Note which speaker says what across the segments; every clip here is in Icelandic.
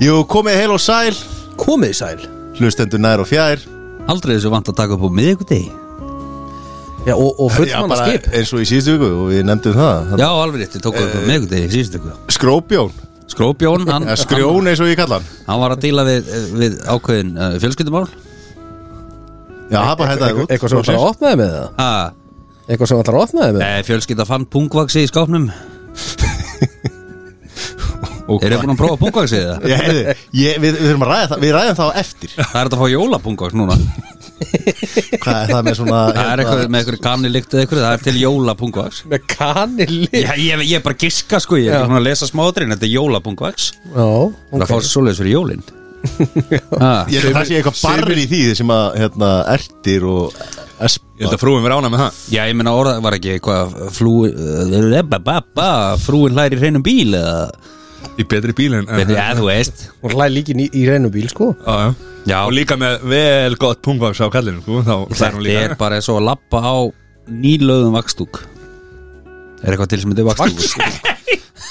Speaker 1: Jú, komið heil og sæl,
Speaker 2: Komið sæl
Speaker 1: hlustendur nær og fjær
Speaker 3: Aldrei þessu vant að taka upp á miðvikudegi
Speaker 2: Já, og, og fullmanna
Speaker 1: bara
Speaker 2: skip
Speaker 1: eins og í síðustu viku og við nefndum það
Speaker 3: Já, alveg rétt, ég tók
Speaker 2: Eh.
Speaker 3: upp á miðvikudegi síðustu ykkur
Speaker 1: Skrópjón,
Speaker 3: Skrópjón, hann,
Speaker 1: eða skrjón eins og ég kalla hann
Speaker 3: hann, hann var að díla við, eh, við ákveðin uh, fjölskyldumál
Speaker 1: Já, það bara hættaði út
Speaker 2: Eitthvað sem ætlar að opnaði með það
Speaker 3: ha,
Speaker 2: Eitthvað sem ætlar að opnaði með það
Speaker 3: e, Fjölskylda fann pungvaksi í skápnum
Speaker 1: Og-
Speaker 3: Eru búin að prófa pungvaksi það?
Speaker 1: Ég, heyrðu, ég, við, við þurfum að ræða það, við ræðum það á eftir
Speaker 3: Það er þetta að fá jólapungvaks núna
Speaker 1: Hvað er það með svona hérna-
Speaker 2: hérna-
Speaker 3: Það er eitthvað með eitthvað kanni líkt eða eitthvað Það er til jólapungvaks
Speaker 2: Með kanili
Speaker 3: Já, ég, ég er bara að giska sko, ég er
Speaker 2: Já.
Speaker 3: ekki búin að lesa smáðurinn, þetta er jólapungvaks
Speaker 2: Já,
Speaker 3: Það
Speaker 2: ok
Speaker 3: fá sér svoleiðis fyrir jólinn Ha.
Speaker 1: Ég held að það sé eitthvað barri í því sem að hérna, ertir og
Speaker 4: Ég held að frúin verið ána með það
Speaker 3: Já, ég meina orða var ekki eitthvað flú, eh, ba, ba, ba, frúin hlæri í hreinum bíl eða,
Speaker 4: Í betri bíl en
Speaker 3: veit ég, þú veist
Speaker 2: Hún hlæði líkin í, í reynum bíl, sko
Speaker 4: Já,
Speaker 3: Já.
Speaker 4: já Og líka með vel gott pungvaks á kallinu sko, Þá hlæðir hún
Speaker 3: Þetta er
Speaker 4: líka
Speaker 3: bara eins og að lappa á nýlöðum vakstúk Er eitthvað til sem þetta er vakstúk?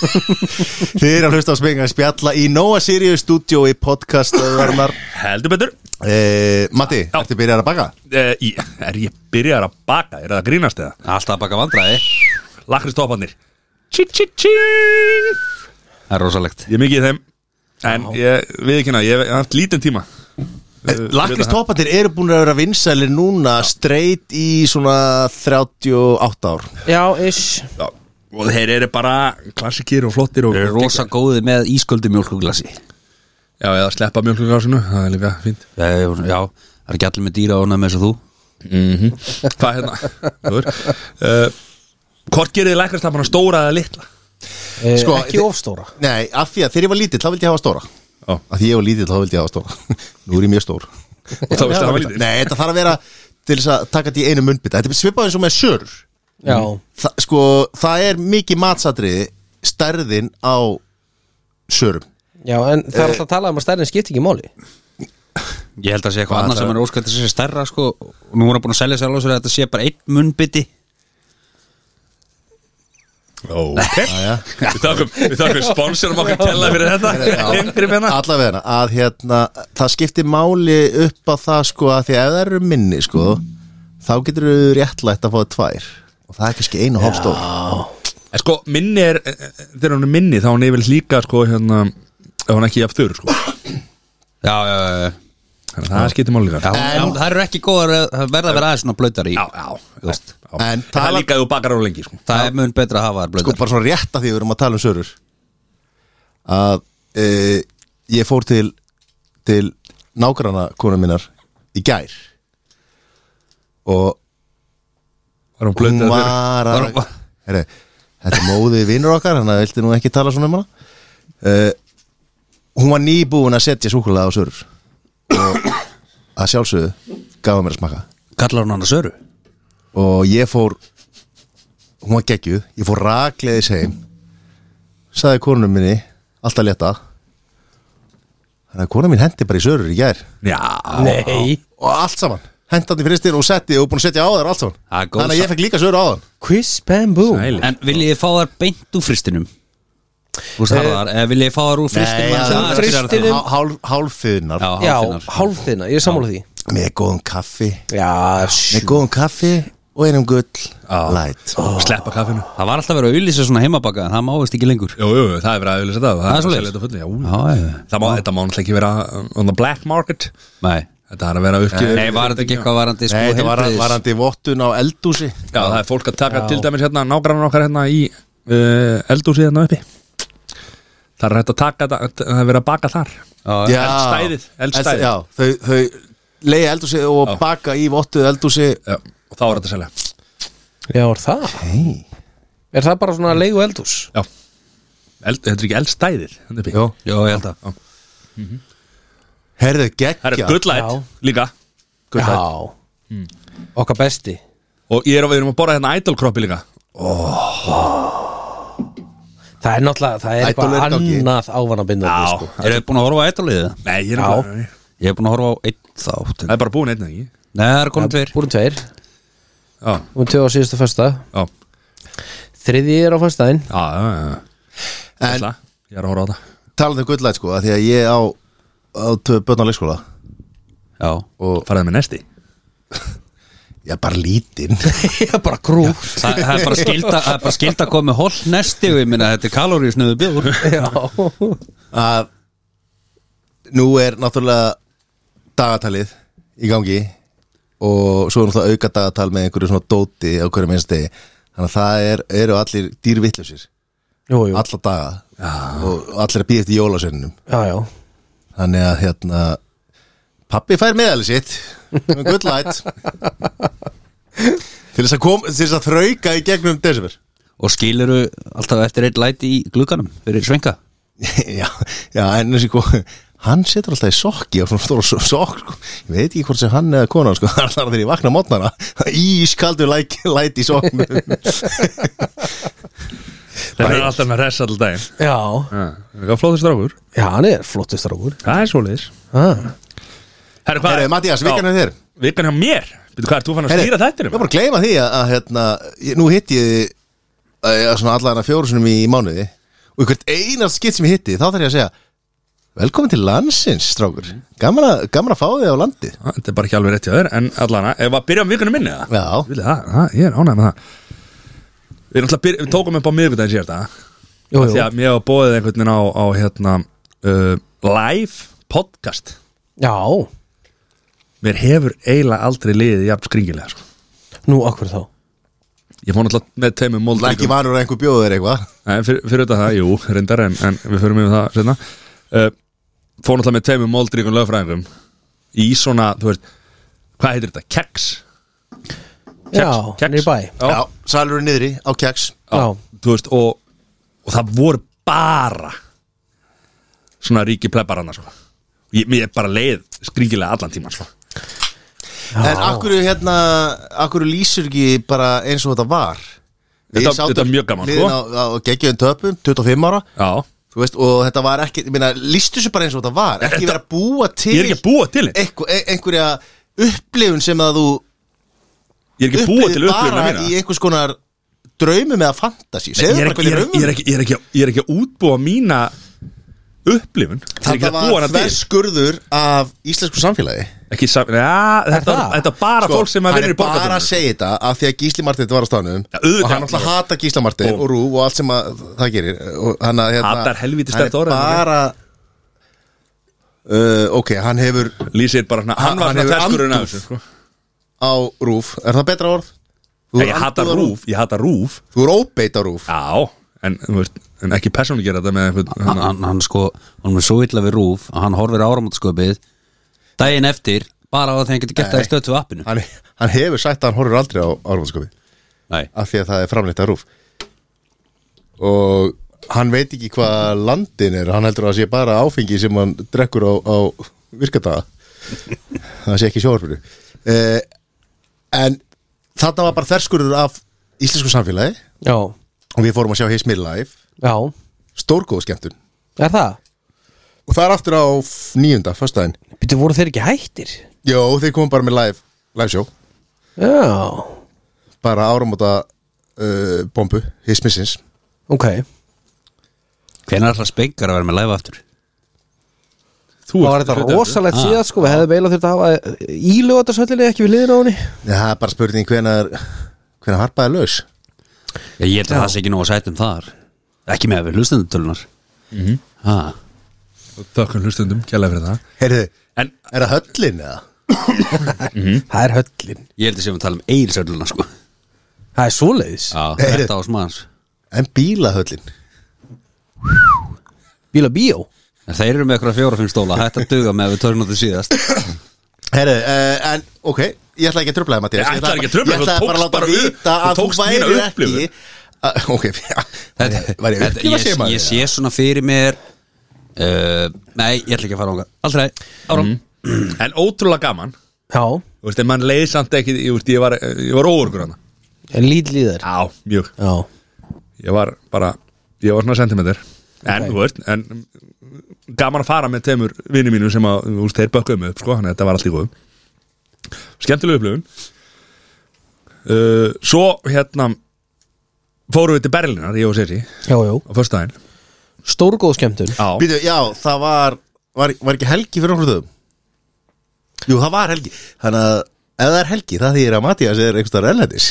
Speaker 1: Þið eru að hlusta á spengan spjalla í Nóa Sirius stúdíó í podcast verðnar
Speaker 4: Heldur betur
Speaker 1: eh, Matti, ertu byrjar að baka?
Speaker 4: Eh, ég- Er ég byrjar að baka? Er það að grínast eða?
Speaker 3: Alltaf að baka vandræði
Speaker 4: Lakristofanir Tjí tjí tjí Ég
Speaker 3: Það er rosalegt
Speaker 4: er mikið í þeim En ég, við ekki hana, ég hef haft lítinn tíma Eh,
Speaker 1: Lakrist topatir eru búin að vera vinsælir núna straight í svona 38 ár
Speaker 2: Já, ish
Speaker 4: Já. Og þeir eru bara klassikir og flottir og
Speaker 3: Þeir eru rosa góði með ísköldu mjólkuglasi
Speaker 4: Já, eða sleppa mjölklugásinu, það er líka fínt
Speaker 3: Já, já, já, það er ekki allir með dýra ánað með þess að þú
Speaker 4: Hvað hérna? Þú veist, eh, Hvort gerir þið lakristafana stóra eða litla?
Speaker 2: eh,
Speaker 1: Sko,
Speaker 2: Ekki
Speaker 1: þi-
Speaker 2: ofstóra
Speaker 1: Nei, af því að þegar ég var lítill þá vildi ég hafa stóra
Speaker 4: Já.
Speaker 1: Af því ég var lítill þá vildi ég hafa stóra Nú er ég mjög stór
Speaker 4: Og þá veistu að það var lítið
Speaker 1: Nei, þetta þarf að vera til þess að taka þetta í einu munnbytta Þetta er svipað eins og með sörur
Speaker 2: Já
Speaker 1: Þa, sko, það er mikið matsatriði stærðin á sörum
Speaker 2: Já, en það er alltaf að tala um að stærðin skipti ekki máli
Speaker 3: Ég held að sé eitthvað annað sem er óskælt að sé stærra sko, og nú er hann búin að selja sér alveg sér að þetta sé bara einn munnbytti
Speaker 4: Ok, við þakkum, við þakkum sponsorum okkar kella fyrir þetta Yngri menna
Speaker 1: allavega að hérna það skiptir máli upp á það sko að því að ef það eru minni sko þá getur þú réttlætt að fá tvær og það er kannski einu hálf stór
Speaker 4: En sko, minni er, eh, eh, þegar hún er minni þá er hún yfir líka sko hérna ef hún er ekki jafn þurr sko
Speaker 3: Já, já, já, já
Speaker 4: Þannig að það skiptir máli líka sko.
Speaker 3: Já, en, það eru ekki góðar að það verða að vera aðeins svona blöytar í
Speaker 4: já, já,
Speaker 3: Þú veist.
Speaker 4: já.
Speaker 1: En
Speaker 4: En það
Speaker 1: tala-
Speaker 4: er líka að þú bakar á lengi sko
Speaker 3: Það er mun betra að hafa þær
Speaker 1: sko
Speaker 3: blöytar
Speaker 1: bara svona rétt að því við erum að tala um sörur að e, ég fór til til nágrana konum minnar í gær og
Speaker 4: Það er hún
Speaker 1: hún
Speaker 4: blöndið að þurr
Speaker 1: var
Speaker 3: Var
Speaker 1: að
Speaker 3: hún-
Speaker 1: Heri, Þetta er móðið vinnur okkar Þannig að vildi nú ekki tala svona um hana uh, Hún var nýbúin að setja súkulega á sörur Og að sjálfsögðu Gafa mér að smaka
Speaker 3: Kallar hún hann að söru?
Speaker 1: Og ég fór Hún var geggjuð Ég fór rakleiðis heim Saði konunum minni Alltaf leta Þannig að konunum mín hendi bara í sörur í gær
Speaker 4: Já,
Speaker 2: Nei
Speaker 1: Og allt saman Hendandi fristir og setti og búin að setja á þær allt saman
Speaker 3: Það er góð
Speaker 1: Þannig að ég
Speaker 3: sa-
Speaker 1: fekk líka sörur á þann
Speaker 2: Quiz Bamboo
Speaker 4: Sæli.
Speaker 3: En viljið þið fá þær beint úr fristinum? Þú veist það þar, eða viljið þið fá þær úr fristinum?
Speaker 1: Nei,
Speaker 3: aðeins
Speaker 1: já,
Speaker 3: aðeins aðeins
Speaker 2: fristinum.
Speaker 1: hál- hál- Hálffiðnar
Speaker 3: Já,
Speaker 2: Já,
Speaker 3: hálfinnar
Speaker 2: hálfþina, ég er sammála því
Speaker 1: Með góðum kaffi
Speaker 2: Já, sjú
Speaker 1: Með góðum kaffi og einum gull Light
Speaker 4: sleppa kaffinu
Speaker 3: Það var alltaf verið að auðlýsa svona heimabaka en það má vist ekki lengur Já,
Speaker 4: Jú, jú, það er verið að auðvitað það
Speaker 3: Það er
Speaker 4: að
Speaker 3: svoleiðis.
Speaker 4: selja þetta á fullu, já.
Speaker 3: já
Speaker 4: Það má, þetta má náttúrulega ekki vera um, on the black market
Speaker 3: Nei,
Speaker 4: Þetta er að vera uppgjöf
Speaker 3: Nei var þetta ekki eitthvað varandi sko
Speaker 1: Nei, þetta var
Speaker 3: heilbrigðis-
Speaker 1: varandi vottun á eldúsi
Speaker 4: Já, það er fólk að taka til dæmis hérna nágrannar okkar hérna í uh, eldúsið hérna uppi Það er hægt að taka þetta, það er verið að baka þar
Speaker 3: Já,
Speaker 1: Já.
Speaker 4: Eldstæðið, eldstæðið.
Speaker 1: Já, þau, þau leiði eldúsi og baka í vottuð eldúsi
Speaker 4: Já, og þá er þetta að selja
Speaker 2: Já, er það?
Speaker 1: Hei
Speaker 2: Er það bara svona leigu eldhús?
Speaker 4: Já Eld, Þetta er ekki eldstæðið hérna uppi
Speaker 1: Jó
Speaker 3: já, ég held að
Speaker 1: Herðu
Speaker 4: Það er
Speaker 1: geggja
Speaker 2: Já.
Speaker 4: gullætt líka
Speaker 2: Já Okkar besti
Speaker 4: Og ég er að við erum að borða hérna idolkroppi líka
Speaker 2: Það er náttúrulega, það er
Speaker 1: Ædol
Speaker 2: eitthvað
Speaker 1: er í gangi.
Speaker 2: annað ávanabindandi sko.
Speaker 3: Eru þið búin að horfa á eitthvað
Speaker 4: Nei, ég er
Speaker 2: Já.
Speaker 4: bara
Speaker 3: Ég er búin að horfa á eitt þátt
Speaker 4: Það er bara búin einn eða ekki
Speaker 3: Nei, það er konum tveir
Speaker 2: Búin tveir
Speaker 4: Já,
Speaker 2: um tvö á síðustu fyrsta
Speaker 4: já,
Speaker 2: þriði er á fyrstaðin
Speaker 4: já, já, já.
Speaker 1: En
Speaker 4: Ætla, Ég er að horfa á það
Speaker 1: talað um gullæð sko, að því að ég á, á tvö börn á leikskóla
Speaker 3: Já
Speaker 1: og
Speaker 4: Faraði með næsti
Speaker 1: ég er bara lítinn
Speaker 2: ég er bara krú
Speaker 3: Þa, það er bara skilda, það er bara skilda að koma með holt nesti og ég minna þetta er kaloríusnöðu bjóður
Speaker 2: já,
Speaker 1: að nú er náttúrulega dagatalið í gangi og svo er náttúrulega auka dagatal með einhverju svona dóti á hverju minnsti þannig að það er, eru allir dýrvittlusir
Speaker 2: jú, jú.
Speaker 1: alla daga Já. og allir að býja eftir jólasönnum
Speaker 2: já, já.
Speaker 1: þannig að hérna pappi fær meðalið sitt um good light til þess að kom, til þess að þrauka í gegnum desember
Speaker 3: Og skiluru alltaf eftir eitt læti í glugganum fyrir svenga
Speaker 1: já, já, en þessi sko hann setur alltaf í sokki á svona stóra so- sokk sko. ég veit ekki hvort sem hann eða konan sko, hann þarf þegar ég vakna mótnana ískaldur læk, læt í sokknum
Speaker 4: Það er alltaf með res alltaf daginn
Speaker 2: já,
Speaker 4: Það er flóðist rákur
Speaker 2: já, hann er flottist rákur
Speaker 4: Það er svoleiðis
Speaker 2: ah.
Speaker 4: Herru, hvað
Speaker 1: Herru, Mattias, vikan er þér
Speaker 4: Vikan hjá mér Býtu hvað, ert þú fann að
Speaker 1: Herru,
Speaker 4: stýra
Speaker 1: Ég
Speaker 4: þættinum?
Speaker 1: var bara að gleyma því að, að hérna, ég, nú hitti ég þig, að, að svona allan að fjórusunum í mánuði og í hvert einast skitt sem ég hitti þá þarf ég að segja Velkomin til landsins, strákur Gaman að, gaman að fá þig á landi
Speaker 4: Ah, Þetta er bara ekki alveg rétt hjá þér En allana, ef að byrja um vikunum minni eða?
Speaker 1: Já,
Speaker 4: Vilja það, það, ég er ánægð með það Við, erum alltaf, byr- við tókum upp á miðvikudaginn síðast að
Speaker 2: jú,
Speaker 4: Því
Speaker 2: jú.
Speaker 4: að mér var bóðið einhvern veginn á, á hérna, uh, live podcast
Speaker 2: já,
Speaker 4: Mér hefur eiginlega aldrei liðið jafn skringilega sko.
Speaker 2: nú akkur þá
Speaker 4: Ég fór náttúrulega með teimum mold
Speaker 1: ekki vanur að einhver bjóður eitthvað
Speaker 4: Fyrir, fyrir þetta það, jú, reyndar en, en við förum yfir það setna uh, Fór náttúrulega með teimum moldríkum lögfræðingum Í svona, þú veist, hvað heitir þetta? Keks?
Speaker 2: já,
Speaker 4: Keks, keks.
Speaker 2: hann er í bæ
Speaker 4: Já.
Speaker 1: Já, salurinn niðri á keks
Speaker 2: já,
Speaker 4: þú veist, og, og það voru bara svona ríki plebar annars sko. ég, mér er bara leið skringilega allan tíman sko.
Speaker 1: En akkur hérna, akkur lýsur ekki bara eins og þetta var Við
Speaker 4: Þetta-
Speaker 1: sátum
Speaker 4: þetta er mjög gaman,
Speaker 1: liðin
Speaker 4: sko.
Speaker 1: á, á geggjum töpum, 25 ára
Speaker 4: já,
Speaker 1: Þú veist, og þetta var ekki, ég meina, lýstu þessu bara eins og þetta var Ekki
Speaker 4: þetta-
Speaker 1: vera að búa til
Speaker 4: ég er ekki að búa til þinn
Speaker 1: einhver, ein- einhverja upplifun sem að þú
Speaker 4: ég er ekki að búa til
Speaker 1: upplifir
Speaker 4: upplifuna
Speaker 1: bara
Speaker 4: mína
Speaker 1: í
Speaker 4: ég
Speaker 1: einhvers konar draumum eða fantasi Segðu bara
Speaker 4: er
Speaker 1: hvernig
Speaker 4: ekki- ég er
Speaker 1: draumum
Speaker 4: ekki- ég er ekki- ég er ekki- ég er ekki að útbúa mína upplifun ég er ekki
Speaker 1: Þetta
Speaker 4: að búa
Speaker 1: var
Speaker 4: hana til
Speaker 1: þverskurður af íslensku samfélagi
Speaker 4: ekki, sam, ja, þetta,
Speaker 2: það?
Speaker 4: þetta er bara fólk sem að
Speaker 1: Sko, hann
Speaker 4: vinna
Speaker 1: er
Speaker 4: í
Speaker 1: bara að
Speaker 4: borgatunum
Speaker 1: segja þetta af því að Gísli Martin var á stafnum
Speaker 4: Ja, auðvitað.
Speaker 1: og hann alltaf hata Gísli Martin
Speaker 4: Búm.
Speaker 1: og Rú og allt sem að það gerir og hann að hérna
Speaker 4: Hatar helvíti
Speaker 1: hann
Speaker 4: sterkt
Speaker 1: er
Speaker 4: orð, en
Speaker 1: bara uh, ok, hann hefur
Speaker 4: lýsir bara svona, hann var
Speaker 1: Hann
Speaker 4: svona
Speaker 1: hefur
Speaker 4: ferskurinn af
Speaker 1: andúð.
Speaker 4: þessu sko.
Speaker 1: á Rúf er það betra orð? Þú
Speaker 4: ég
Speaker 1: hefur
Speaker 4: hata
Speaker 1: andúð á
Speaker 4: rúf, ég hata rúf
Speaker 1: þú er óbeit á Rúf
Speaker 4: já, en, þú veist, en ekki persónlega gera þetta með einhvern
Speaker 3: hann, hann, hann sko, hann er svo illa við rúf að hann horfir áramótasköpið daginn eftir, bara á að þeim getur gett það í stötu appinu
Speaker 1: hann, hann hefur sagt að hann horfur aldrei á Árumannskofi
Speaker 3: Nei,
Speaker 1: af því að það er framleitt á Rúf og hann veit ekki hvað landin er hann heldur að það sé bara áfengi sem hann drekkur á, á virkadaga það sé ekki sjóarfinu eh, en þarna var bara þerskurður af íslensku samfélagi
Speaker 2: já,
Speaker 1: og við fórum að sjá His Me Life
Speaker 2: já,
Speaker 1: stórgóð skemmtun
Speaker 2: er það
Speaker 1: og það er aftur á f- níunda, föstudaginn
Speaker 2: Býttu, voru þeir ekki hættir?
Speaker 1: Jó, þeir komum bara með live, live show
Speaker 2: Já,
Speaker 1: bara áramóta uh, bombu, His Missins
Speaker 2: ok
Speaker 3: hvenær ætlar spengar að vera með læfa aftur?
Speaker 4: Þú
Speaker 2: Það var
Speaker 4: ert
Speaker 2: þetta
Speaker 4: hluti af þessu.
Speaker 2: rosalegt síðan sko, við hefðum eiginlega þurft að hafa ílugatarsöllinni ekki við liðin á henni
Speaker 1: Já, það er bara spurning hvenar hvenar harpaði laus
Speaker 3: Já, ég held að það sé ekki nóg að sætum þar ekki með að við hlustendutölunar mm -hmm.
Speaker 4: Þökkum hlustundum, kjærlega fyrir það
Speaker 1: Heyrðu,
Speaker 4: En
Speaker 1: er það höllin eða?
Speaker 2: Það er höllin,
Speaker 3: Ég held að séum að tala um eilsölduna sko
Speaker 2: það er svoleiðis
Speaker 3: Já,
Speaker 1: Heyrðu.
Speaker 3: þetta ás manns
Speaker 1: En bílahöllin
Speaker 2: Bíla bíó
Speaker 3: En þeir eru með eitthvað fjóra fimm stóla Þetta duga með að við törnum þetta síðast
Speaker 1: Heyrðu, uh, en ok Ég ætla ekki að tröfla það, Mattias
Speaker 4: Ég ætla ekki að trufla þig,
Speaker 1: Ég ætla
Speaker 4: þú
Speaker 1: bara að
Speaker 4: tókst
Speaker 1: láta
Speaker 4: bara upp-
Speaker 1: vita
Speaker 4: þú
Speaker 1: að þú
Speaker 4: tókst mína
Speaker 1: væri ekki
Speaker 4: upplifun.
Speaker 1: að- Ok, já Var ég
Speaker 3: Þetta-
Speaker 1: upplifa
Speaker 3: ég,
Speaker 1: sem
Speaker 3: ég
Speaker 1: að
Speaker 3: sé svona fyrir mér uh, Nei, ég ætla ekki að fara ánga Aldrei, áram
Speaker 2: Mhm.
Speaker 4: En ótrúlega gaman Þú
Speaker 2: Já,
Speaker 4: veist, en mann leið samt ekki Ég, veist, ég var, ég var óurgur hana
Speaker 2: en lítil í þær
Speaker 4: Já, mjög
Speaker 2: Já,
Speaker 4: Ég var bara, ég var svona sentimentir En,
Speaker 2: Ok.
Speaker 4: þú veist, en mm, Gaman að fara með teimur vinni mínum sem að, þú veist, þeir bökkuðu mig upp, sko Þannig að þetta var allt í góðum Skemmtilega upplifun uh, Svo hérna Fórum við til Berlínar, ég og Sissi Á
Speaker 2: Já, já,
Speaker 4: föstudaginn
Speaker 2: stórgóð skemmtun
Speaker 4: Já,
Speaker 1: Býtu, já, það var, var, var ekki helgi fyrir okkur þau Jú, það var helgi Þannig að ef það er helgi, það þýðir að Mattias er einhvers staðar erlendis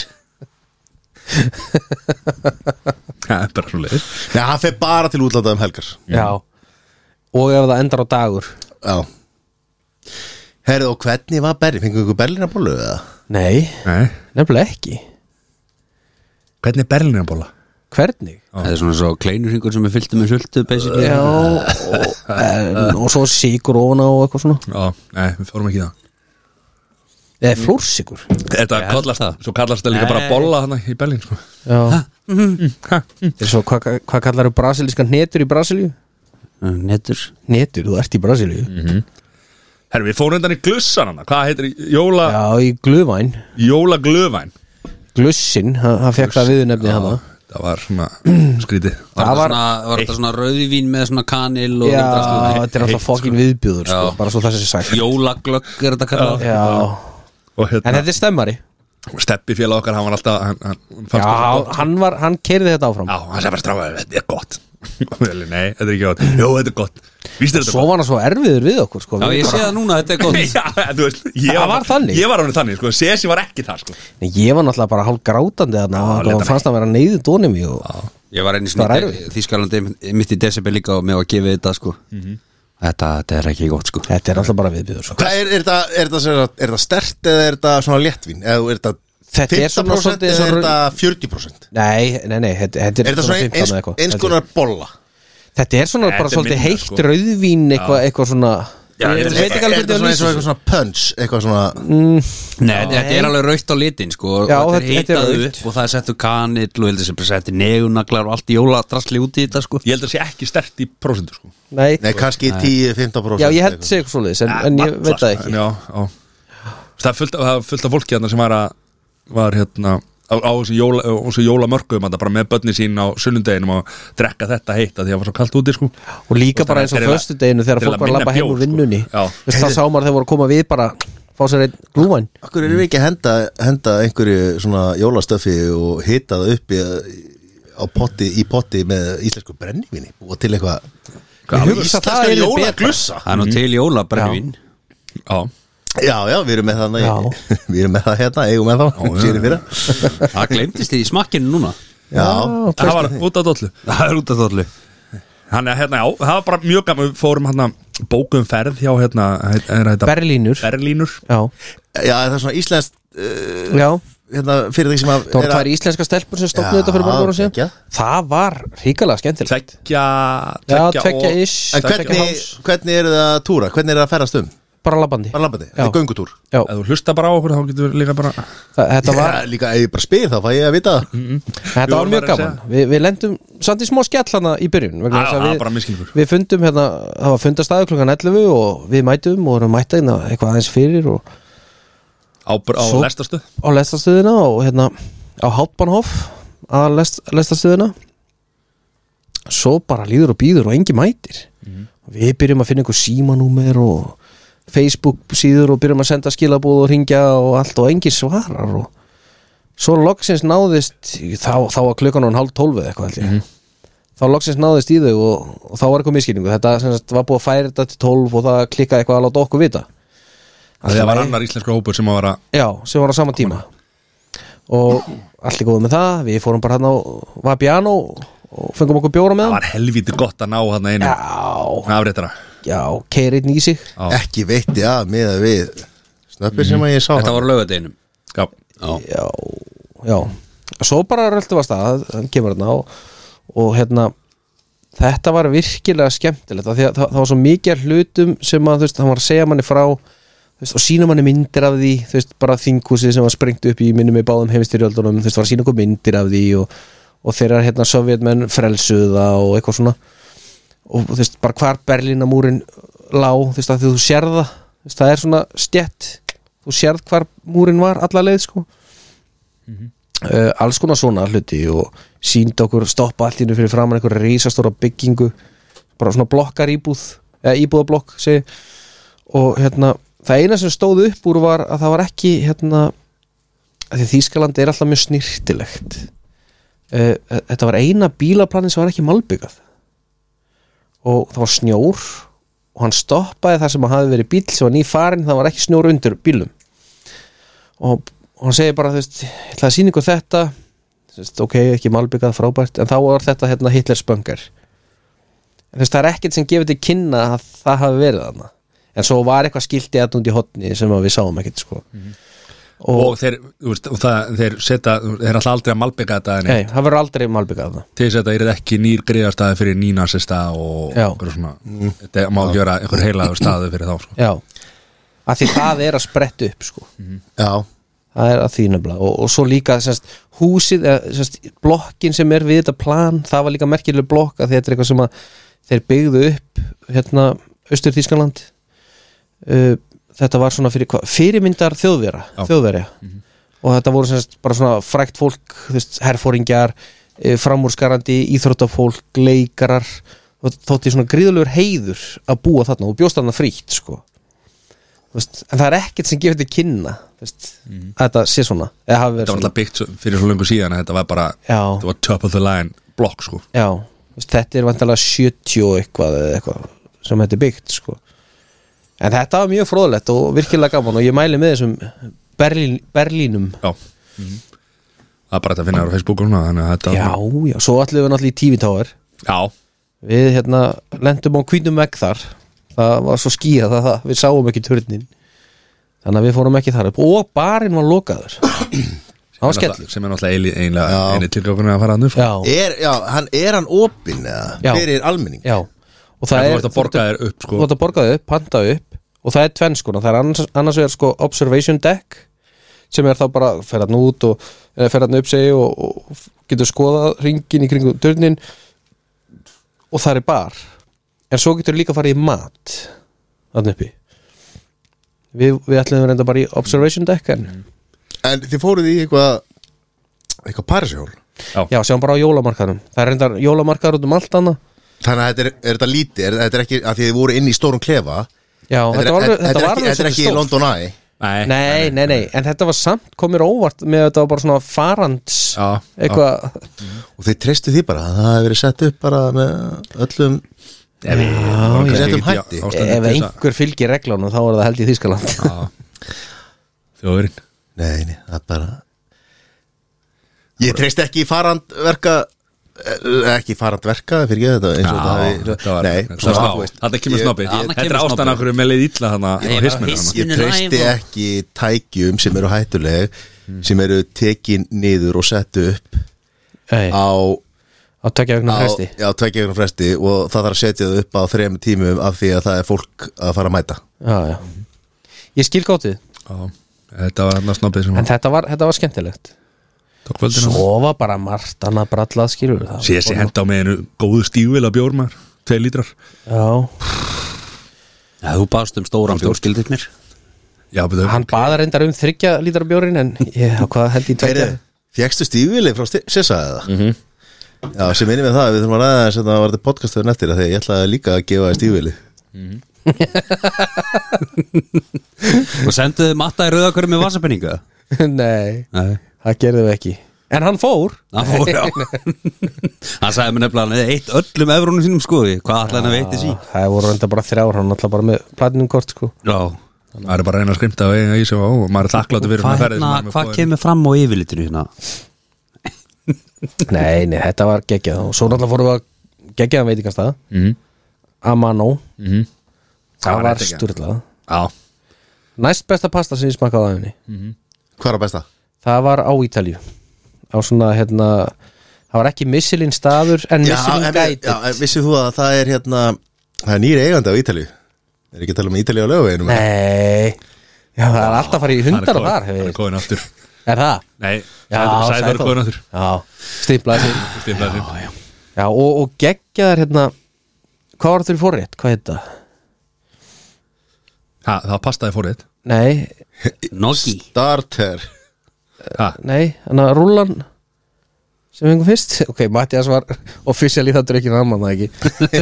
Speaker 4: það er bara svo leið
Speaker 1: Nei, hann fer bara til útlanda um helgar
Speaker 2: Já Og ef það endar á dagur
Speaker 1: Já Herðu, og hvernig var Berlín? Fengum við ykkur Berlínarbólu eða?
Speaker 2: Nei, nefnilega ekki
Speaker 4: Hvernig er Berlínarbóla?
Speaker 2: Hvernig?
Speaker 3: Það er svona svo kleinurhingur sem er fyllt með sultu basically
Speaker 2: Já, og, en, og svo sigur ofan á og eitthvað svona
Speaker 4: Já, nei, við fórum ekki í það
Speaker 2: Eða flórsigur
Speaker 4: Þetta
Speaker 3: Ég held
Speaker 4: kallast,
Speaker 3: það.
Speaker 4: svo kallast það líka bara
Speaker 3: Nei.
Speaker 4: bolla hana í Berlín sko.
Speaker 2: Já Þeir svo, hvað hva kallar þú brasilískan netur í Brasilíu?
Speaker 3: Uh, Nettur
Speaker 2: Netur, þú ert í Brasilíu
Speaker 4: Herru, við fórum undan í glussan hana Hvað heitir, í- jóla,
Speaker 2: Já, í Glöfæn
Speaker 4: jóla glöfæn
Speaker 2: Glussin, hann hann fekk það viðurnefni hann
Speaker 4: Það var svona skrítið
Speaker 3: Var
Speaker 2: Það
Speaker 3: þetta
Speaker 2: var-
Speaker 3: svona, var þetta svona rauðvín með svona kanil og
Speaker 2: Já,
Speaker 3: svona-
Speaker 2: þetta er alltaf fokkin viðbjöður sko, bara svo það sem sé sagt
Speaker 3: Jólaglögg er þetta kallað
Speaker 2: Já,
Speaker 4: Og
Speaker 2: en
Speaker 4: hérna,
Speaker 2: þetta er stemmari
Speaker 4: steppi félag okkar, hann var alltaf Hann, hann, hann
Speaker 2: Já,
Speaker 4: fannst það svo gott.
Speaker 2: hann, var, hann keirði þetta áfram
Speaker 4: Já, hann sagði bara strákaði, þetta er gott Og við erum, Nei, þetta er ekki gott Jó, þetta er gott Víst er þetta
Speaker 2: Svo var hann svo erfiður við okkur sko.
Speaker 3: Já,
Speaker 2: Við
Speaker 3: ég sé
Speaker 2: bara-
Speaker 3: það núna, þetta er gott
Speaker 4: gott Já, þú veist Ég
Speaker 2: Það var þannig.
Speaker 4: Ég var alveg þannig, sko Sesi var ekki það, sko
Speaker 2: Nei, ég var náttúrulega bara hálf grátandi þarna
Speaker 4: Já,
Speaker 2: og
Speaker 4: lét
Speaker 2: hann
Speaker 4: hann
Speaker 2: fannst að vera neyðu dónum í og
Speaker 3: Ég var einu
Speaker 2: Það
Speaker 3: svona
Speaker 2: er erfitt.
Speaker 3: Þískalandi mitt í decibel líka og mér var að gefa þetta sko
Speaker 2: Mhm.
Speaker 3: þetta, þetta er ekki gott sko
Speaker 2: þetta er alltaf bara viðbjöður sko.
Speaker 1: Hvað er, er, það, er, það, er, það, er það stert eða er það svona léttvín? Eða er það
Speaker 2: Þetta er svona
Speaker 1: 15%
Speaker 2: svolítið
Speaker 1: eða er
Speaker 2: svona-
Speaker 1: það 40%?
Speaker 2: Nei, nei, nei, þetta, þetta er,
Speaker 1: Er það svona
Speaker 2: 15
Speaker 1: eins,
Speaker 2: eða eitthvað,
Speaker 1: eins
Speaker 2: held ég.
Speaker 1: konar bolla?
Speaker 2: Þetta er svona bara
Speaker 4: Þetta er
Speaker 2: svolítið
Speaker 4: minna,
Speaker 2: heitt
Speaker 4: sko.
Speaker 2: rauðvín eitthvað, eitthvað svona
Speaker 4: Já,
Speaker 2: Ég
Speaker 4: þetta er-
Speaker 2: veit ekki alveg
Speaker 1: Er það svona
Speaker 2: hvernig að
Speaker 1: eins og
Speaker 2: lýsa
Speaker 1: eitthvað svona punch? Eitthvað svona
Speaker 3: Nei, þetta er alveg raukt á litin sko og
Speaker 2: Já,
Speaker 3: þetta
Speaker 2: þetta- þetta er
Speaker 3: er hitað
Speaker 2: rautt.
Speaker 3: upp og það er settur kanill og heldur sem bara settur negunaglar og allt jóladrasli út í þetta sko
Speaker 4: Ég held að sé ekki stert í prósentu, sko
Speaker 2: Nei,
Speaker 1: Nei, kannski 10-15%
Speaker 2: já, ég held segja eitthvað svoleiðis en, en ég veit það ekki
Speaker 4: En Já, já Það er fullt, af- það er fullt af fólki hérna sem var að Var hérna Á, á þessu jóla, á þessu jóla mörgum Bara með börni sín á sunnudeginum Og drekka þetta heitt að Því að var svo kalt úti, sko
Speaker 2: Og líka
Speaker 4: Og
Speaker 2: bara
Speaker 4: það
Speaker 2: eins og
Speaker 4: er-
Speaker 2: föstu deginu þegar
Speaker 4: til að
Speaker 2: fólk var að
Speaker 4: minna
Speaker 2: labba heim
Speaker 4: bjór,
Speaker 2: úr
Speaker 4: sko.
Speaker 2: vinnunni
Speaker 4: Já.
Speaker 2: Veist það sá maður þegar voru að koma við bara Fá sér einn glúman
Speaker 1: Akkur erum við ekki að henda, henda einhverju svona jólastöfi og hita það upp í, á potti, í potti með íslensku brennivinni og til eitthvað
Speaker 2: Ég hugsa það
Speaker 1: íslenska
Speaker 2: yrði
Speaker 1: jólaglussa
Speaker 3: Það er nú til jólabrennvin
Speaker 4: Já,
Speaker 1: Já, já, við erum með það
Speaker 2: Já.
Speaker 1: Við erum með það hérna, eigum með það Sýri fyrir
Speaker 3: Það glemtist í smakkinu núna
Speaker 1: Já,
Speaker 4: það var út af dollu
Speaker 3: Það er út af þorlu
Speaker 4: Þannig að hérna, já, það var bara mjög gaman Við fórum hérna bókum ferð hjá hérna, hérna, hérna
Speaker 2: Berlínur
Speaker 4: Berlínur
Speaker 2: Já,
Speaker 1: já, það er svona íslensk
Speaker 2: já
Speaker 1: hérna, fyrir því sem að
Speaker 2: Það
Speaker 1: er
Speaker 2: voru
Speaker 1: að-
Speaker 2: tvær íslenska stelpur sem
Speaker 1: Já,
Speaker 2: stopnaði þetta fyrir mörgur ára
Speaker 1: geggjað.
Speaker 2: síðan Það var ríkalega skemmtilegt
Speaker 4: Tvekja
Speaker 2: Já, tveggja
Speaker 4: og-
Speaker 2: ish,
Speaker 1: En
Speaker 2: tveggja
Speaker 1: hvernig,
Speaker 2: hálfs.
Speaker 1: hvernig er það að túra? Hvernig er það að ferðast um?
Speaker 2: Bara labbandi
Speaker 1: Bara labbandi,
Speaker 2: Já.
Speaker 1: þetta er göngutúr
Speaker 2: Já,
Speaker 4: Ef þú hlusta bara á okkur þá getur við líka bara
Speaker 2: það- þetta var,
Speaker 1: Já, Líka ef ég bara spyr þá fæ ég að vita það
Speaker 4: Við
Speaker 2: þetta var
Speaker 4: vorum
Speaker 2: mjög
Speaker 4: bara að
Speaker 2: gaman Vi, Við lendum samt í smá skell hana í byrjun vegna
Speaker 4: Já,
Speaker 2: þess að
Speaker 4: já,
Speaker 2: við-
Speaker 4: bara misskilningur.
Speaker 2: Við fundum hérna, það var fundastæðu klukkan 11 og við mætum og erum mætta hérna eitthvað aðeins fyrir og
Speaker 4: á, á
Speaker 2: Svo-
Speaker 4: lestastu
Speaker 2: á lestastöðina og hérna á Hauptbahnhof að lest, lestastöðina svo bara líður og býður og engi mætir við byrjum að finna einhver símanúmer og Facebook síður og byrjum að senda skilabóð og ringja og allt og engi svarar og svo loksins náðist þá, þá var klukkan hún hálf tólfu eða eitthvað held ég þá loksins náðist í þau og, og þá var eitthvað miskilningu þetta sem sagt, var búið að færa þetta til tólf og það klikkaði eitthvað að láta okkur vita
Speaker 4: Það
Speaker 2: Allt í
Speaker 4: var
Speaker 2: lagi.
Speaker 4: annar íslensku hópur sem var að
Speaker 2: Já, sem var á sama tíma Og allt er góð með það Við fórum bara hann á Vapiano Og fengum okkur bjóra með
Speaker 4: Það
Speaker 2: hann
Speaker 4: var helvíti gott að ná hann einu
Speaker 2: Já,
Speaker 4: afréttara
Speaker 2: já, keirinn í sig
Speaker 4: Já.
Speaker 1: Ekki veitti að miða við Snöppir sem að ég sá
Speaker 3: Þetta var lögadeginum
Speaker 4: Já,
Speaker 2: Já, já Svo bara röldu var stað, hann kemur hann á Og hérna Þetta var virkilega skemmtilegt af því að það, það var svo mikið af hlutum sem að þú veist, hann var að segja manni frá þú veist, og sína manni myndir af því þú veist, bara þinghúsið sem var sprengt upp í minnum í báðum heimstyrjöldunum, þú veist, var að sína okkur myndir af því og, og þeirra hérna sovjetmenn frelsuða og eitthvað svona og þú veist, bara hvar Berlínamúrin lá, þú veist, að því þú sérð það þú veist, það er svona stjett þú sérð hvar múrin var alla leið sko uh, alls konar svona hluti og sínd okkur stoppa allt innu fyrir framann einhverja risastóra byggingu bara svona blokkar íbúð eða íbúðablokk segi og hérna, það eina sem stóð upp úr var að það var ekki hérna af því Þýskaland er alltaf mjög snýrtilegt uh, þetta var eina bílaplanin sem var ekki malbyggað og það var snjór og hann stoppaði þar sem að hafi verið bíl sem var nýfarinn, það var ekki snjór undir bílum og, og hann segir bara þú veist, ég ætla að sýna ykkur þetta þú veist, ok, ekki malbyggað frábært en þá var þetta hérna Hitler spöngar þú veist, það er ekkert sem gefur til kynna að það hafi verið þarna en svo var eitthvað skilti að út í hotni sem að við sáum ekkert sko
Speaker 4: og,
Speaker 2: og,
Speaker 4: þeir, þú veist, og það, þeir setja þeir er alltaf aldrei að malbygga þetta en
Speaker 2: nei, það verður aldrei malbyggað þarna
Speaker 4: til þess að þetta er ekki nýr greiðastæði fyrir nýnasista og
Speaker 2: Já.
Speaker 4: einhverju svona, þetta má gjöra einhver heilaður staði fyrir þá sko.
Speaker 2: Já, að því það er að spretta upp sko.
Speaker 1: Já,
Speaker 2: það er að því nefnilega og, og svo líka semst, húsið, eða, semst, blokkin sem er við þetta plan, það var líka merkileg blokk að þetta er eitthvað sem að þeir byggðu upp hérna Östur Þískaland uh, þetta var svona fyrir, hva, fyrirmyndar þjóðvera,
Speaker 4: Já. Mhm.
Speaker 2: þjóðverja og þetta voru semst, bara svona frækt fólk þú veist, herfóringjar, eh, framúrskarandi íþróttafólk, leikarar og þótti svona gríðulegur heiður að búa þarna og bjóst þarna frítt sko Þú veist, en það er ekkert sem gefur til kynna þú veist, að þetta sé svona eða hafi verið
Speaker 4: Mhm. þetta var
Speaker 2: svona
Speaker 4: alltaf byggt svo- fyrir svo lengur síðan að þetta var bara, þetta
Speaker 2: já,
Speaker 4: var top of the line blokk sko.
Speaker 2: já, þú veist, þetta er vantalega 70 og eitthvað, eða eitthvað sem þetta er byggt sko. en þetta var mjög fróðlegt og virkilega gaman og ég mæli með þessum Berlín, Berlínum
Speaker 4: já það er bara þetta að finna þér á Facebook og svona, þannig að þetta
Speaker 2: já, já, svo allir við náttúrulega í tífitáir
Speaker 4: já,
Speaker 2: við hérna lendum á kvítum vegg þar það var svo skýjað að það, við sáum ekki turnin þannig að við fórum ekki þar upp og barinn var lokaður það var
Speaker 4: sem er náttúrulega-
Speaker 2: skellur
Speaker 4: sem er náttúrulega eili- eiginlega
Speaker 1: Já.
Speaker 4: eini tilgjókunni að fara hann upp sko.
Speaker 2: já,
Speaker 1: er, já, hann, er hann opinn eða
Speaker 2: Já.
Speaker 1: fyrir almenning
Speaker 2: já og
Speaker 4: það
Speaker 2: það
Speaker 4: er
Speaker 2: er
Speaker 4: þetta að borga þér upp
Speaker 2: þú
Speaker 4: sko.
Speaker 2: átt að borga þau upp, panta upp og það er tvennskuna, það er annars, annars vegar sko observation deck sem er þá bara fer hann út og eða fer hann upp segi og, og getur skoða ringin í kringum törnin og það er bar en svo getur líka farið í mat þannig uppi við, við ætlum reynda bara í observation deck en
Speaker 1: Mm. En þið fóruð í eitthvað eitthvað parisjól
Speaker 2: já, sjáum bara á jólamarkaðnum það er reyndar jólamarkaður út um allt annað
Speaker 1: Þannig að þetta er, er þetta lítið, er, þetta er ekki að þið voru inn í stórum klefa
Speaker 2: já, þetta,
Speaker 1: er-
Speaker 2: var alveg-
Speaker 1: þetta er ekki,
Speaker 2: var
Speaker 1: þetta
Speaker 2: alveg
Speaker 1: er
Speaker 2: svolítið
Speaker 1: ekki
Speaker 2: stórt.
Speaker 1: í London Eye
Speaker 4: nei,
Speaker 2: Nei, nei, nei, en þetta var samt komir óvart með að þetta var bara svona farands
Speaker 4: Já,
Speaker 2: eitthvað,
Speaker 1: Og þið treystu því bara, að það hefur verið sett upp bara með öllum
Speaker 4: ef við vorum kannski
Speaker 1: Settum
Speaker 4: ekki í
Speaker 1: hætti.
Speaker 4: ástandi
Speaker 2: Ah, ef
Speaker 4: til þess að-
Speaker 2: einhver fylgir reglunum þá var það held í Þýskaland
Speaker 4: Já. þjóðurinn
Speaker 1: Nei, nei, það er bara Ég treyst ekki í farandverka eh, ekki í farandverka fyrir ekki þetta eins og þetta hafi- Nei, svona, þú veist,
Speaker 4: þetta kemur
Speaker 1: ég-
Speaker 4: snobbi
Speaker 3: Þarna
Speaker 4: þetta er
Speaker 3: kemur
Speaker 4: ástæðan
Speaker 3: snobbið.
Speaker 4: af hverju með leið illa hana
Speaker 3: Ég
Speaker 4: á
Speaker 3: var
Speaker 4: hisminu
Speaker 3: hiss-
Speaker 4: hana
Speaker 1: Ég
Speaker 3: Skinner
Speaker 1: treysti
Speaker 3: Live og-
Speaker 1: ekki tækjum sem eru hættuleg sem eru tekin niður og sett upp
Speaker 2: Nei,
Speaker 1: á,
Speaker 2: á tökja vegna
Speaker 1: á
Speaker 2: fresti
Speaker 1: já, tveggjögnum fresti og það þarf að setja það upp á þrejum tímum af því að það er fólk að fara að mæta
Speaker 2: já, já. Ég skil gótið,
Speaker 4: Já, þetta var hana snobbið sem
Speaker 2: en þetta var, þetta var skemmtilegt
Speaker 4: tók völdina
Speaker 2: Svo var bara margt annað brallað skilur við, það var
Speaker 4: síðast ég henda á með einu góðu stígvel að bjórmar tvei lítrar
Speaker 2: Já,
Speaker 3: Já, þú baðst um stóran bjór skildið mér
Speaker 4: já, betur
Speaker 2: hann baða reyndar um þryggja lítra bjórin en ég, hvað held í tökja
Speaker 1: Fjækstu stífili frá Sessa eða? Mm -hmm. Já, sem minnum við það, við þurfum að ræða þess að það var þetta podcastöðun eftir að því að ég ætlaði líka að gefa þér stífili
Speaker 3: Og senduðu matta í rauðakörðu með vasapenningu
Speaker 2: Nei,
Speaker 3: Nei
Speaker 2: það gerðum við ekki En hann fór
Speaker 3: Það fór, já Hann sagði mér nefnilega hann eitt öllum evrónum sínum skoði Hvað ætlaði hann að veita sí?
Speaker 2: Það voru reyndar bara þrjár, hann alltaf bara með platinum kort sko
Speaker 3: Já
Speaker 4: maður er bara að reyna að skrimta á eiga í sig og ó, maður er þakkláttu fyrir
Speaker 3: Hvað
Speaker 4: svona ferðir sem
Speaker 3: hérna,
Speaker 4: maður er með
Speaker 3: hvað
Speaker 4: boðin.
Speaker 3: kemur fram á yfirlitinu hérna?
Speaker 2: Nei, nei, þetta var geggjað og svo náttúrulega fórum við að geggjaðan veitingastað
Speaker 4: Mhm,
Speaker 2: Amano,
Speaker 4: mhm.
Speaker 2: það var
Speaker 4: geggjað.
Speaker 2: styrlað
Speaker 4: já,
Speaker 2: Næst besta pasta sem ég smakkaði á æfni
Speaker 1: Hvað er að besta?
Speaker 2: Það var á Ítalju Á svona, hérna Það var ekki Michelin staður en Michelin
Speaker 1: en-
Speaker 2: gæti
Speaker 1: já, en vissir þú að það er hérna það er nýri eigandi á Ítalju Er ekki að tala um Ítalju á lögveginum?
Speaker 2: Nei Já, það er alltaf farið í
Speaker 4: hann er
Speaker 2: hundar og
Speaker 4: kominn-
Speaker 2: þar
Speaker 4: hann
Speaker 2: hefur
Speaker 4: er kóðin aftur
Speaker 2: Er það?
Speaker 4: nei,
Speaker 2: Já,
Speaker 4: sæður er
Speaker 2: Sæþór.
Speaker 4: kóðin aftur
Speaker 2: Já, stimplaði sig
Speaker 4: Stimplaði sig.
Speaker 2: Já, og, og geggjaðar hérna Hvað var þurr fórrétt? Hvað heit það?
Speaker 4: Ha, það pastaði fórið
Speaker 2: Nei,
Speaker 3: Noggi
Speaker 1: Starter
Speaker 4: ha,
Speaker 2: Nei, hann að rúlan sem hengum fyrst ok, Mattias var official í það drökkinu hann man það ekki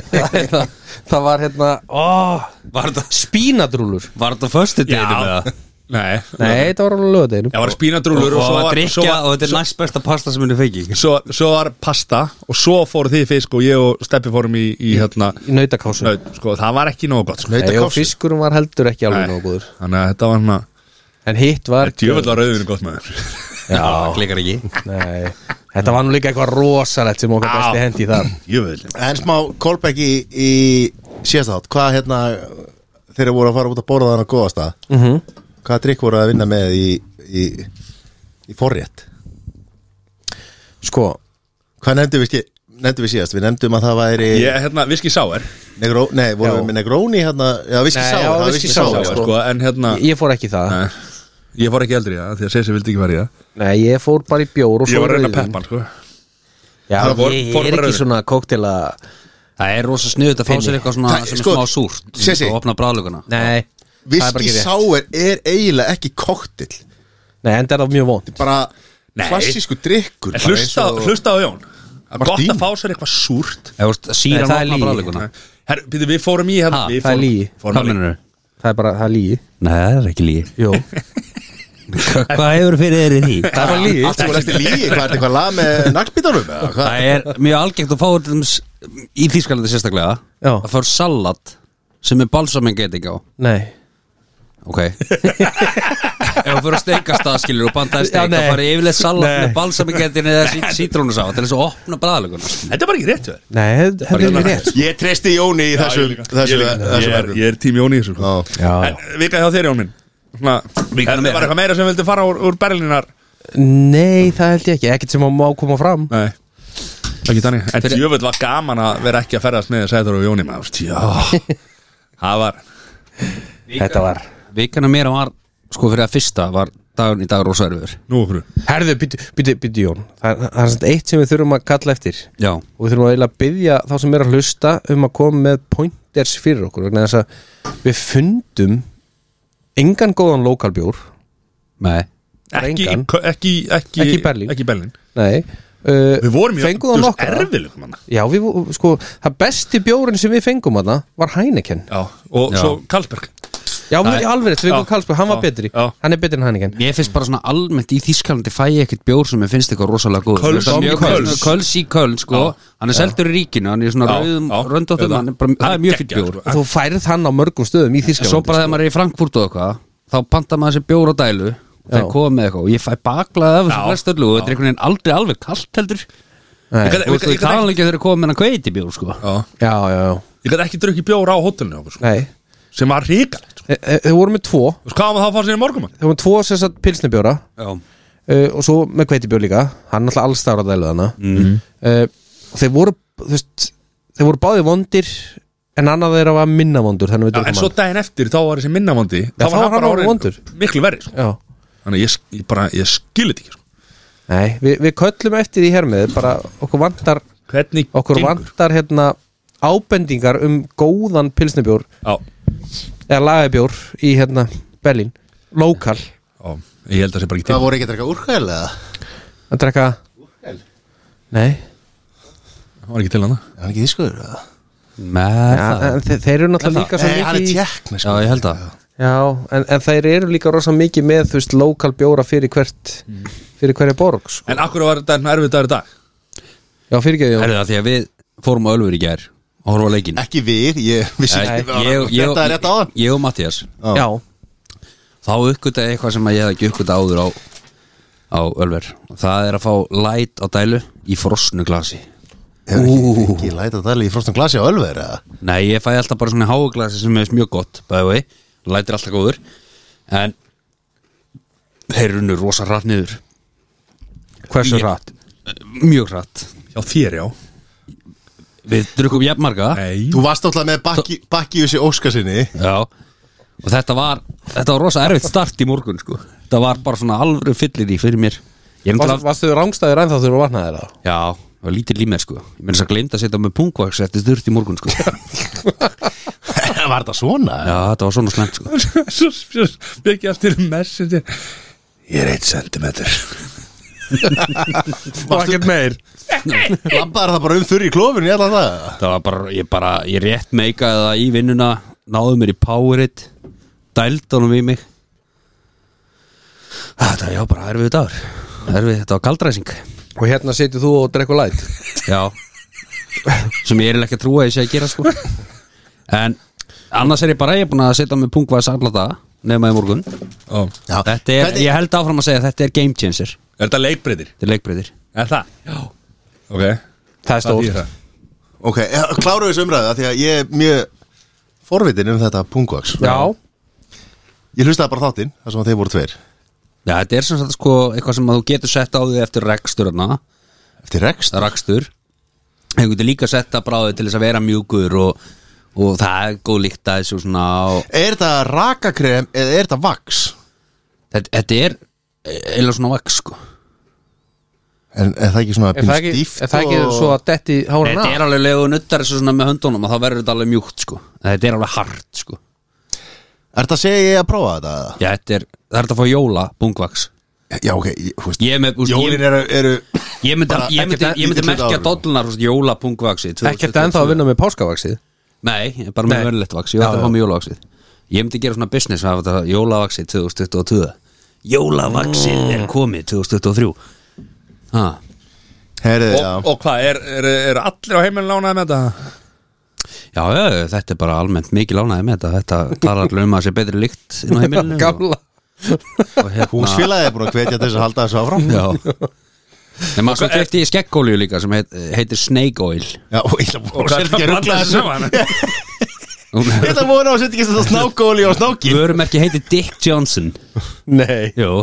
Speaker 2: það, er það, það var hérna ó,
Speaker 3: Var þetta
Speaker 2: spínadrúlur
Speaker 3: Var þetta föstu
Speaker 4: Já.
Speaker 3: deginu með það?
Speaker 4: Nei,
Speaker 2: Nei, þetta var alveg lögadeginum
Speaker 4: Það var spínadrúlur
Speaker 3: og,
Speaker 4: og
Speaker 3: að
Speaker 4: svo var, svo,
Speaker 3: drikja
Speaker 4: var,
Speaker 3: og þetta er næst besta pasta sem henni fengi
Speaker 4: svo, svo var pasta og svo fóru þið í fisk og ég og Steppi fórum í, í hérna
Speaker 2: Í nautakásu
Speaker 4: naut, sko, það var ekki nógu gott sko.
Speaker 2: Nei, og
Speaker 1: Nautakofs
Speaker 2: fiskurinn var heldur ekki alveg
Speaker 4: Nei.
Speaker 2: nóg góður
Speaker 4: Þannig að þetta var hann að
Speaker 2: En hitt var
Speaker 4: Djöfell var rauðinu gott maður
Speaker 3: Já, klikkar ekki
Speaker 2: Nei, þetta var nú líka eitthvað rosalegt sem okkar
Speaker 4: Á.
Speaker 2: besti hendi í það
Speaker 4: Djöfell
Speaker 1: En smá callback í, í síðast þátt Hvað hérna þeir voru að fara út að borða þannig að góðast að
Speaker 2: mm
Speaker 4: Mhm.
Speaker 2: -hmm.
Speaker 1: Hvaða drikk voru að vinna með í, í, í forrétt
Speaker 2: Sko,
Speaker 1: Hvað nefndum við, ski- nefndum við síðast? Við nefndum að það væri
Speaker 4: Ég, hérna, viski sáir
Speaker 1: negró, Nei, voru
Speaker 2: Já.
Speaker 1: við með negróni hérna Já, viski
Speaker 2: Nei,
Speaker 1: sáur
Speaker 2: já,
Speaker 1: það var
Speaker 2: whisky
Speaker 1: whisky
Speaker 2: sour,
Speaker 1: sour,
Speaker 2: sko.
Speaker 1: sko.
Speaker 4: sko, En hérna,
Speaker 2: ég fór ekki í það
Speaker 4: nei, ég fór ekki eldri í það Því að Sessi vildi ekki fara í það
Speaker 2: Nei, ég fór bara í bjór og svo
Speaker 4: Ég var að reyna
Speaker 2: rauðvín.
Speaker 4: peppan, sko
Speaker 2: Já,
Speaker 4: Það fór-
Speaker 2: ég, ég
Speaker 4: fór
Speaker 2: er
Speaker 4: bara
Speaker 2: ekki
Speaker 4: rauðvín.
Speaker 2: svona kóktela
Speaker 3: Það er rosa sniðut að fá sér eitthvað svona
Speaker 1: Það-
Speaker 3: sem
Speaker 1: sko,
Speaker 3: er smá súrt
Speaker 1: Sessi.
Speaker 3: og opna bráðluguna
Speaker 2: Nei, það er
Speaker 1: Viski
Speaker 2: bara ekki rétt
Speaker 1: sáur er eiginlega ekki koktill
Speaker 2: Nei, enda er það mjög vond
Speaker 1: Bara
Speaker 4: Nei.
Speaker 1: klassísku drikkur bara
Speaker 4: En
Speaker 1: eins
Speaker 4: hlusta,
Speaker 1: og-
Speaker 4: hlusta á Jón Það er Gott
Speaker 1: Martín.
Speaker 4: að fá sér eitthvað súrt
Speaker 3: Ef þú veist,
Speaker 2: Nei,
Speaker 3: Síran
Speaker 2: það er
Speaker 3: opna
Speaker 2: lygi.
Speaker 3: bráðluguna
Speaker 4: Her, Býtu, við fórum í hérna
Speaker 3: Ha,
Speaker 4: við
Speaker 2: það er
Speaker 4: fórum-
Speaker 2: lygi.
Speaker 4: fórum
Speaker 3: Hvað
Speaker 4: í-
Speaker 3: mennur þau?
Speaker 2: Það er bara, það er lígi
Speaker 3: Nei, það er ekki lígi
Speaker 2: Jó,
Speaker 3: Hvað hefur fyrir þeir í því?
Speaker 2: það er bara lígi
Speaker 1: Allt sem var eftir lígi, hvað er þetta eitthvað lag með naglbítanum? eða hvað?
Speaker 3: Það er mjög algengt að fá til dæmis í Þýskalandi sérstaklega
Speaker 2: Já.
Speaker 3: að fá salat sem er balsameng geiting á
Speaker 2: Nei,
Speaker 3: Ok Ef þú fyrir að steika staðskilur og bandaði
Speaker 2: Já,
Speaker 3: steik
Speaker 2: nei.
Speaker 3: þá farið yfirleitt salat
Speaker 2: Nei.
Speaker 3: með balsamingetin eða sítrónus á til þess að opna bræðalöguna
Speaker 4: Þetta er bara ekki rétt hjá þér
Speaker 2: nei, þetta er ekki rétt sko.
Speaker 1: Ég treysti Jóni í
Speaker 4: Já, ég
Speaker 1: þessum
Speaker 4: líka.
Speaker 1: þessum-
Speaker 4: Ég líka.
Speaker 1: þessum
Speaker 4: Ég er-
Speaker 1: efnum.
Speaker 4: Ég er tími Jón í þessu sko.
Speaker 1: Já.
Speaker 4: En vika hjá þér Jón minn Svona,
Speaker 3: Vikan
Speaker 4: En
Speaker 3: meira.
Speaker 4: það var eitthvað meira sem vildi fara úr, úr Berlínar
Speaker 2: Nei, það held ég ekki, ekkert sem að má koma fram
Speaker 4: Nei Ekki þannig En
Speaker 3: Fyrir-
Speaker 4: djöfull var gaman að vera ekki að ferðast með Sæður og Jóni maður Já Það var
Speaker 2: Þetta var
Speaker 3: Vikana mér var, sko fyrir að fyrsta var dagun í dag rosa erfiður
Speaker 4: Nú okkur
Speaker 2: Herðu, býttu, býttu, býttu Jón Það, það er samt eitt sem við þurfum að kalla eftir
Speaker 3: Já
Speaker 2: og við þurfum að eiginlega að byggja þá sem er að hlusta um að koma með pointers fyrir okkur vegna þess að við fundum engan góðan lokalbjór
Speaker 3: Nei
Speaker 2: Bara
Speaker 4: ekki,
Speaker 2: engan.
Speaker 4: ekki, ekki,
Speaker 2: Ekki í Berlín.
Speaker 4: Ekki í Berlín
Speaker 2: Nei uh,
Speaker 4: Við vorum í
Speaker 2: Fenguð það nokkra
Speaker 4: Erfileg manna
Speaker 2: Já, við, vo- sko, það besti bjórin sem við fengum hana var Heineken
Speaker 4: Já Og
Speaker 3: Já.
Speaker 4: svo Karlsberg
Speaker 2: Já, við erum alveg rétt, við
Speaker 4: Já.
Speaker 2: erum Karlsberg, hann var
Speaker 4: Já.
Speaker 2: betri
Speaker 4: Já.
Speaker 2: Hann er betri en Heineken
Speaker 3: Ég finnst bara svona almennt í Þýskalandi fæ ég ekkert bjór sem ég finnst eitthvað rosalega góð
Speaker 4: Köls. Köls.
Speaker 3: Köls Köls í Köln sko Hann er seldur í ríkinu, hann er í svona
Speaker 4: Já,
Speaker 3: rauðum
Speaker 4: já.
Speaker 3: röndóttum
Speaker 4: Auðvitað.
Speaker 3: hann er bara- Það er mjög fyrir
Speaker 4: geggjað,
Speaker 3: bjór
Speaker 4: sko.
Speaker 2: Þú færð hann á mörgum stöðum í
Speaker 3: En Svo
Speaker 2: Þýskalandi
Speaker 3: bara þegar maður er í Frankfurt og eitthvað þá panta maður sér bjór á dælu og
Speaker 2: Já.
Speaker 3: það komið með eitthvað og ég fæ baklað af
Speaker 4: Já.
Speaker 3: þessu flest öllu og þetta er einhvern veginn aldrei alveg kalt heldur
Speaker 2: Nei.
Speaker 4: Ég gat-
Speaker 3: og
Speaker 4: ég
Speaker 3: þú
Speaker 4: gat ekki-
Speaker 3: talan ekki að þeir eru komið með hann kveiti bjór sko
Speaker 4: Já
Speaker 2: Já, já, já
Speaker 4: Ég gæti ekki drukkið bjór á hótelinu okkur, sko,
Speaker 2: Nei,
Speaker 4: sem var ríkalegt sko.
Speaker 2: E- e- þau voru með tvo
Speaker 4: Þú veist hvað var það að fá sér í morgumann
Speaker 2: Þau voru með tvo sem sagt pilsnibjóra
Speaker 3: Já,
Speaker 2: uh, og svo með kveitibjór líka hann er alltaf alls þar að dælu þarna mm. og þeir voru þú veist, þeir voru báði vondir en annað þeirra var minna vondur þannig við
Speaker 4: Já, en
Speaker 2: dökum
Speaker 4: svo daginn eftir þá var þessi minnavondi
Speaker 2: Já, þá var hann
Speaker 4: bara
Speaker 2: orðinn
Speaker 4: orðinn
Speaker 2: vondur.
Speaker 4: Miklu verri sko.
Speaker 2: hann já.
Speaker 4: Þannig að ég, sk- ég bara, ég skilit ekki sko.
Speaker 2: Nei, við, við köllum eftir því hér með bara okkur vantar,
Speaker 4: Hvernig
Speaker 2: okkur
Speaker 4: gengur?
Speaker 2: vantar hérna, ábendingar um góðan pilsnibjór
Speaker 4: Já,
Speaker 2: eða lagabjór í hérna, Berlín, lokal
Speaker 4: já, ég held að það sé bara ekki
Speaker 1: Það
Speaker 4: til
Speaker 1: voru ekki að draka úrkæl eða?
Speaker 2: að drekka Nei,
Speaker 4: Það var ekki til hann
Speaker 1: Er hann ekki þýskur? eða?
Speaker 3: með
Speaker 2: ja,
Speaker 3: það
Speaker 2: en þe þeir eru náttúrulega líka svo
Speaker 1: Nei, hann er
Speaker 2: mikið í-
Speaker 1: tjekkn
Speaker 3: Já, ég held að
Speaker 2: Já, en, en þær eru líka rosa mikið með þú veist, lokal bjóra fyrir hvert fyrir hverja borg, sko
Speaker 4: En akkur var þetta erfið dagur í dag
Speaker 2: Já, fyrir ekki,
Speaker 3: Er
Speaker 2: já,
Speaker 3: það því að við fórum á Ölfur í gær og horfa á leikin
Speaker 1: Ekki við, ég vissi
Speaker 3: Nei,
Speaker 1: ekki
Speaker 3: ég- ég-
Speaker 1: Þetta er rétt á
Speaker 3: Ég og Mattias
Speaker 1: það
Speaker 2: já
Speaker 3: þá uppgötaði ég eitthvað sem að ég hef ekki uppgötað áður á á Ölver Það er að fá light á dælu í frosnu glasi
Speaker 1: Hefur ekki, ekki lætað að tala í frostum glasi á ölver eða?
Speaker 3: Nei, ég fæ alltaf bara svona háuglasi sem er mjög gott bæði, lætir alltaf góður en þeir runnu rosa hratt niður
Speaker 2: Hversu
Speaker 3: Ég- Eh,
Speaker 2: hratt?
Speaker 3: mjög hratt
Speaker 4: Já, þér já
Speaker 3: við drukum jafnmarga
Speaker 4: Nei
Speaker 1: Þú varst alltaf með bakki, bakkiusi Óskarsinni
Speaker 3: já, og þetta var þetta var rosa erfitt start í morgun sko. þetta var bara svona alvöru fyllir í fyrir mér ég er
Speaker 2: Varst,
Speaker 3: náttúrulega
Speaker 2: varstu þau rángstæður ennþá þegar þú vatnaðir það?
Speaker 3: já, það var lítið límer sko ég meina þess að gleymda að setja með pungvaks eftir þurft í morgun sko já,
Speaker 1: Var þetta svona?
Speaker 3: þetta var svona slemt sko
Speaker 4: Svo svo- mikið eftir messenger Ég er eitt sentimeter
Speaker 2: Var ekkert meir
Speaker 1: Lampaðar það bara um þurri í klófinu í allan það
Speaker 3: það var bara, ég bara, ég rétt meikaði það í vinnuna náðu mér í Powerade dældanum í mig Ah, Þetta er já bara erfið dagur Erfið, þetta var kaldræsing
Speaker 2: Og hérna setur þú og drekku læt
Speaker 3: Já Sem ég er eiginlega ekki að trúa að ég sé að gera sko En annars er ég bara Ég er búin að setja á mig pungvaðis alla daga Nefna í morgun
Speaker 4: Ó.
Speaker 1: Já.
Speaker 3: Þetta er,
Speaker 1: Hvernig-
Speaker 3: ég held áfram að segja að Þetta er game changer,
Speaker 4: Er þetta leikbreytir?
Speaker 3: þetta er leikbreyðir
Speaker 4: Er það? Já Ok
Speaker 2: Það er stórt
Speaker 4: þýðir það?
Speaker 1: Ok, ja, kláru þessu umræðu af Því að ég er mjög forvitin um þetta pungvaks
Speaker 2: Já,
Speaker 1: Ég hlustaði bara á þáttinn, þar sem að þeir voru tveir
Speaker 3: Já, þetta er sem sagt sko eitthvað sem að þú getur sett á því eftir reksturna
Speaker 1: Eftir rekst
Speaker 3: Rakstur Þú getur líka sett að bráði til þess að vera mjúkur og, og það er góð líkt að þessu svona og,
Speaker 1: Er þetta rakakrem eða er þetta vaks?
Speaker 3: þetta, þetta er eða svona vaks sko
Speaker 1: En er það ekki svona
Speaker 2: er það ekki,
Speaker 1: stíft
Speaker 2: er það ekki
Speaker 1: og-
Speaker 2: svo að detti hárun
Speaker 3: Þetta
Speaker 2: af?
Speaker 3: er alveg legu nuttar þessu svona með höndunum og þá verður þetta alveg mjúkt sko Þetta er alveg hart sko
Speaker 1: Er þetta að segja ég að prófa þetta? eða?
Speaker 3: Já, þetta er, það er þetta að fá jóla, bungvaks
Speaker 1: Já, ok, ég, hú veist
Speaker 3: Ég er með, úst, ég,
Speaker 1: Jólin eru, eru
Speaker 3: ég myndi,
Speaker 1: bara
Speaker 3: ég myndi,
Speaker 1: ekkert-
Speaker 3: ég myndi
Speaker 1: ekkert
Speaker 3: merkja
Speaker 1: ár.
Speaker 3: dollunar húst jóla bungvaksi
Speaker 2: Ekkert ennþá að vinna með páskavaksið
Speaker 3: Nei, bara með
Speaker 2: Nei.
Speaker 3: verðlegt vaks, ég ætla
Speaker 2: Já,
Speaker 3: að fá með jólavaksið Ég myndi gera svona business af þetta jólavaksið 2022 Jólavaksið er komið 2023 ha.
Speaker 1: Herðu, já
Speaker 4: Og, og hvað, er, er, er allir á heimilin lánaði með þetta?
Speaker 3: Já, já, þetta er bara almennt mikið lánaði með þetta Þetta talar allir um að sé betri lykt inn á heimilinu og,
Speaker 2: Gamla
Speaker 3: og hérna
Speaker 1: Húsfélagið er búin að hvetja til þess að halda þessu áfram
Speaker 3: Já Nei,
Speaker 2: Sko,
Speaker 3: maður svo kefti í skeggólju líka sem heit, heitir Snake Oil
Speaker 1: Já, og ég ætla að
Speaker 4: Og
Speaker 1: búin að setja ekki að ruggla þessu
Speaker 4: saman
Speaker 1: Ég ætla að búin að setja ekki að snákóli og snáki
Speaker 3: Vörum ekki heitir Dick Johnson
Speaker 2: Nei
Speaker 3: Jú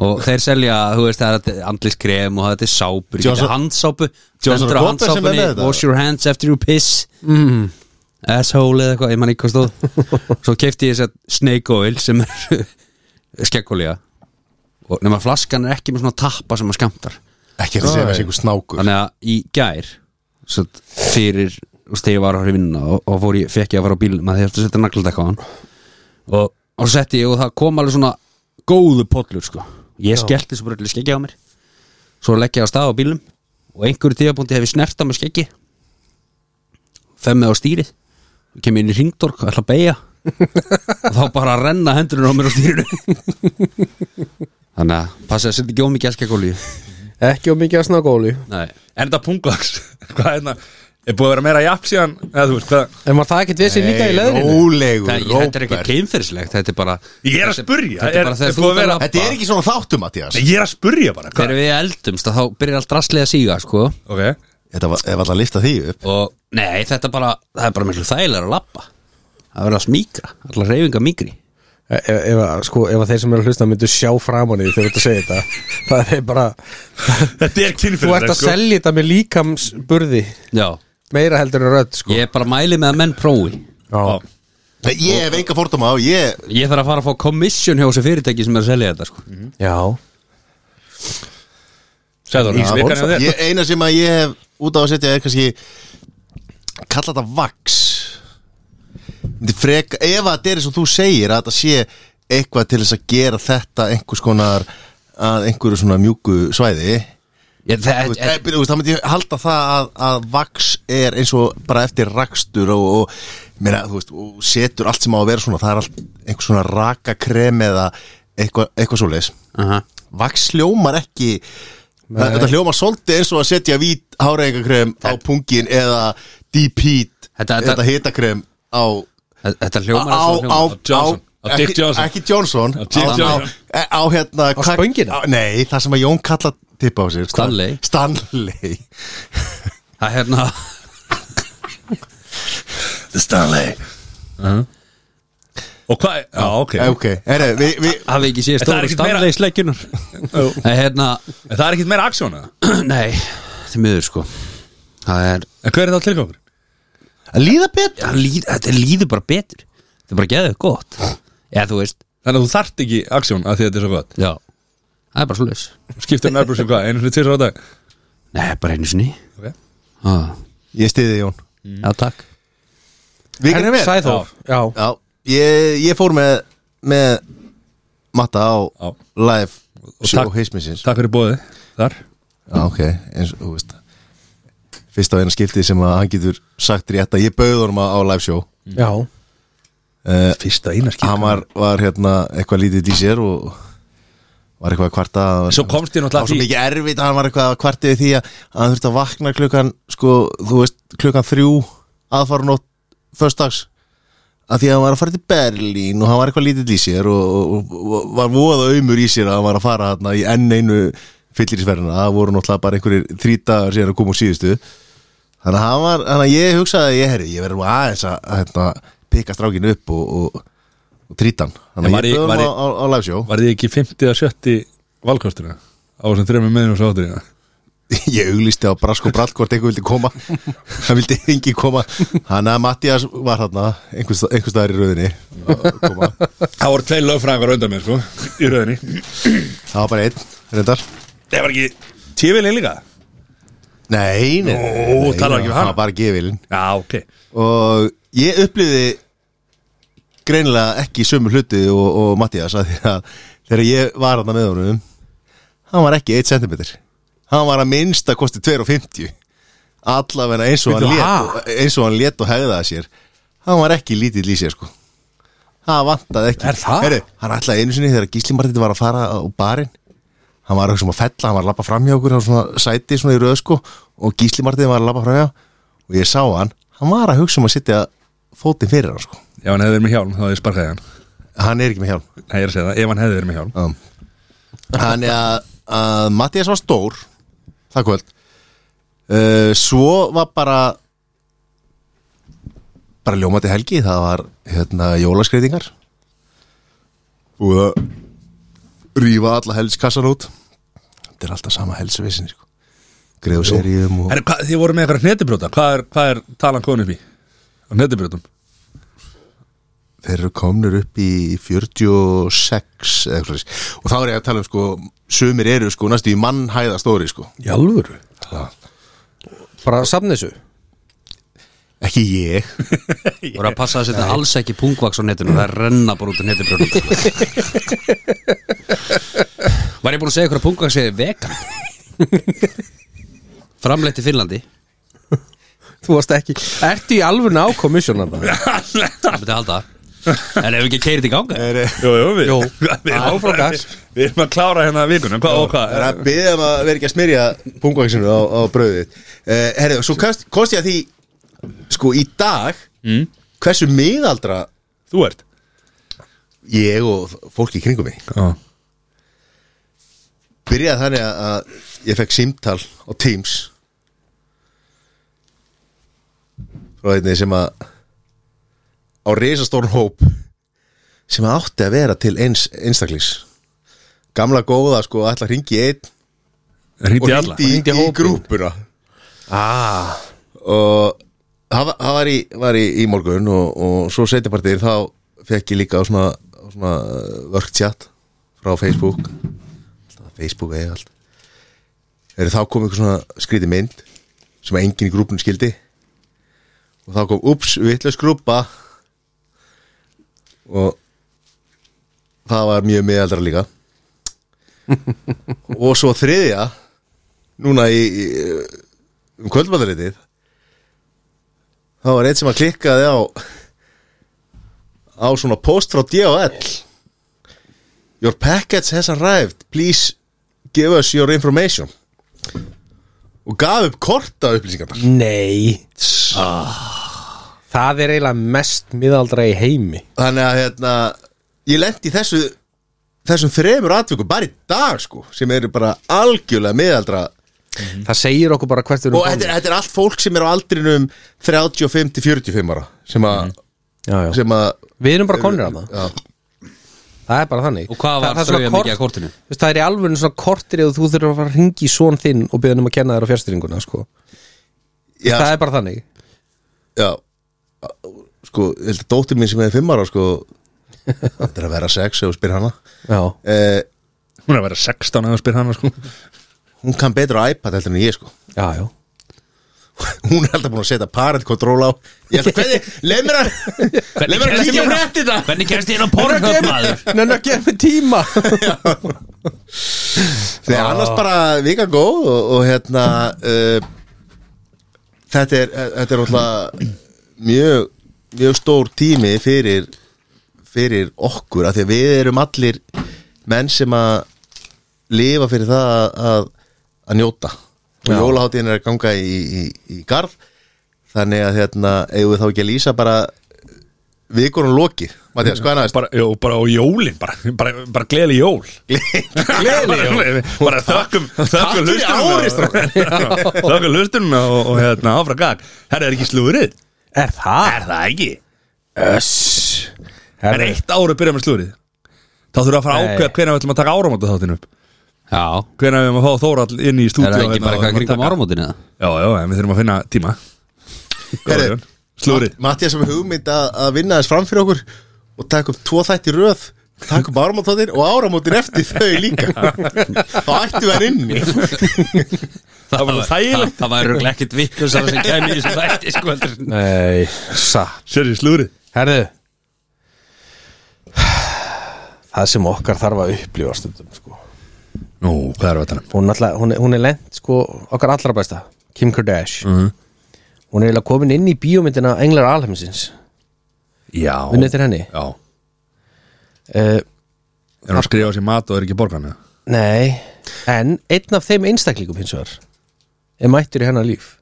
Speaker 3: Og þeir selja, þú veist, það er andliskrem og þetta er sápur, ég
Speaker 1: Johnson-
Speaker 3: geti handsápu
Speaker 1: Johnson
Speaker 3: Stendur á
Speaker 1: Robert sem er
Speaker 3: handsápunni,
Speaker 1: með þetta? Mhm.
Speaker 3: wash your hands after you piss mm. Asshole eða eitthvað, ég man ekki hvað stóð Svo kefti ég þess að snake oil sem er skekkólía Og nema flaskan er ekki með svona tappa sem maður skamtar
Speaker 1: Ekki að segja þessi einhver snákur
Speaker 3: Þannig að í gær svo, að fyrir, þú veist, þegar ég var að fara í vinna og, og fór ég, fekk ég að fara á bílnum að því að setja nagladekk á hann og, og setti ég og það kom alveg svona góðu pollur, sko ég skellti svo bara allir skeggi á mér svo leggja ég á stað á bílnum og einhverju tíðabúndi hef ég snerta með skeggi femmið á stýrið kem ég inn í ringdork og ætla að beigja og þá bara renna hendurinn á mér á stýrinu þannig að passa að setja ekki ómikið elskakólu
Speaker 2: Ekki og mikið að snakóli
Speaker 3: nei
Speaker 4: En þetta pungvaks Hvað er þetta? Er búið að vera meira jafn síðan eða þú veist hvað
Speaker 2: En var það ekkert vesið líka í leðrinu?
Speaker 1: Rólegur,
Speaker 3: Það, þetta er ekki
Speaker 1: Róbert
Speaker 3: kynferðislegt Þetta er bara
Speaker 4: Ég er að
Speaker 3: þetta-
Speaker 4: spurja,
Speaker 3: Þetta
Speaker 4: er-
Speaker 3: er bara þegar
Speaker 4: er
Speaker 3: þú
Speaker 4: búið að
Speaker 3: vera
Speaker 4: vera-
Speaker 1: Þetta er ekki svona þáttu, Mattias
Speaker 4: Nei, Ég er að spurja bara
Speaker 3: Þegar
Speaker 4: hvað?
Speaker 3: við eldumst að þá byrjar allt rastlið að síga sko.
Speaker 4: Ok
Speaker 1: Þetta var ef alltaf að lifta því upp
Speaker 3: Og nei, þetta er bara Það er bara miklu þægilega að lappa Það verður að smíkra, allar reyfinga mýkri
Speaker 2: E- Ef, ef, að- sko, ef að þeir sem eru að hlusta myndu sjá framan í því þegar þú ert að segja þetta Það er bara
Speaker 4: Þetta er sko. kynfyrir
Speaker 2: Þú ert að selja þetta með líkamsburði
Speaker 3: Já,
Speaker 2: Meira heldur en rödd sko
Speaker 3: ég er bara mæli með að menn prófi
Speaker 2: Já.
Speaker 1: Nei, Ég hef enga fordóma á, ég
Speaker 3: Ég þarf að fara að fá kommission hjá þessu fyrirtæki sem er að selja þetta sko.
Speaker 4: Mhm.
Speaker 2: Já
Speaker 4: Sæður,
Speaker 2: Já,
Speaker 4: vikan hjá þér
Speaker 1: Ég, eina sem að ég hef út á að setja er kannski kalla þetta vaks Myndi freka, ef að þetta er eins og þú segir að þetta sé eitthvað til þess að gera þetta einhvers konar að einhverju svona mjúku svæði
Speaker 3: ég, það,
Speaker 1: Þú
Speaker 3: er,
Speaker 1: veist, eh, byrju, þú veist, þá myndi ég halda það að, að vaks er eins og bara eftir rakstur og, og, meina, þú veist, og setur allt sem á að vera svona það er allt einhvers svona rakakrem eða eitthvað, eitthvað svoleiðis
Speaker 3: uh
Speaker 1: Vaks hljómar ekki Þa- Þetta hljómar svolítið eins og að setja vít háreigakrem á pungin eða deep heat
Speaker 3: Þetta- þetta-
Speaker 1: eða hitakrem á
Speaker 3: Þetta
Speaker 1: á,
Speaker 3: hljómar
Speaker 1: á,
Speaker 3: eins og
Speaker 1: á,
Speaker 3: hljómar.
Speaker 4: Johnson. Á Dick
Speaker 1: ekki,
Speaker 4: Johnson.
Speaker 1: ekki Johnson
Speaker 4: Á Dick Johnson.
Speaker 1: á, á hérna
Speaker 2: Á
Speaker 1: hvað-
Speaker 2: spöngina?
Speaker 1: á- Nei, það sem að Jón kalla tippa á sér hvað-
Speaker 3: Stanley.
Speaker 1: Stanley
Speaker 3: Það er hérna
Speaker 4: Stanley Og hvað er- Já, ok
Speaker 1: Eh, Ok, herri, við, við
Speaker 3: Hafið ekki séð
Speaker 4: En það er
Speaker 3: stóra
Speaker 4: ekkert meira-
Speaker 3: stanlega í sleggjunum
Speaker 4: Jú.
Speaker 3: Það er hérna
Speaker 4: En það er ekkert meira aksjóna
Speaker 3: Nei, þetta er miður sko Það er
Speaker 4: En hver er það tilgangur?
Speaker 1: að líða betur
Speaker 3: Já, líð, þetta líður bara betur Þetta er bara geðið gott Já, þú veist
Speaker 4: Þannig að þú þart ekki aksjón að því að þetta er svo gott
Speaker 3: Já Það er bara svo laus
Speaker 4: Skiptir um nærbrúsum hvað, einu sinni tísar á dag
Speaker 3: Nei, bara einu sinni
Speaker 4: Ok
Speaker 3: ah.
Speaker 1: Ég stiði Jón
Speaker 3: Já, takk
Speaker 1: Við erum við
Speaker 2: Sæþór Já,
Speaker 1: Já, ég, ég fór með með matta á
Speaker 4: Já.
Speaker 1: live
Speaker 4: Og
Speaker 1: show
Speaker 4: takk-
Speaker 1: hismisins
Speaker 4: Takk fyrir bóði Þar
Speaker 1: Já, ok, eins og, þú veist Fyrst á eina skiptið sem að hann getur sagt rétt að ég bauð honum á, á live show Eh,
Speaker 2: já.
Speaker 1: uh,
Speaker 4: Fyrsta eina skipti
Speaker 1: Hann var, var hérna eitthvað lítið í sér og var eitthvað að kvarta
Speaker 4: Svo komst ég
Speaker 1: Það var svo
Speaker 4: náttúrulega að því
Speaker 1: mikið erfitt að hann var eitthvað að kvarta við því að að hann þurfti að vakna klukkan sko, þú veist, klukkan þrjú aðfarunótt, föstags að því að hann var að fara til Berlín og hann var eitthvað lítill í sér og, og, og, og var voða aumur í sér að hann var að fara hann í enn einu fyllirisverðina, það voru náttúrulega bara einhverjir þrítagar síðan að koma úr síðustu þannig að, hann var, þannig að ég hugsaði að ég herri, ég verður nú aðeins að hérna, pikka strákinu upp og, og, og trítan, þannig
Speaker 4: Var
Speaker 1: að
Speaker 4: ég-
Speaker 1: ég
Speaker 4: var
Speaker 1: böðum á,
Speaker 4: ég-
Speaker 1: á, á live show
Speaker 4: Var þið ekki 50 að 70 valkostina á þessum þreymur miðnum svo átturina
Speaker 1: ég auglisti á brask og brall hvort einhver vildi koma það vildi engin koma hann að Mattias var þarna einhvers, einhvers staðar í rauðinni að koma.
Speaker 4: Það voru tveir lögfræðingar undan mér sko í rauðinni
Speaker 1: það var bara einn reyndar
Speaker 4: Það var ekki tífilin líka
Speaker 1: nei, nei, nei,
Speaker 4: Ó,
Speaker 1: nei,
Speaker 4: talar ekki við hana.
Speaker 1: það var bara gefilin
Speaker 4: Já, ok
Speaker 1: og ég upplýði greinilega ekki sömu hluti og, og Mattias að því að þegar ég var þarna með honum hann var ekki 1 cm hann var að minnsta kosti 2,50 allavega eins og hann
Speaker 2: Bíddu, ha?
Speaker 1: lét og, eins og hann lét og hegðaði sér hann var ekki lítill í sér sko hann vantaði ekki
Speaker 2: Er það?
Speaker 1: Heyrðu, hann ætlaði einu sinni þegar Gísli Martið var að fara á barinn hann var eitthvað sem að fella, hann var að lappa fram hjá okkur á svona sæti svona í röð sko og Gísli Martið var að lappa fram hjá og ég sá hann, hann var að hugsa um að sitja fótinn fyrir hann sko
Speaker 4: Ef hann hefði verið með hjálm þá hefði ég sparkaði hann
Speaker 1: hann er ekki með hjálm
Speaker 4: Nei, ég er að segja það, ef hann hefði verið með hjálm
Speaker 1: Já. Þannig að, að Mattias var stór Það kvöld uh, Svo var bara Bara ljómandi helgi Það var hérna, jólaskreitingar Búið að Rífa alla helskassan út Þetta er alltaf sama helsvissin sko. Greiðu seríum og...
Speaker 4: Herri, hvað, þið voru með eitthvað hnetibrjóta Hvað er, hvað er talan komin upp í? Á hnetibrjótum
Speaker 1: Þeir eru komnir upp í 46 eða, eitthvað svoleiðis. Og þá er ég að tala um sko Sumir eru sko næstu í mannhæða stóri sko
Speaker 2: Jálfur
Speaker 1: Það
Speaker 2: Bara safna þessu
Speaker 1: Ekki ég
Speaker 3: voru að passa að setja alls ekki pungvaks á netinu það renna bara út á netinu var ég búin að segja ykkur að pungvaks er vegan framleitt í Finnlandi
Speaker 2: Þú varst ekki Ertu í alveg ná komissjónan það?
Speaker 3: það byrja að halda en ef ekki keirið í ganga
Speaker 1: Er,
Speaker 4: Jú, jú, við
Speaker 2: Jú.
Speaker 4: við erum að-
Speaker 2: Áfram gas.
Speaker 4: Við erum að klára hérna vikuna, hvað og hvað
Speaker 1: er að byggja um að vera ekki að smyrja pungvaksinu á, á brauðið uh, Herðu, svo kost, kost ég að því sko í dag mm. hversu miðaldra
Speaker 4: Þú ert
Speaker 1: ég og fólki í kringum mig
Speaker 4: Já.
Speaker 1: byrjaði þannig að- að ég fekk símtal á Teams frá einni sem að á risastórn hóp sem að átti að vera til eins einstaklings gamla góða sko ætla að ringi einn og
Speaker 4: Hringdi í alla
Speaker 1: hringdi í, í, í grúpuna
Speaker 2: Ah,
Speaker 1: og það var- það var í, var í, í morgun og, og svo setjapartir þá fekk ég líka á svona, á svona workchat frá Facebook Alltaf Facebook eða allt Eru þá kom einhver svona skríti mynd sem að enginn í grúpun skildi og þá kom ups, vitlaus grúpa og það var mjög meðaldra líka og svo þriðja núna í, í um kvöldmæðurlitið þá var einn sem að klikkaði á á svona post frá DHL Your package has arrived Please give us your information og gaf upp korta upplýsingarnar
Speaker 2: nei Ah. Það er eiginlega mest miðaldra í heimi
Speaker 1: þannig að hérna ég lendi í þessu þessum þremur atvikum bara í dag sko sem eru bara algjörlega miðaldra
Speaker 2: Það segir okkur bara hvert við
Speaker 1: og
Speaker 2: erum
Speaker 1: þetta, er- þetta er allt fólk sem er á aldrinum 35 til 45 ára sem að,
Speaker 2: Mhm. komin
Speaker 1: sem að
Speaker 2: Við erum bara konir að það
Speaker 1: já,
Speaker 2: Það er bara þannig
Speaker 3: og hvað
Speaker 2: það,
Speaker 3: var
Speaker 2: það er svona
Speaker 3: strauja
Speaker 2: kort-
Speaker 3: mikið að kortinu
Speaker 2: Þú veist, Það er í alveg svona kortir eða þú þurfur að fara að ringi svon þinn og byrja um að kenna þér á fjárstýringuna sko.
Speaker 1: já,
Speaker 2: Það er bara þannig
Speaker 1: Já Sko, ég held að dóttir mín sem hefði fimm ára sko Þetta er að vera sex ef þú spyr hana
Speaker 2: Já,
Speaker 1: eh,
Speaker 4: Hún er að vera 16 að spyr hana sko
Speaker 1: Hún kann betur á iPad heldur en ég sko
Speaker 2: já, já
Speaker 1: Hún er alltaf búin að setja parent control á Ég held að hvernig, leið mér að Leið mér að kíkja frá
Speaker 3: þetta hvernig kennst ég inn á pornhöf maður
Speaker 2: Nenna að gefa mig tíma
Speaker 1: Þegar annars bara vika góð og, og hérna uh, Þetta er Þetta er alltaf mjög, mjög stór tími fyrir fyrir okkur af því að við erum allir menn sem að lifa fyrir það að, að, að njóta og
Speaker 2: Já.
Speaker 1: jólaháttíðin er að ganga í, í, í garð þannig að hérna, eigum við þá ekki að lýsa bara vikunum lokið Mattias, hvað er næst?
Speaker 4: bara, jó, bara á jólin bara, bara, bara gleðli jól gleðli jól bara þökkum þökkum
Speaker 3: fyrir árið,
Speaker 4: hlustunum þökkum hlustunum og, og hérna áfra gag herra er ekki slúrið
Speaker 2: Er það?
Speaker 4: er það ekki
Speaker 2: Öss
Speaker 4: en
Speaker 2: Herri,
Speaker 4: eitt árið byrja með slúrið þá þurfum við að fara að
Speaker 2: Nei.
Speaker 4: ákveða hvernig við ætlum að taka áramóta þáttin upp
Speaker 3: Já,
Speaker 4: hvernig við erum að fá Þórald inn í stúdíu
Speaker 3: er það ekki
Speaker 4: hérna
Speaker 3: bara
Speaker 4: og
Speaker 3: eitthvað
Speaker 4: erum að
Speaker 3: kringum
Speaker 4: taka-
Speaker 3: áramótin eða?
Speaker 4: já, já, en við þurfum að finna tíma
Speaker 1: Herri, Ah.
Speaker 4: Góður, Jón. slúrið
Speaker 1: Mattias sem er hugmynd að, að vinna þess fram fyrir okkur og taka upp tvo þætti röð taka upp áramótóttir og áramóttir eftir þau líka þá ættu við að inni
Speaker 3: Það
Speaker 4: var nú
Speaker 3: var-
Speaker 4: þægilegt.
Speaker 3: það- Það var örugglega ekkert vitlusar sem kæmi í þessu þætti sko heldur en-
Speaker 2: Nei, satt
Speaker 4: sérri slúrið
Speaker 2: Herðu Það sem okkar þarf að upplifa stundum sko.
Speaker 4: nú, hvað er þetta
Speaker 2: hún, alltaf, hún, er- hún er lent sko, okkar allra besta Kim Kardashian
Speaker 3: Mhm.
Speaker 2: Hún er eiginlega komin inn í bíómyndina Englar Alheimsins
Speaker 4: já
Speaker 2: Vinna eftir henni
Speaker 4: já
Speaker 2: uh,
Speaker 4: er hún að skrifa sér mat og er ekki borgarna
Speaker 2: Nei, en einn af þeim einstaklingum hins vegar er mættur í hennar líf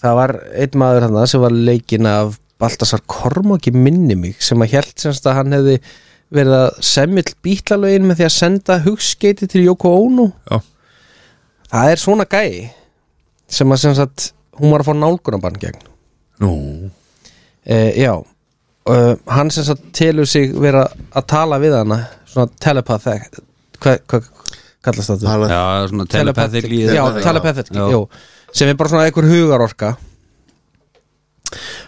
Speaker 2: Það var einn maður hann sem var leikinn af Baltasar Kormáki minni mig sem að held semst að hann hefði verið að semmill bítlalögin með því að senda hugskeiti til Joko Ono
Speaker 4: já
Speaker 2: Það er svona gæi sem að sem sagt hún var að fá nálgunabann gegn
Speaker 4: nú
Speaker 2: e, Já Uh, hann sem sagt telur sig vera að tala við hana svona telepath hvað hva, kallast það?
Speaker 1: Það er-
Speaker 3: Já, svona telepathic í
Speaker 2: Já,
Speaker 3: þetta.
Speaker 2: telepathic,
Speaker 3: Já.
Speaker 2: jú sem er bara svona einhver hugarorka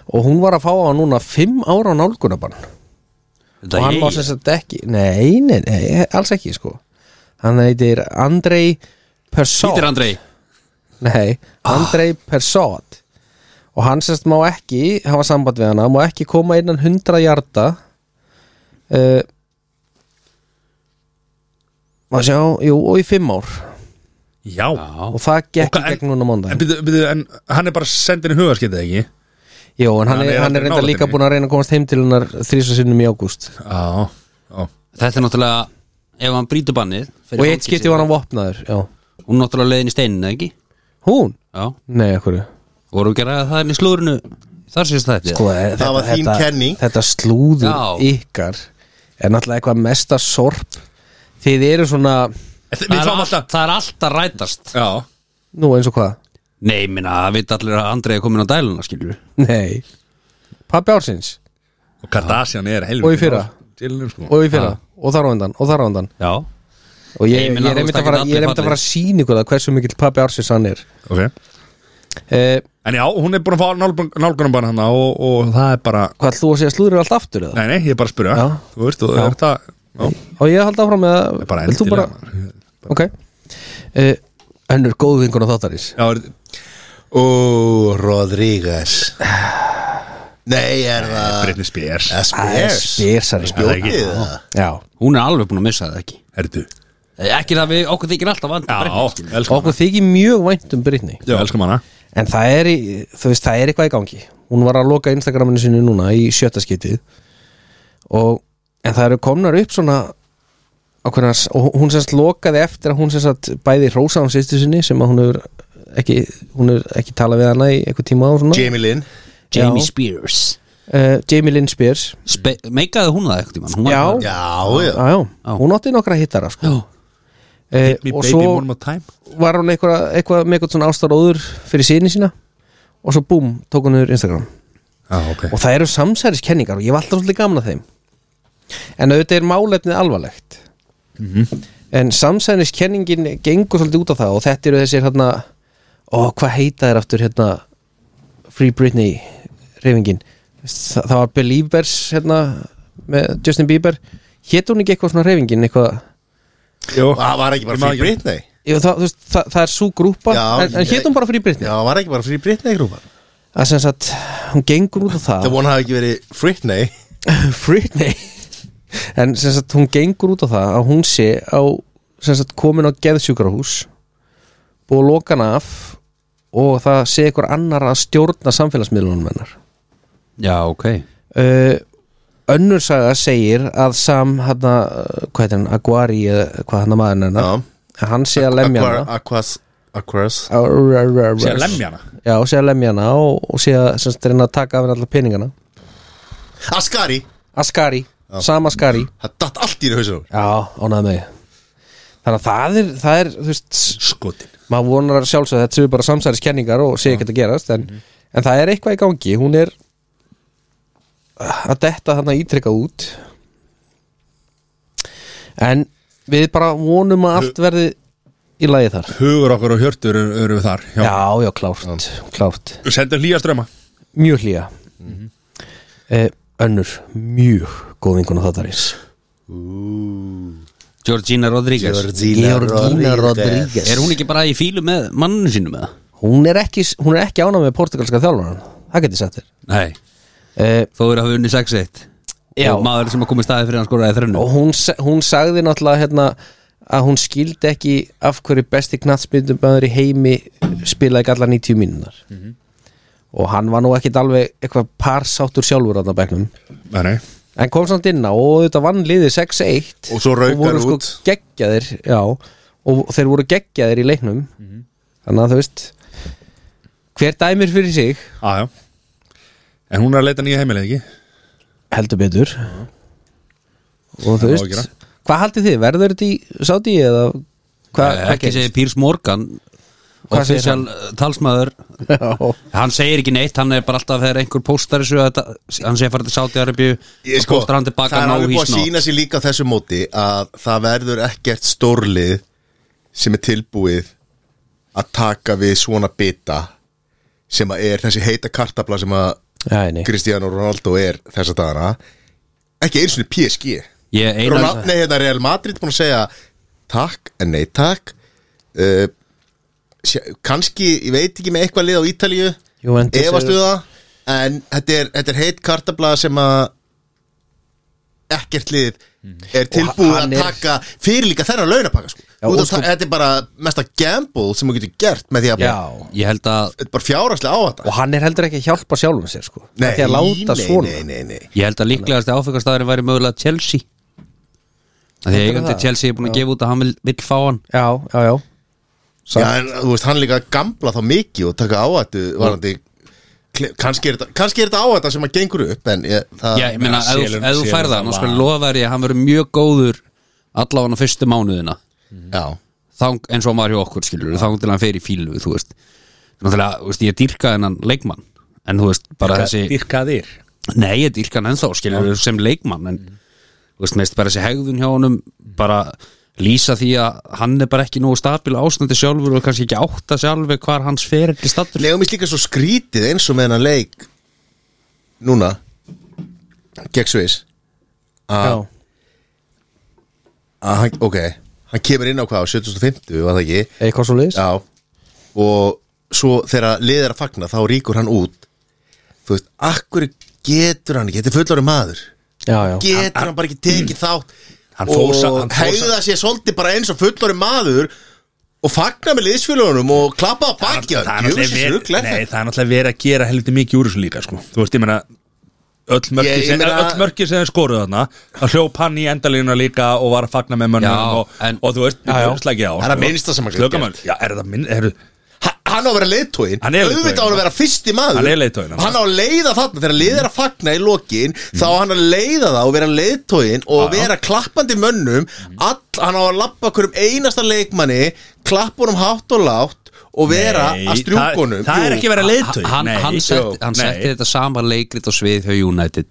Speaker 2: og hún var að fá á núna fimm ára á nálgunabann
Speaker 3: Þetta
Speaker 2: og hann
Speaker 3: ég-
Speaker 2: var sem sagt ekki nei, nei, nei, alls ekki sko hann heitir Andrei Persson
Speaker 3: Hvítir Andrei
Speaker 2: Nei,
Speaker 3: Ah.
Speaker 2: Andrei Persot og hann sérst má ekki hafa samband við hana, má ekki koma innan 100 hjarta uh, Má sjá, jú, og í fimm ár
Speaker 4: já
Speaker 3: Já,
Speaker 2: og það gekk
Speaker 4: Og
Speaker 2: í
Speaker 4: hvað-
Speaker 2: gegn núna
Speaker 4: en,
Speaker 2: mándag
Speaker 4: byrju, byrju, en hann er bara sendin í hugarskytið ekki
Speaker 2: Jú, en hann,
Speaker 4: hann
Speaker 2: er,
Speaker 4: er
Speaker 2: hann
Speaker 4: aldrei
Speaker 2: er reynda
Speaker 4: nálægt
Speaker 2: líka
Speaker 4: henni.
Speaker 2: búin að reyna að komast heim til hennar þrísa sinnum í ágúst
Speaker 4: já já
Speaker 3: þetta er náttúrulega Ef hann brýtur bannið fyrir
Speaker 2: og eitt
Speaker 3: fangelsi,
Speaker 2: skipti var hann vopnaður já.
Speaker 3: Hún er náttúrulega leiðin í steinin, eða ekki?
Speaker 2: Hún?
Speaker 3: Já,
Speaker 2: Nei, okkur
Speaker 3: vorum við gerðið það inn í slúrinu Þar sést þetta
Speaker 2: sko, þetta,
Speaker 1: var þín
Speaker 2: þetta,
Speaker 1: kenning.
Speaker 2: Þetta slúður
Speaker 3: Já.
Speaker 2: ykkar er náttúrulega eitthvað mesta sorp þið eru svona,
Speaker 4: Við
Speaker 3: það, er all,
Speaker 4: fáum alltaf
Speaker 3: það er alltaf rætast
Speaker 4: já
Speaker 2: nú eins og hvað
Speaker 3: Nei, minna, það veit allir að Andrei er komin á dæluna, skilur
Speaker 2: Nei Pappi ársins
Speaker 4: og Kardashian er helviti
Speaker 2: Og í fyrra.
Speaker 4: Tilnum, sko.
Speaker 2: og í fyrra og þar á undan og þar á undan
Speaker 3: Já
Speaker 2: og ég,
Speaker 3: Ég
Speaker 2: ég,
Speaker 3: meina,
Speaker 2: er
Speaker 3: þú
Speaker 2: einmitt
Speaker 3: veist,
Speaker 2: að fara,
Speaker 3: það geta
Speaker 2: ég er
Speaker 3: allir
Speaker 2: einmitt að
Speaker 3: fallið.
Speaker 2: fara að sína ykkur það hversu mikill pappi ársins hann er
Speaker 4: ok
Speaker 2: eh,
Speaker 4: en já hún er búin að fá nálgunum bara hann og, og það er bara
Speaker 2: Hvað þú að segja slúður allt aftur eða?
Speaker 4: nei nei ég er bara að spyrja
Speaker 2: Já.
Speaker 4: þú veist og
Speaker 2: Já.
Speaker 4: er það já
Speaker 2: Og ég haldi áfram með að
Speaker 4: bara
Speaker 2: Vilt þú
Speaker 4: endilega
Speaker 2: bara- Ok eh, Önnur góð vinkun á þáttarins
Speaker 4: já er-
Speaker 1: Ó, Rodríguez Nei, er það
Speaker 4: Britney Spears
Speaker 1: Eh, Spears
Speaker 2: Spearsari
Speaker 4: Ah, það ekki.
Speaker 1: Bjókið það
Speaker 2: Já
Speaker 3: Hún er alveg búin að missa það ekki
Speaker 4: Herðu
Speaker 3: Eh, Ekki það við, okkur þykir alltaf vandi
Speaker 4: Já elskum
Speaker 2: Okkur þykir mjög vænt um Britney
Speaker 4: Já elskum hana
Speaker 2: En það er, í- þú veist, það er eitthvað í gangi Hún var að loka Instagraminu sinu núna í sjötta skytið og, En það eru komnar upp svona ákveðnar, og hún semst lokaði eftir að hún semst bæði hrósa hún sýstu sinni sem að hún er ekki, hún er ekki talað við hana í eitthvað tíma og svona
Speaker 1: Jamie Lynn
Speaker 3: Jamie
Speaker 2: Já.
Speaker 3: Spears
Speaker 2: uh, Jamie Lynn Spears
Speaker 3: Spe Meikaði hún það eitthvað tímann Hún var
Speaker 2: Já.
Speaker 3: bara-
Speaker 1: Já, já
Speaker 2: ah, já, hún átti nokkra hittara sko.
Speaker 3: Já.
Speaker 2: uh,
Speaker 4: Me
Speaker 2: og
Speaker 4: baby
Speaker 2: svo
Speaker 4: one more time
Speaker 2: var hún eitthvað, eitthvað með eitthvað svona ástaróður fyrir sinni sína og svo búm, tók hún yfir Instagram
Speaker 4: Já ok
Speaker 2: og það eru samsæriskenningar og ég hef alltaf svolítið gamna þeim en auðvitað er málefnið alvarlegt
Speaker 1: Mhm.
Speaker 2: en samsæriskenningin gengur svolítið út á það og þetta eru þessir hérna ó, hvað heita þér aftur hérna Free Britney reyfingin Þa, það var Believers hérna með Justin Bieber hétt hún ekki eitthvað svona reyfingin eitthvað
Speaker 4: Jó
Speaker 1: Það Ah, var ekki bara
Speaker 4: Ég man
Speaker 1: Free
Speaker 4: Oh. ekki.
Speaker 1: Britney
Speaker 2: Jú, það, þú veist, það, það er svo grúpa
Speaker 1: Já,
Speaker 2: en, en
Speaker 1: ég-
Speaker 2: hétt hún bara Free Britney
Speaker 1: Já, það var ekki bara Free Britney grúpa
Speaker 2: að sem sagt, hún gengur út á það
Speaker 1: Það vona hafi ekki verið Britney
Speaker 2: Britney En sem sagt hún gengur út á það að hún sé á sem sagt komin á geðsjúkrahús búið að loka hana af og það sé einhver annar að stjórna samfélagsmiðlunum hennar
Speaker 3: Já, ok
Speaker 2: uh, önnur saga segir að Sam hana, hvað heitir hann, Aguari eða hvað hann að maðurinn hennar
Speaker 1: Já.
Speaker 2: að hann sé að lemja hana
Speaker 1: Aquas Aquas
Speaker 4: Sér að
Speaker 2: Ar-
Speaker 4: lemja hana
Speaker 2: Já, sé að lemja hana og, og sé að sem sagt, reyna að taka af henni allar peningana
Speaker 1: Ascari
Speaker 2: Askari, Sam Askari
Speaker 1: Það datt allt í rauðsum
Speaker 2: Já, ánæði mig Þannig að það er, það er þú veist,
Speaker 4: Skotin
Speaker 2: maður vonar sjálfsögð þetta séu bara samsæriskenningar og sé ekki að gerast en,
Speaker 3: Mhm.
Speaker 2: en það er eitthvað í gangi, hún er eh, að detta þarna ítrekka út en við bara vonum að allt verði í lagi þar
Speaker 4: Hugur okkur og hjörtur eru eru við þar
Speaker 2: Já,
Speaker 4: Já.
Speaker 2: já, klárt, klárt
Speaker 4: Sendum hlýja ströma
Speaker 2: Mjög hlýja
Speaker 3: Mhm.
Speaker 2: eh, Önnur, mjög góð vinkona þáttarins
Speaker 3: Georgina Rodríguez
Speaker 2: Georgina Rodríguez
Speaker 3: Er hún ekki bara í fílu með manninu sínum eða?
Speaker 2: Hún er ekki, hún er ekki ánað með portugalska þjálfaran Það geti sagt þér
Speaker 3: Nei,
Speaker 2: eh,
Speaker 3: þó er að hafa unni 6-1
Speaker 2: Já.
Speaker 3: Og maður sem að koma í staði fyrir hann skoraði þrennu
Speaker 2: Og hún, sa- hún sagði náttúrulega hérna að hún skildi ekki af hverju besti knattspyndumöður í heimi spilaði ekki allar 90 mínunar
Speaker 1: Mhm.
Speaker 2: og hann var nú ekkit alveg eitthvað parsáttur sjálfur á þarna á bekknum
Speaker 4: Nei, nei
Speaker 2: en kom samt inn á og þetta vann liðið 6-1
Speaker 1: Og svo raukar
Speaker 2: voru sko
Speaker 1: út.
Speaker 2: geggjaðir já, og þeir voru geggjaðir í leiknum
Speaker 1: Mhm.
Speaker 2: þannig að þú veist hver dæmir fyrir sig
Speaker 4: Já, já En hún er að leita nýja heimileg, ekki?
Speaker 2: heldur betur og þú
Speaker 4: Það má gera.
Speaker 2: veist hvað haldið þið, verður þetta í sáti eða hvað
Speaker 3: Eh,
Speaker 2: hvað
Speaker 3: Ekki
Speaker 2: gerist?
Speaker 3: segir Pírs Morgan
Speaker 2: Hvað segir
Speaker 3: Official eh, talsmaður
Speaker 2: Já.
Speaker 3: Hann segir ekki neitt, hann er bara alltaf þegar einhver póstar þessu að þetta- Hann segir farið til Sáti-Arabíu
Speaker 1: Ég
Speaker 3: og
Speaker 1: sko,
Speaker 3: póstar hann
Speaker 1: það
Speaker 3: tilbaka
Speaker 1: er
Speaker 3: ná
Speaker 1: alveg búið að
Speaker 3: hísna
Speaker 1: sína sér líka á þessu móti að það verður ekkert stórlið sem er tilbúið að taka við svona bita sem að er þessi heita kartabla sem að
Speaker 2: Æ, nei.
Speaker 1: Cristiano Ronaldo er þessa dagana ekki eins og PSG
Speaker 3: Ég eina
Speaker 1: Ronaldo, nei, hérna Real Madrid búin að segja takk, en nei takk uh, sé- kannski, ég veit ekki með eitthvað lið á Ítalíu
Speaker 2: Juventus
Speaker 1: efastu
Speaker 2: eru-
Speaker 1: það en þetta er, þetta er heit kartabla sem að ekkert lið er tilbúið
Speaker 2: Mhm. hann
Speaker 1: að
Speaker 2: er-
Speaker 1: taka fyrir líka þennan launapakka sko. Þú
Speaker 2: Já, og
Speaker 1: ert að
Speaker 2: sko-
Speaker 1: ta- þetta er bara mesta gamble sem þú getur gert með því að
Speaker 2: Já.
Speaker 3: Ég held að
Speaker 1: þetta er bara fjáraslega á þetta
Speaker 2: og hann er heldur ekki að hjálpa sjálfum sér sko
Speaker 1: nei,
Speaker 2: ekki að láta
Speaker 1: nei,
Speaker 2: svona
Speaker 1: nei, nei, nei.
Speaker 3: Ég held að líklegasti áfengastæðurinn væri mögulega Chelsea Af Því að eigandi Chelsea er búin að gefa út að hann vil, vil fá hann
Speaker 2: já, já, já
Speaker 1: Já, en, þú veist, hann líka gambla þá mikið og taka á þetta varandi, kle- kannski, er þetta- kannski er þetta á þetta sem að gengur upp en ég, það,
Speaker 3: Já, ég meina,
Speaker 4: meina,
Speaker 3: ef þú-
Speaker 4: selur-
Speaker 3: ef þú
Speaker 4: selur
Speaker 3: færða
Speaker 4: það
Speaker 3: hann, þá
Speaker 4: bara.
Speaker 3: skal lofa þér ég að hann verður mjög góður allavega á fyrstu mánuðina
Speaker 1: já,
Speaker 3: Þang, eins og hann var hjá okkur, skilur við, þang til hann fer í fílu, þú veist Náttúrulega, þú veist, ég dýrka hennan leikmann En þú veist, bara þessi
Speaker 4: Dyrka þér
Speaker 3: Nei, ég dýrka hann ennþá, skilur við, sem leikmann
Speaker 4: Mm.
Speaker 3: En, þú veist, meist bara þessi hegðun hjá honum Bara lýsa því að hann er bara ekki nógu stabil á ástandi sjálfur og kannski ekki átta sjálfi hvar hans fer ekki stattur
Speaker 1: Legum við líka svo skrítið eins og með hennar leik núna gegn Sviss
Speaker 2: já,
Speaker 1: að hann, ok, hann kemur inn á hvað á 750 var það ekki
Speaker 2: eitthvað svo liðs
Speaker 1: já, og svo þegar liðir að fagna þá ríkur hann út þú veist, akkur getur hann ekki þetta er fullari maður
Speaker 2: já, já,
Speaker 1: getur hann, bara ekki tekið þátt
Speaker 4: Mm. Hann
Speaker 1: og
Speaker 4: fór sa- hann fór
Speaker 1: hegða sér svolítið bara eins og fullari maður og fagna með liðsfélagunum og klappa á bakja
Speaker 4: það er náttúrulega verið- nei, það er náttúrulega verið að gera helviti mikið úr þessu líka sko. Þú veist, ég meina öll mörki,
Speaker 1: Ég- ég
Speaker 4: sem,
Speaker 1: meina-
Speaker 4: öll mörki sem þeir skoruð þarna að hljóp hann í endalínuna líka og var að fagna með
Speaker 3: Já,
Speaker 4: mönnum og,
Speaker 3: en-
Speaker 4: og þú veist,
Speaker 2: Já, já.
Speaker 4: slagi á
Speaker 1: Það er að minnsta sem hann getur
Speaker 4: Slöka mönnum. Já, er það minn, er,
Speaker 1: Ha- hann á að vera leiðtóin
Speaker 4: Hann er leiðtoginn.
Speaker 1: auðvitað á að vera fyrsti maður
Speaker 4: Hann er leiðtoginn, hann.
Speaker 1: hann á að leiða þarna þegar liðið er að fagna í lokin
Speaker 4: Mm.
Speaker 1: þá á hann að leiða það og vera leiðtóin og vera klappandi mönnum all, hann á að lappa hverjum einasta leikmanni klappunum hátt og látt og vera
Speaker 4: Nei,
Speaker 1: að strjúkunum
Speaker 4: það, það er ekki verið að leiðtögi
Speaker 3: hann,
Speaker 4: Nei,
Speaker 3: hann, sett,
Speaker 4: jú,
Speaker 3: hann
Speaker 4: nei. Mhm.
Speaker 3: setti þetta sama leikrit á svið hjá United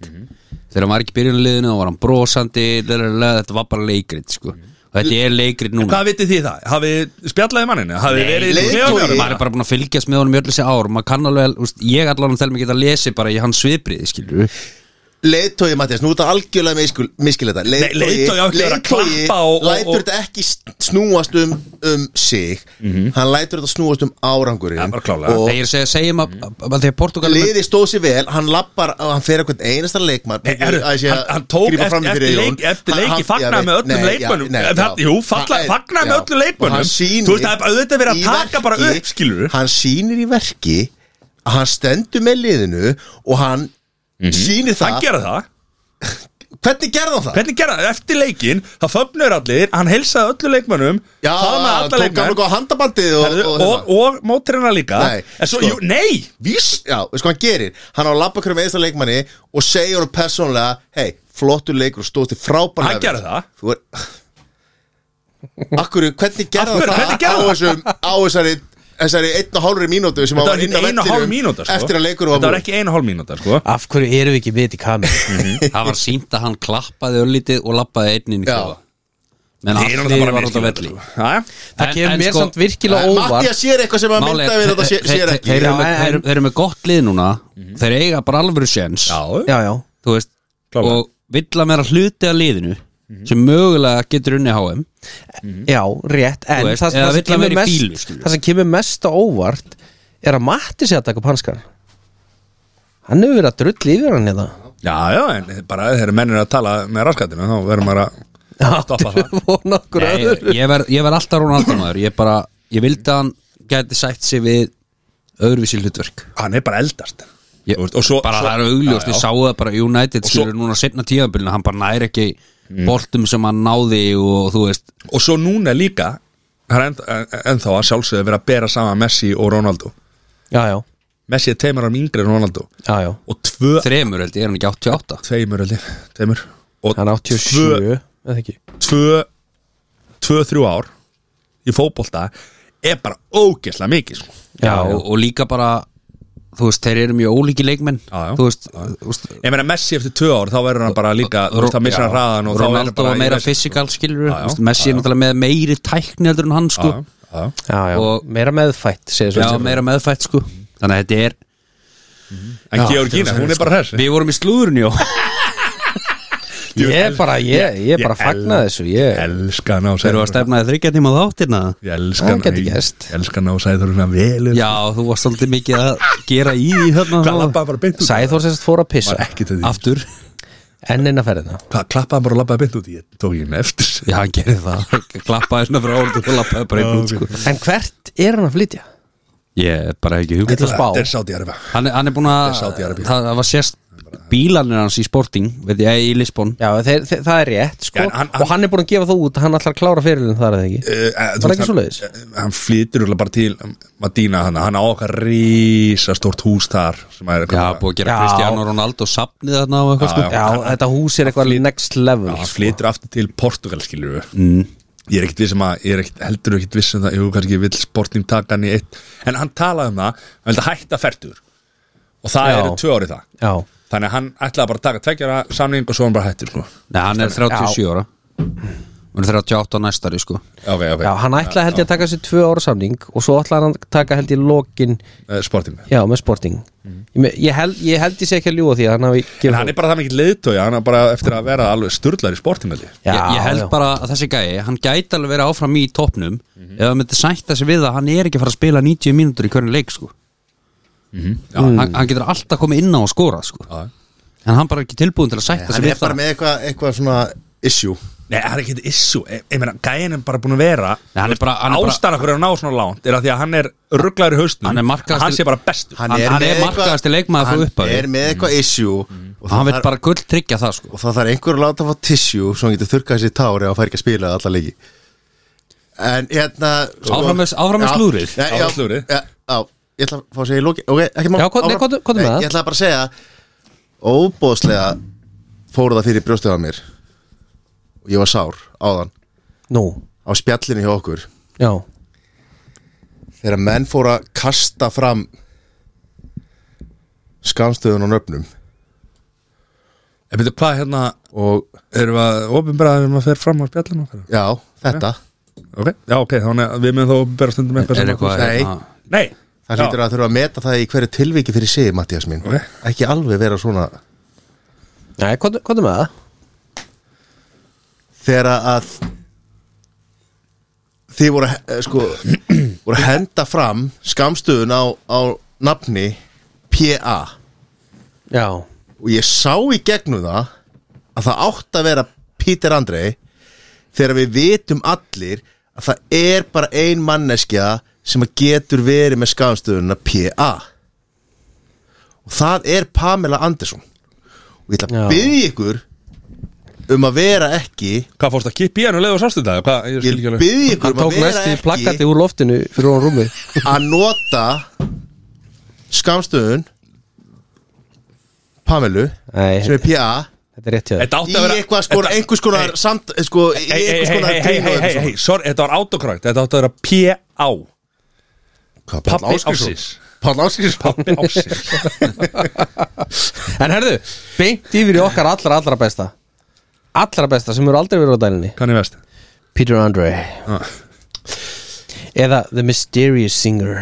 Speaker 3: þegar hann var ekki byrjunarliðinu þá var hann brosandi lalala, þetta var bara leikrit sko. og þetta er leikrit núna
Speaker 4: Mhm. Hvað vitið þið það? Hafið spjallaði manninu? Hafið verið
Speaker 1: leiðtogi.
Speaker 4: klefanum?
Speaker 3: maður er bara búin að fylgjast með honum í öll þessi ár maður kann alveg, úst, ég allan þegar mig geta að lesi bara í hans sviðbrið skilur
Speaker 1: leiðtói Mattias, nú er þetta algjörlega miskul, miskil þetta
Speaker 4: leiðtogi á ekki að vera að klappa og- og-
Speaker 1: lætur þetta ekki snúast um, um sig hann lætur þetta snúast um árangurinn
Speaker 4: Ja, Mhm. bara klárlega.
Speaker 1: og
Speaker 3: þegar ég segja, segjum að,
Speaker 4: Mhm.
Speaker 3: að, að þegar Portugal er með-
Speaker 1: liði stóð sér vel, hann lappar og hann fer eitthvað einasta leikmann
Speaker 4: Nei, herru,
Speaker 1: Að sé
Speaker 4: hann,
Speaker 1: að
Speaker 4: hann tók
Speaker 1: grípa
Speaker 4: eftir,
Speaker 1: fram í
Speaker 4: eftir,
Speaker 1: fyrir Jón.
Speaker 4: leik, eftir
Speaker 1: Hann-
Speaker 4: leiki
Speaker 1: hann-
Speaker 4: fagnaði
Speaker 1: já,
Speaker 4: með
Speaker 1: nei,
Speaker 4: öllum
Speaker 1: já,
Speaker 4: leikmönnum
Speaker 1: nei,
Speaker 4: Eh, það-
Speaker 1: já.
Speaker 4: Jú,
Speaker 1: Hann-
Speaker 4: fagla- fagnaði með
Speaker 1: já.
Speaker 4: öllum
Speaker 1: Og
Speaker 4: leikmönnum
Speaker 1: hann sýnir
Speaker 4: Þú veist, það er auðvitað verið
Speaker 1: í
Speaker 4: að taka bara
Speaker 1: verki-
Speaker 4: upp, skilur
Speaker 1: hann sýnir í verki að hann stendur með liðinu og hann sýnir
Speaker 4: Mhm. Hann
Speaker 1: það
Speaker 4: gera það
Speaker 1: Hvernig gerði hann það?
Speaker 4: Hvernig gerða það? Eftir leikinn, það föfnur allir, hann heilsaði öllu leikmönnum
Speaker 1: Já,
Speaker 4: það með alla
Speaker 1: tók hann
Speaker 4: leikmenn
Speaker 1: eitthvað á handabandið og,
Speaker 4: Herðu,
Speaker 1: og, hérna-
Speaker 4: og,
Speaker 1: og,
Speaker 4: og mótrina líka
Speaker 1: Nei,
Speaker 4: En svo,
Speaker 1: sko.
Speaker 4: jú, nei,
Speaker 1: Vís, já, veist hvað hann gerir Hann á að labba hverju með eðsla leikmanni og segja hann persónulega Hei, flottur leikur og stóðst í frábæra
Speaker 4: Hann gerði það.
Speaker 1: Þú er Akkur, hvernig gerði
Speaker 4: Af
Speaker 1: hann
Speaker 4: hverju, hvernig
Speaker 1: það á,
Speaker 4: gerði hann
Speaker 1: þessum, á þessari Þessari einn og hálfri mínútu sem hann var
Speaker 4: þetta var
Speaker 1: inn
Speaker 4: ekki
Speaker 1: á
Speaker 4: einu og hálf
Speaker 1: vellinum
Speaker 4: mínúta sko.
Speaker 1: Eftir að leikur
Speaker 4: Þetta var
Speaker 1: var búinn.
Speaker 4: ekki einu og hálf mínúta sko.
Speaker 2: Af hverju eru við ekki við í kameru?
Speaker 3: Það var sínt að hann klappaði öllítið og lappaði einnin í
Speaker 1: Já.
Speaker 3: kofa menn
Speaker 4: Þeir eru
Speaker 3: allir
Speaker 4: það bara
Speaker 3: var út á
Speaker 4: misskilja
Speaker 3: velli
Speaker 4: þetta, sko. Jæja.
Speaker 2: Það
Speaker 3: En-
Speaker 2: kemur
Speaker 3: en
Speaker 2: mér
Speaker 3: sko-
Speaker 2: samt virkilega óvart
Speaker 1: Mattias sér eitthvað sem að
Speaker 3: Málið
Speaker 1: mynda
Speaker 3: er-
Speaker 1: við þetta
Speaker 3: þeir-
Speaker 1: sér, sér
Speaker 3: þeir-
Speaker 1: ekki
Speaker 3: Þeir eru
Speaker 2: Já,
Speaker 3: með-
Speaker 2: en- Mhm.
Speaker 3: þeir eru- þeir eru með gott lið núna Þeir eiga bara alvöru séns
Speaker 4: Já,
Speaker 2: Já, já
Speaker 3: þú veist,
Speaker 4: Klárlega.
Speaker 3: og vill að vera hluti af liðinu
Speaker 2: Mhm.
Speaker 3: sem mögulega getur unni HM
Speaker 2: Já, rétt, en
Speaker 3: Þú veist,
Speaker 2: það, það, sem
Speaker 3: eða vill hann
Speaker 2: kemur
Speaker 3: vera í
Speaker 2: mest,
Speaker 3: bílu, skilur.
Speaker 2: það sem kemur mest á óvart er að Matti sé að taka upp hanskan Hann hefur verið að drull yfir hann hérna
Speaker 4: já, já, en bara þegar menn eru að tala með raskatinu þá verður maður að stoppa það
Speaker 2: Áttu von okkur
Speaker 3: Nei,
Speaker 2: öðru
Speaker 3: ég, ég verð ver alltaf Ronaldumaður ég bara, ég vildi að hann gæti sætt sig við öðruvísi hlutverk
Speaker 4: Hann er bara eldast
Speaker 3: ég,
Speaker 4: Þú veist, og svo-
Speaker 3: bara
Speaker 4: svo-
Speaker 3: það er augljóst,
Speaker 4: Já,
Speaker 3: ég
Speaker 4: já.
Speaker 3: sá það bara í United
Speaker 4: svo- Mm.
Speaker 3: skilur núna setna tíðanbylun hann bara næri ekki boltum sem hann náði og þú veist,
Speaker 4: Og svo núna líka Það er enn- ennþá að sjálfsögðu verið að bera saman Messi og Ronaldo
Speaker 2: Já, já,
Speaker 4: Messi er teimur árum yngri en Ronaldo
Speaker 2: já, já
Speaker 4: og tvö
Speaker 3: þremur held ég, er hann ekki 88
Speaker 4: tveimur, held ég, tveimur og
Speaker 2: Hann er
Speaker 4: tvö,
Speaker 2: 87, eða ekki
Speaker 4: tvö, tvö, þrjú ár í fótbolta er bara ógeðslega mikið sko.
Speaker 3: já,
Speaker 2: já.
Speaker 3: Og, og líka bara þú veist, þeir eru mjög ólíki leikmenn
Speaker 4: Já, já.
Speaker 3: þú veist, þú veist
Speaker 4: ég meina Messi eftir tvö ár þá verður hann bara líka þú veist það missir hann hraðan og þá er hann
Speaker 3: Ronaldo
Speaker 4: bara
Speaker 3: var
Speaker 4: í
Speaker 3: meira
Speaker 4: vesen,
Speaker 3: fysikal skilur
Speaker 4: Já, já.
Speaker 3: Messi er náttúrulega með meiri tækni heldur en hann
Speaker 4: sko.
Speaker 3: sko
Speaker 4: Já, já, já.
Speaker 2: Já, já,
Speaker 3: Og-
Speaker 2: meira meðfætt segir svo
Speaker 3: Já,
Speaker 2: sem.
Speaker 3: meira meðfætt sko
Speaker 4: Mm.
Speaker 3: Þannig að þetta er
Speaker 4: en
Speaker 3: Já, þetta
Speaker 4: Georgina
Speaker 3: var
Speaker 4: hún er
Speaker 3: svo-
Speaker 4: bara hess
Speaker 3: Við vorum í slúðurinn jó
Speaker 2: Ég bara, ég, ég bara
Speaker 4: ég
Speaker 2: fagna
Speaker 4: el-
Speaker 2: þessu Ég
Speaker 4: elska hann á
Speaker 3: Þeir eru að
Speaker 4: Sæður.
Speaker 3: stefna þér þryggja tíma þáttirna
Speaker 4: Ég elska
Speaker 2: Það
Speaker 4: hann
Speaker 2: gæti
Speaker 4: ég-
Speaker 2: gerst.
Speaker 4: ég elska hann á Sæður svona vel
Speaker 3: Já, þú varst svolítið mikið að gera í því þarna
Speaker 4: klappaði bara beint út
Speaker 2: Sæþór sérst fór að pissa
Speaker 4: var ekki til því
Speaker 3: Aftur
Speaker 2: Enn inn að ferðina
Speaker 4: hvað klappaði bara og lappaði beint út ég tók ég henni eftir
Speaker 3: Já, hann gerði það Klappaði svona frá orðu og lappaði bara einn út sko
Speaker 2: En hvert er hann að flytja?
Speaker 3: Ég er bara ekki hugmynd
Speaker 2: ætla að spá.
Speaker 4: þetta er sátt í arfa
Speaker 3: Hann, er- hann er búin að
Speaker 4: Sádi-Arabíu.
Speaker 3: Það var sérst bílanir hans í Sporting Veit ég, í Lisbon
Speaker 2: Já, þeir, þeir, það er rétt sko.
Speaker 4: Já, en hann-
Speaker 2: Og hann er búin að gefa það út Hann ætlar að klára fyrirlin þar eða ekki
Speaker 4: Eh, eh, þú
Speaker 2: Var
Speaker 4: veist,
Speaker 2: ekki svoleiðis?
Speaker 4: hann- hann flytur örugglega bara til Madina hann, hann á okkar risastórt hús þar sem að er
Speaker 3: Já, búið að gera
Speaker 2: Já.
Speaker 3: Cristiano Ronaldo Sapnið þarna og eitthvað
Speaker 4: Já,
Speaker 3: sko
Speaker 2: Já, þetta hús er eitthvað next level
Speaker 4: hann
Speaker 2: sko.
Speaker 4: flytur aftur til Portugal skilur við mm. ég er ekkit viss um að ég er ekkit, heldur ekkit viss um það jú, kannski vill sporting taka hann í eitt en hann talaði um það, hann vildi hætta færtur og það
Speaker 2: Já.
Speaker 4: eru tvö árið það
Speaker 2: Já,
Speaker 4: þannig að hann ætlaði bara að taka tveggjara samning og svo hann bara hættur sko.
Speaker 3: Nei, hann er 37 ára Hann er 38 á næstari sko
Speaker 4: ok, ok,
Speaker 2: já hann ætlaði held ég að taka sér tvö ára samning Og svo ætlaði hann að taka held ég lokin
Speaker 4: Eh, sporting
Speaker 2: Já, með sporting Ég me- Ég held ég, held ég sé ekki að ljúa því að Mm. hann hafi
Speaker 4: en hann er bara það mikið leiðtói hann er bara eftir að vera alveg sturlar í sporting held ég.
Speaker 2: já,
Speaker 3: ég, ég held
Speaker 2: já.
Speaker 3: bara að þessi gæi Hann gæti alveg verið áfram í topnum Ef hann myndi sætta sig við að hann er ekki að fara að spila 90 mínútur í hvernig leik sko mm. hann, hann getur alltaf komið inn á að skora sko
Speaker 4: Já.
Speaker 3: En hann bara er ekki tilbúin til að sætta sig
Speaker 1: Hann er
Speaker 3: við
Speaker 1: bara
Speaker 3: það
Speaker 1: með eitthvað eitthvað svona issue
Speaker 4: Nei, það er ekki eitthvað issu Ég ég meina, gæin er bara búin að vera
Speaker 3: Nei, hann er bara- hann er bara-
Speaker 4: Ástæðan okkur er að ná svona lánt Er að því að hann er rugglaður í hausnum
Speaker 3: Hann er markaðastur-
Speaker 4: að Hann sé bara bestur
Speaker 3: Hann- hann
Speaker 1: með
Speaker 3: er
Speaker 1: eitthvað-
Speaker 3: markaðasti leikmaður frá
Speaker 1: Hann
Speaker 3: upphafi.
Speaker 1: er með
Speaker 4: Mm.
Speaker 1: eitthvað issue og
Speaker 3: Hann
Speaker 1: það
Speaker 3: veit
Speaker 1: þarf-
Speaker 3: bara gull tryggja það sko
Speaker 1: og það þarf einhver að láta að fá tissue svo hann getur þurkað sér tári og fær ekki að spila alla leiki en hérna
Speaker 3: Áfram með- áfram með
Speaker 1: Já,
Speaker 3: slúðrið.
Speaker 1: já,
Speaker 4: Áfram
Speaker 1: já,
Speaker 4: með slúðrið.
Speaker 1: já, já, ég ætla að fá að segja í loki ok, ekki mál
Speaker 2: Já, hvað- nei,
Speaker 1: áfram.
Speaker 2: hvað- hvað er með það?
Speaker 1: ég ætla bara að segja óbóðslega fóru það fyrir brjóstuð á mér og ég var sár áðan
Speaker 2: Nú,
Speaker 1: á spjallinu hjá okkur
Speaker 2: já
Speaker 1: þegar menn fóru að kasta fram skamstöðun og nöfnum
Speaker 4: Ég veit, hvað hérna
Speaker 1: og
Speaker 4: Erum við að opinbera Erum við að fer fram á spjallinu okkar?
Speaker 1: já, þetta
Speaker 4: Ok, já, ok, þannig að við munum þá opinbera stundum eitthvað
Speaker 3: Er
Speaker 4: sem-
Speaker 3: eitthvað
Speaker 1: Nei.
Speaker 3: hérna-
Speaker 4: Nei
Speaker 1: Það hlýtur að þurfa að meta það í hverju tilviki fyrir sig, Mattias mín
Speaker 4: Ok.
Speaker 1: Ekki alveg vera svona
Speaker 2: Nei, hvað, hvað er með það?
Speaker 1: Þegar að Þið voru, eh, sko, voru að henda fram skamstöðun á, á nafni PA
Speaker 2: Já,
Speaker 1: Og ég sá í gegnum það Að það átt að vera Peter Andrei Þegar við vitum allir Að það er bara ein manneskja Sem að getur verið með skamstöðuna PA Og það er Pamela Andersson og ég ætla
Speaker 2: Já.
Speaker 1: að byggja ykkur um að vera ekki
Speaker 4: Hvað fórst að kippa í hennu leið og sástu þetta? Hvað, ég skil
Speaker 1: Ég
Speaker 4: ekki alveg
Speaker 1: byrði ykkur
Speaker 2: Hann
Speaker 1: um
Speaker 2: tók
Speaker 1: að vera
Speaker 2: næstu í
Speaker 1: ekki
Speaker 2: plakati úr loftinu fyrir hún rúmi
Speaker 1: að nota skamstöðun Pamelu
Speaker 2: Nei,
Speaker 1: sem er PA
Speaker 2: þetta er rétt hjá þér
Speaker 4: Þetta
Speaker 1: í
Speaker 4: átti að vera
Speaker 1: eitthvað skor,
Speaker 4: Þetta-
Speaker 1: einhvers konar samt, sko, í
Speaker 4: Hei, hei,
Speaker 1: einhvers
Speaker 4: hei,
Speaker 1: konar grín
Speaker 4: hei, hei,
Speaker 1: og
Speaker 4: hei,
Speaker 1: eitthvað
Speaker 4: hei,
Speaker 1: svona.
Speaker 4: sorry, þetta var autokrakt Þetta átti að vera P.A.
Speaker 1: Hvað,
Speaker 4: Pabbi
Speaker 1: Páll Ásgeirsson?
Speaker 4: ársins.
Speaker 1: Páll Áskilsson
Speaker 4: Pabbi ásins
Speaker 2: En herðu, beint yfir í okkar allra allra besta Allra besta sem eru aldrei verið á dælinni
Speaker 4: Kanni vest
Speaker 2: Peter Andre
Speaker 4: Ah.
Speaker 2: Eða The Mysterious Singer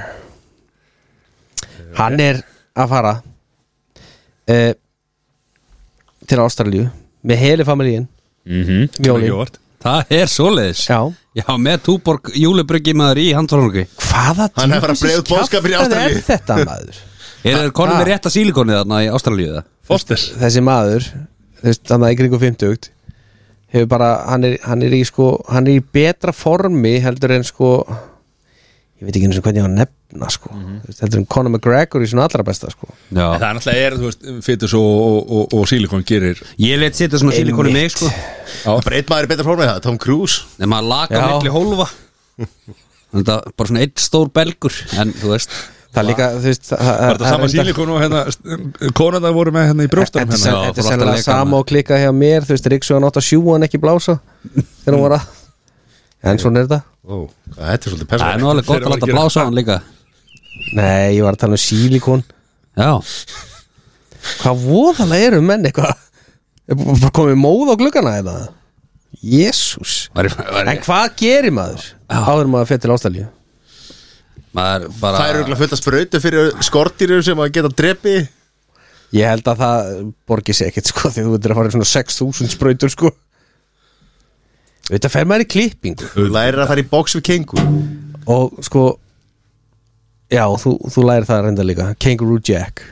Speaker 2: Hann er að fara uh, Til Ástralíu Með heli familíin Mjólin.
Speaker 3: Það er svoleiðis
Speaker 2: Já
Speaker 3: Já, með túborg júlubryggi maður í handfólungi
Speaker 2: Hvaða
Speaker 1: Hann er að fara að
Speaker 2: djöfulsins
Speaker 1: breiða út boðskap fyrir
Speaker 2: kjaftaði
Speaker 1: Ástralíu.
Speaker 2: er þetta maður?
Speaker 3: Er það konum
Speaker 2: Ah.
Speaker 3: með rétta sílikonið þarna í Ástralíu það?
Speaker 4: Foster
Speaker 2: Þessi maður þú veist, Þannig að ykkur ykkur 50 hefur bara, hann er, hann er í sko hann er í betra formi heldur en sko ég veit ekki einu sinni hvernig ég á að nefna sko Þú veist, heldur en Conor McGregor í svona allra besta sko
Speaker 4: En Það
Speaker 3: Já
Speaker 4: er náttúrulega er, þú veist, fytus og, og, og, og sílikon gerir
Speaker 3: Ég let setja svona sílikonið mig sko
Speaker 1: Bara einn maður er betra fór með það, Tom Cruise
Speaker 3: Nei, maður laka
Speaker 2: Já.
Speaker 3: milli hólfa Þetta er bara svona eitt stór belgur En þú veist
Speaker 2: Það er líka, þú veist það-
Speaker 4: Var þetta
Speaker 2: það
Speaker 4: sama
Speaker 2: reyndar-
Speaker 4: sílikon og hérna Konanda voru með hérna í brjóstum
Speaker 2: Þetta er sen-
Speaker 4: hérna
Speaker 3: Já,
Speaker 2: þetta er
Speaker 3: fór alltaf að
Speaker 2: sennilega
Speaker 3: leika
Speaker 2: sama
Speaker 3: hana.
Speaker 2: og klika hjá mér Þú veist, Ríksugan átt að sjú hann ekki blása Þegar hún var að En svona er þetta
Speaker 1: Ó, hvað, Þetta er svolítið
Speaker 3: Það er
Speaker 1: persónlega
Speaker 3: nú alveg gott að
Speaker 4: Þeir voru
Speaker 3: láta
Speaker 4: að gera
Speaker 3: blása á hann líka
Speaker 2: Nei, ég var að tala um sílikon
Speaker 3: Já
Speaker 2: Hvað voðalega eru menn eitthvað Er bú- Bara komið móð á gluggana eða Jésús
Speaker 3: var, var,
Speaker 2: En hvað gerir maður? Áður en maður fyrir til ástælju
Speaker 3: Maður bara
Speaker 1: Það er auðvitað fullt að sprautu fyrir skortýrum sem að geta drepi
Speaker 2: Ég held að það borgi sig ekkert sko Því þú veitir að fara í svona 6000 sprautur sko Þetta fer maður í klippingu
Speaker 1: Lærir að fara í box við kengu
Speaker 2: Og sko Já, þú, þú lærir það reynda líka Kangaroo Jack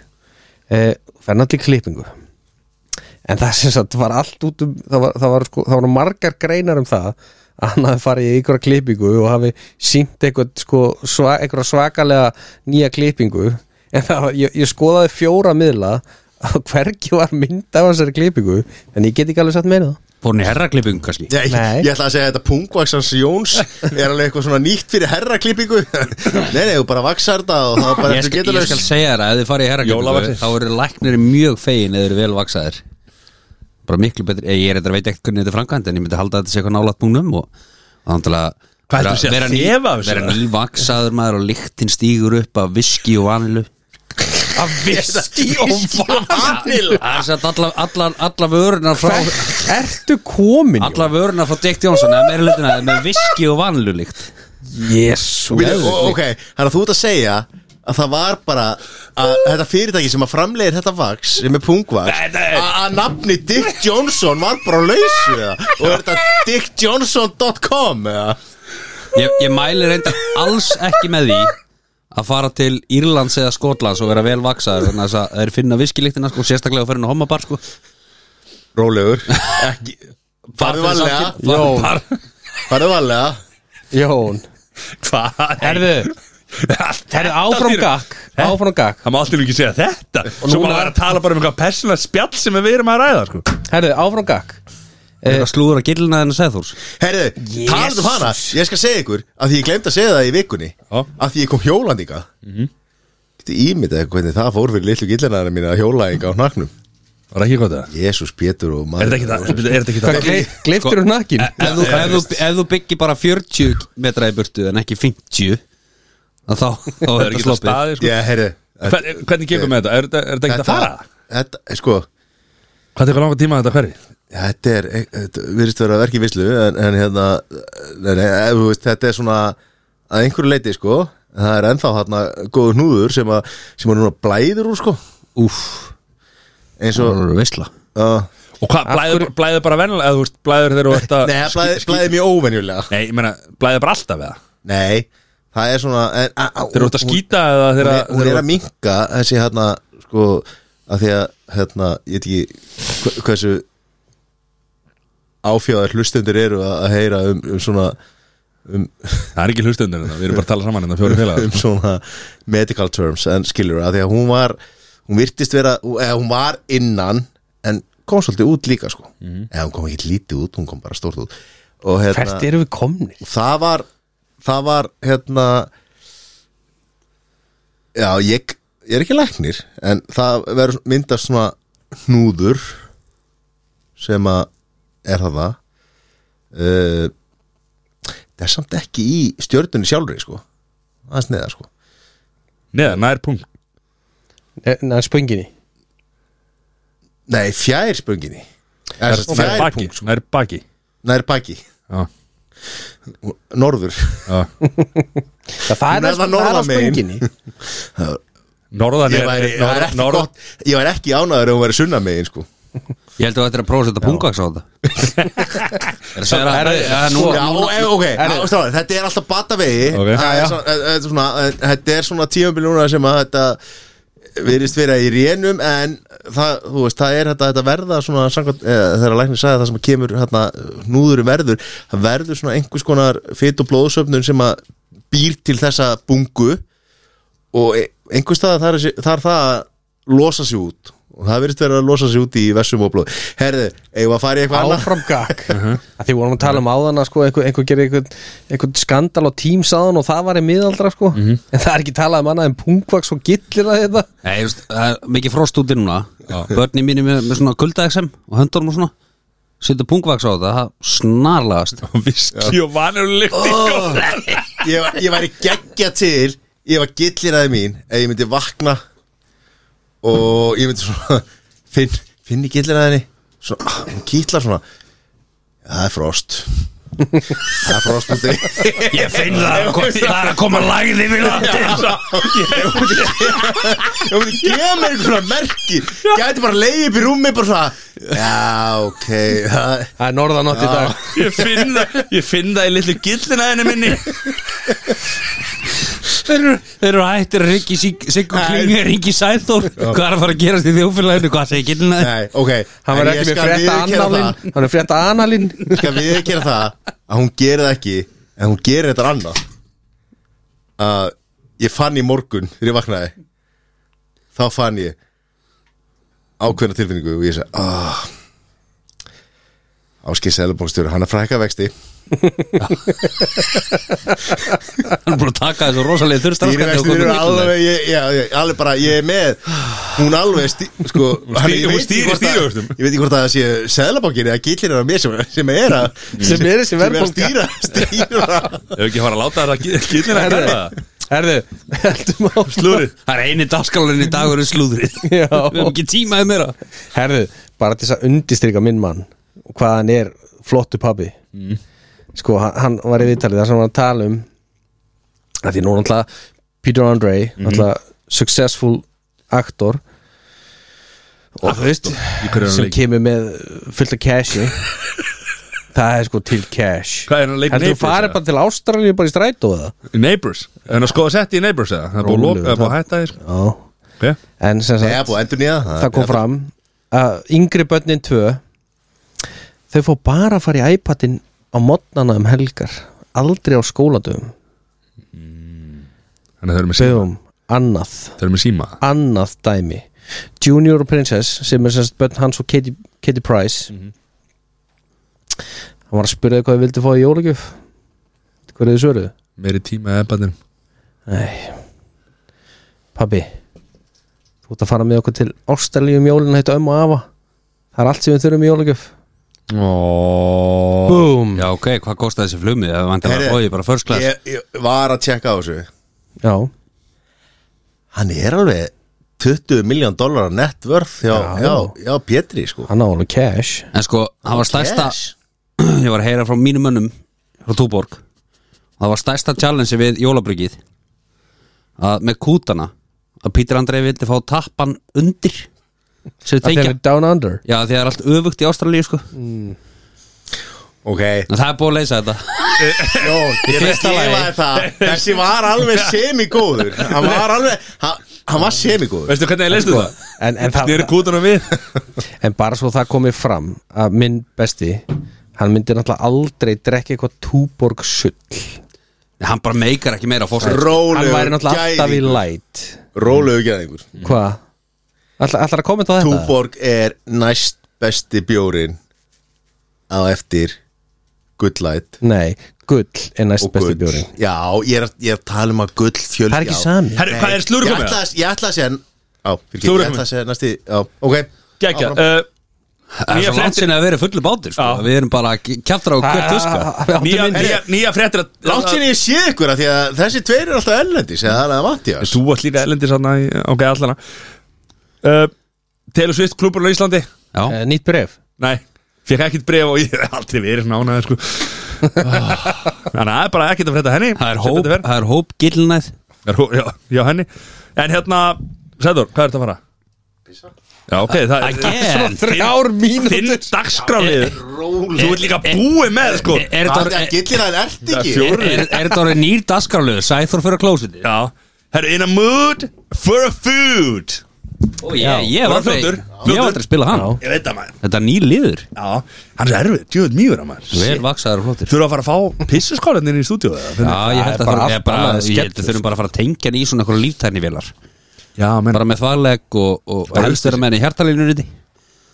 Speaker 2: eh, Fer náttúrulega í klippingu En það sem sagt var allt út um Það, var, það, var, sko, það var margar greinar um það að hann hafi farið í einhverja klippingu og hafi sínt eitthvað sko, sva, einhverja svakalega nýja klippingu en það, var- ég, ég skoðaði fjóra miðla að hvergi var mynd af þessari klippingu en ég get ekki alveg satt meina það
Speaker 3: Fór hann í herraklippingu kannski
Speaker 1: Ég,
Speaker 2: Nei.
Speaker 1: ég ætla að segja að þetta pungvaksans Jóns er alveg eitthvað svona nýtt fyrir herraklippingu Nei, nei, þú bara vaksar þetta og það er bara
Speaker 3: Ég
Speaker 1: eftir
Speaker 3: skal, ég skal
Speaker 1: geturlaus
Speaker 3: segja þér að ef þið farið í herraklippingu
Speaker 4: Jólavaxið.
Speaker 3: Þá eru læknir mjög fegin eða eru vel vaksaðir Bara miklu betri eh, Ég er þetta veit ekkert hvernig þetta er framkvæmt En ég myndi halda að þetta sé eitthvað nálaðt múnum Og þannig að
Speaker 4: Hvað heldur þú sé að
Speaker 3: vera ný-
Speaker 4: þefa af þessu?
Speaker 3: Vera nývaksaður maður og lyktin stígur upp af viski og vanilu
Speaker 2: Að viski og vanil
Speaker 3: Það er satt alla, alla, alla vörunar frá
Speaker 2: Ertu komin?
Speaker 3: Alla vörunar frá Dick Johnson eða meira hlutina er með viski og vanilu lykt
Speaker 2: Jésu
Speaker 1: Býtu, ó- Ok, þannig að þú ert að segja að það var bara að þetta fyrirtæki sem að framlegir þetta vaks sem er pungvaks
Speaker 4: nei.
Speaker 1: að að nafni Dick Johnson var bara á lausu eða? og er þetta dickjohnson.com eða?
Speaker 3: Ég, ég mæli reyndar alls ekki með því að fara til Írlands eða Skotlands og vera vel vaksaður þannig að það er finna viskilíktina sko, sérstaklega að fara inn á homabar sko.
Speaker 1: Rólegur Ekki- Farðu varlega
Speaker 3: Jón
Speaker 1: Farðu varlega
Speaker 2: Jón
Speaker 4: Hvað?
Speaker 2: Herðu, herðu áfram gakk
Speaker 4: Hæ?
Speaker 2: Áfram gakk
Speaker 4: Það má alltaf ekki segja þetta Svo
Speaker 2: núna-
Speaker 4: maður er að tala bara um eitthvað persónlega spjall sem við erum að ræða sko.
Speaker 2: Herðu, áfram gakk
Speaker 3: Það slúður að gillina þennan Sæðþórs
Speaker 1: Herðu,
Speaker 2: Jesus.
Speaker 1: talaðu um hana Ég skal segja ykkur að því ég glemt að segja það í vikunni
Speaker 4: Já. Mhm.
Speaker 1: að því ég kom hjólandinga mm Getið ímyndað hvernig það fór fyrir litlu gillinaðina mína að hjólaðinga á naknum
Speaker 4: Var ekki gott það?
Speaker 1: Jésús, Pétur og
Speaker 4: Er
Speaker 1: maður
Speaker 4: þetta ekki það? Er þetta ekki það?
Speaker 2: Gleiftur hún nakkin
Speaker 3: Sko, e- ef, þú- ef, þú- ef þú byggir bara 40 metra í burtu en ekki 50 að þá, þá
Speaker 4: Það
Speaker 3: er
Speaker 4: er
Speaker 3: þetta
Speaker 4: ekki það
Speaker 3: sloppið
Speaker 4: staði sko.
Speaker 1: Já, herðu
Speaker 4: Hvern- Hvernig gekum við þetta? Er þetta- er þetta ekki að fara?
Speaker 1: Þetta, sko
Speaker 4: Hvað tekur langa tíma þetta hverfi?
Speaker 1: Þetta er, eh, þetta virðist vera verki vislu en, en hérna, nei, nei, ef þú veist, þetta er svona að einhverju leiti, sko það er ennþá hérna góður hnúður sem að, sem að núna blæður úr, sko
Speaker 3: Úf,
Speaker 1: eins
Speaker 3: það
Speaker 1: og,
Speaker 3: voru veisla
Speaker 1: uh,
Speaker 4: Og hvað, blæður, blæður bara vennilega eða þú veist, blæður þegar þú ert að
Speaker 1: nei, það blæðir blæði mjög óvenjulega
Speaker 4: Nei, ég meina, blæður bara alltaf eða
Speaker 1: Nei, það er svona en, a, a,
Speaker 4: Þegar þú ert að skýta eða
Speaker 1: hún,
Speaker 4: þegar
Speaker 1: er- hún er að minka þessi hérna, sko að því að, hérna, ég veit ekki hva- hversu áfjáðar hlustundur eru að, að heyra um, um svona
Speaker 4: Það er ekki hlustundur þetta, við erum bara að tala saman en það fjóri félagar
Speaker 1: um svona medical terms en skilur að því að hún var hún virtist vera, eða hún var innan en kom svolítið út líka sko eða hún kom ekki lítið út, hún kom bara stórt út og hérna,
Speaker 2: Hvert eru við komnir?
Speaker 1: það var það var hérna já, ég ég er ekki læknir, en það verður myndast svona hnúður sem að er það það uh, það er samt ekki í stjörnunni sjálfri sko aðeins neða sko
Speaker 4: Neða, nær punkt
Speaker 2: Nei, spönginni
Speaker 1: Nei, fjær spönginni Eða sem sagt,
Speaker 4: Nær
Speaker 1: Fjær
Speaker 4: baki,
Speaker 1: punkt, sko?
Speaker 4: nær baki
Speaker 1: nær baki
Speaker 4: Já,
Speaker 1: Norður
Speaker 4: já
Speaker 1: Hún er það
Speaker 2: Það, það er það það er á
Speaker 1: norðan megin.
Speaker 2: spönginni
Speaker 4: Norðan
Speaker 1: Ég
Speaker 4: er,
Speaker 1: væri, ég væri
Speaker 4: norð,
Speaker 1: ekki,
Speaker 4: norð,
Speaker 1: gott, ég væri ekki ánæður ef hún væri sunna megin sko
Speaker 3: Ég held að þetta er að prófa að setja pungvaks á þetta Er að segja að-
Speaker 2: Herðu,
Speaker 3: að nú-
Speaker 1: Já,
Speaker 3: nú-
Speaker 1: e, ok, á, stráði, þetta er alltaf batavegi
Speaker 4: Ok.
Speaker 1: Það er svona- eh, þetta er svona- Þetta er svona tíumbil núna sem að þetta virðist vera í rénum en það, þú veist, það er þetta, þetta verða svona, samkvæmt, eða, þegar læknir sagði það sem kemur hérna, núðurum verður það verður svona einhvers konar fit og blóðsöfnun sem að býr til þessa bungu og e- einhvers staðar þar, er sé- þar það að losa sig út og það virðist vera að losa sig út í vessum og blóð Herðu, eigum við að fara í eitthvað annað?
Speaker 2: áfram gag að því vorum að tala um áðana sko, einhver, einhver gerði einhvern einhver skandal á Teams áðan og það var í miðaldra sko. en það er ekki talað um annað en pungvaks og gillir hérna. að þetta
Speaker 3: Nei, þú veist, það er mikið frost úti núna Börni mínu með, með svona kuldaexem og höndunum og svona Setja pungvaks á þetta, það snarlegast
Speaker 4: viski og vanurlykt oh.
Speaker 1: ég, var- ég væri geggja til ég var gilliraði mín ef ég myndi vakna og ég myndi svona finn, finn í gilliraðinni svona, ah, hún kýtlar svona það er frost það er frost úti
Speaker 3: Ég finn það, það er að koma lagði við landi
Speaker 1: ég myndi gefa mér einhvern svona merki gæti bara leið upp í rúmi bara svona já, ok það,
Speaker 2: það er norðanátt í dag
Speaker 4: Ég finn það, ég finn það í litlu gillina henni minni
Speaker 3: Þeir eru, þeir eru hættir að ringi Siggu Klingi, ringi Sæþór Hvað er að fara að gerast í þjófélaginu, hvað segir gillina þér?
Speaker 1: nei, ok
Speaker 2: hann var
Speaker 1: En ég
Speaker 2: ekki með
Speaker 1: skal
Speaker 2: frétta
Speaker 1: viðurkenna það.
Speaker 2: analinn hann er frétta analinn
Speaker 1: skal við ekki gera það að hún gerir það ekki en hún gerir þetta annað að ég fann í morgun þegar ég vaknaði þá fann ég ákveðna tilfinningu og ég sagði ah, Áskei Selbókstjóri, hann er frækka vexti
Speaker 3: Hann er búin að taka þessu rosalega þurrstafskandi
Speaker 1: Stýrivextir eru alveg, ég, já, ég, alveg bara, ég er með Hún alveg, stí, sko hann- ég
Speaker 4: hún
Speaker 1: veit ekki
Speaker 4: stýrir
Speaker 1: hvort að-
Speaker 4: stýrivöxtum.
Speaker 1: Ég veit ekki hvort að það sé Selbókstjóri eða gillir er á mér sem, sem er að
Speaker 2: Sem er þessi
Speaker 1: sem er að
Speaker 2: verðbólga.
Speaker 1: stýra, stýra
Speaker 4: Ef ekki fara að láta þetta gillina hérna. að gera það
Speaker 2: herðu, herðu heldum á
Speaker 4: Slúri
Speaker 3: Það er eini dagskálarinn í dagur er slúðrið Við
Speaker 2: Já.
Speaker 3: hefum ekki tímaði meira
Speaker 2: herðu, bara til þess að undistrika minn mann og hvað hann er flottu pabbi
Speaker 4: Mm.
Speaker 2: sko, hann, hann var í viðtalið þar sem hann var að tala um að því nú er náttúrulega Peter Andre
Speaker 4: Mhm.
Speaker 2: náttúrulega successful actor og þú veist
Speaker 4: hverju er hann
Speaker 2: sem
Speaker 4: leikið?
Speaker 2: kemur með fullt af cashi það er sko til cash
Speaker 4: Hvað er hann að leika
Speaker 2: heldur þú
Speaker 4: Naples,
Speaker 2: farið
Speaker 4: eða?
Speaker 2: bara til Ástralíu bara í strætó eða
Speaker 4: Neighbours Er hann að skoða setti í Neighbours eða? Það er búið að loka- það er búið að hætta því sko.
Speaker 2: Já.
Speaker 4: okay.
Speaker 2: en sem
Speaker 1: Nei, það er
Speaker 2: sagt
Speaker 1: búið að endur nýja
Speaker 2: það kom fram að yngri börnin tvö þau fór bara að fara í iPadin á modnana um helgar aldrei á skóladöfum
Speaker 4: Þannig að þau eru með síma
Speaker 2: döfum annað
Speaker 4: Þau eru með síma
Speaker 2: annað dæmi Junior og Princess sem er semst börn hans og Katie, Katie Price hann var að spyrja þau hvað þau vildi fá í jólagjöf hvað er þau svöruðu?
Speaker 4: Meiri tíma eða bannin
Speaker 2: Nei Pabbi Þú ert að fara með okkur til Ástælíu um jólinu Heitt ömmu og afa Það er allt sem við þurfum í jólagjöf
Speaker 4: oh.
Speaker 2: Búm
Speaker 3: Já, ok, hvað kostaði þessi flumi? Það var
Speaker 1: Heyrðu,
Speaker 3: vantilega bóið bara first class
Speaker 1: ég, ég var að tjekka á þessu
Speaker 2: Já
Speaker 1: Hann er alveg 20 miljón dólar nett vörð hjá,
Speaker 2: Já.
Speaker 1: já, já, Pétri sko
Speaker 2: Hann á alveg cash
Speaker 3: En sko, hann var stærsta
Speaker 1: Yes.
Speaker 3: Ég var að heyra frá mínum mönnum frá Túborg Það var stærsta challenge við jólabryggið að með kútana að Pítur Andrei vildi fá tappan undir sem
Speaker 2: Það
Speaker 3: þeikja
Speaker 2: er down under
Speaker 3: Já, því það er allt öfugt í Ástralíu sko En
Speaker 1: Ok,
Speaker 3: það er búið að leysa þetta
Speaker 1: Jó, ég
Speaker 3: fyrsta
Speaker 1: gefa
Speaker 3: lagi.
Speaker 1: þér það Þessi var alveg semigóður Hann var alveg, hann, hann var semigóður
Speaker 4: Veistu hvernig ég
Speaker 1: Sko,
Speaker 4: leistu það?
Speaker 2: En, en,
Speaker 4: Snýri
Speaker 2: það,
Speaker 4: kútunum við
Speaker 2: en bara svo það komið fram Að minn besti Hann myndi náttúrulega aldrei drekka eitthvað túborg sull
Speaker 3: Hann bara meikar ekki meira fórst
Speaker 2: Hann væri
Speaker 1: Rólegur
Speaker 2: náttúrulega alltaf í
Speaker 1: gæðingur
Speaker 2: light
Speaker 1: Rólegur gæðingur
Speaker 2: Hvað? Ætlar að kommenta á þetta?
Speaker 1: Túborg er næst besti bjórin á eftir Good Light
Speaker 2: Nei, gull er næst
Speaker 1: og
Speaker 2: besti
Speaker 1: gull.
Speaker 2: bjórin
Speaker 1: Já, ég er, ég er að tala um að gull fjöl
Speaker 2: Það er ekki sami.
Speaker 4: Herru, hvað er slurkum
Speaker 1: Ég
Speaker 4: með
Speaker 1: ætla
Speaker 4: það?
Speaker 1: að- ég ætla að segja á, fyrir, Ég
Speaker 4: Slúðurinn
Speaker 1: ætla
Speaker 4: komið.
Speaker 1: að segja næsti Já, ok
Speaker 4: Gækja
Speaker 1: Áfram.
Speaker 3: Það er
Speaker 4: Eh, Nýja
Speaker 3: svo langt
Speaker 4: fréttir
Speaker 3: sinni að vera fullu bátur sko.
Speaker 4: Já.
Speaker 3: Við erum bara að kjaftra á hvert tuska
Speaker 4: Nýja, nýja, nýja fréttir að-
Speaker 1: Látt sinni ég sé ykkur að því að þessi tveir eru alltaf ellendis eða það er að Mattias
Speaker 4: Þú varst líka ellendi sann að Ok, allana uh, Taylor Swift klubur á Íslandi
Speaker 3: Já,
Speaker 2: Eh, Nýtt bref
Speaker 4: Nei, fekk ekkit bref og ég hef aldrei verið svona ánæður sko Þannig að það er bara ekkit að frétta henni
Speaker 3: það er
Speaker 4: Sem
Speaker 3: hóp,
Speaker 4: betur fer.
Speaker 3: það er hóp gillnæð
Speaker 4: Það er hó- Já, já, henni En hérna, Sæður, hvað ertu að fara? Já, ok, það
Speaker 3: Again
Speaker 2: Þrjár
Speaker 4: Þinn
Speaker 2: mínútur
Speaker 4: dagskráfið Þú ert líka búið með sko
Speaker 3: Er- Er
Speaker 1: Það er
Speaker 3: þetta
Speaker 1: að gillir að það er ekki
Speaker 4: Fjórir.
Speaker 3: er- er þetta orðið nýr dagskrálöður? Sæþór fyrir að klósa þetta
Speaker 4: Já Herru, in a mood for a food
Speaker 3: Ég hef
Speaker 4: Bara
Speaker 3: aldrei,
Speaker 4: fljótur.
Speaker 3: ég hef aldrei spilað hann
Speaker 4: Ég veit það maður
Speaker 3: Þetta er nýr liður
Speaker 4: Já, hann er svo erfið, djöðum mýgur að maður
Speaker 3: Vel vaksaður og flottir
Speaker 4: Þurfa að fara að fá pissuskólinni inn í stúdíu
Speaker 3: Já, ég held
Speaker 2: Það er
Speaker 3: að
Speaker 2: bara
Speaker 3: það er
Speaker 2: allt
Speaker 3: bara
Speaker 2: annað en
Speaker 3: Ég held
Speaker 2: skellur,
Speaker 3: að þurfum bara að fara að tengja hann í svona eitthvað líftækni vélar
Speaker 4: já menn,
Speaker 3: Bara með þvaleg og, og, og
Speaker 4: Bara
Speaker 3: helst vera með henni hjartalínu riti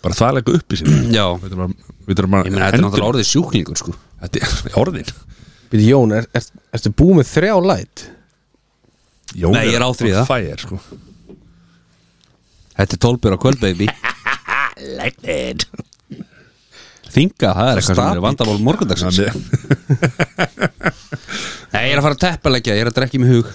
Speaker 4: bara þvælega upp í sinni
Speaker 3: Já,
Speaker 4: Við þurfum að- við þurfum að
Speaker 3: ég meina þetta er náttúrulega orðið sjúklingur sko
Speaker 4: Þetta er orðin
Speaker 2: Býtu, Jón, er, er, ertu búið með þrjá læt?
Speaker 4: Jón
Speaker 3: Nei, ég er á því það.
Speaker 4: Fæir, sko
Speaker 3: Þetta er tólbjör á kvöld, baby
Speaker 4: Lightning
Speaker 3: Þinga, það er eitthvað sem
Speaker 2: Stabil.
Speaker 3: er vandamál morgundagsins
Speaker 4: Þannig
Speaker 3: Nei, ég er að fara að teppalegja, ég er að drekja í mig hug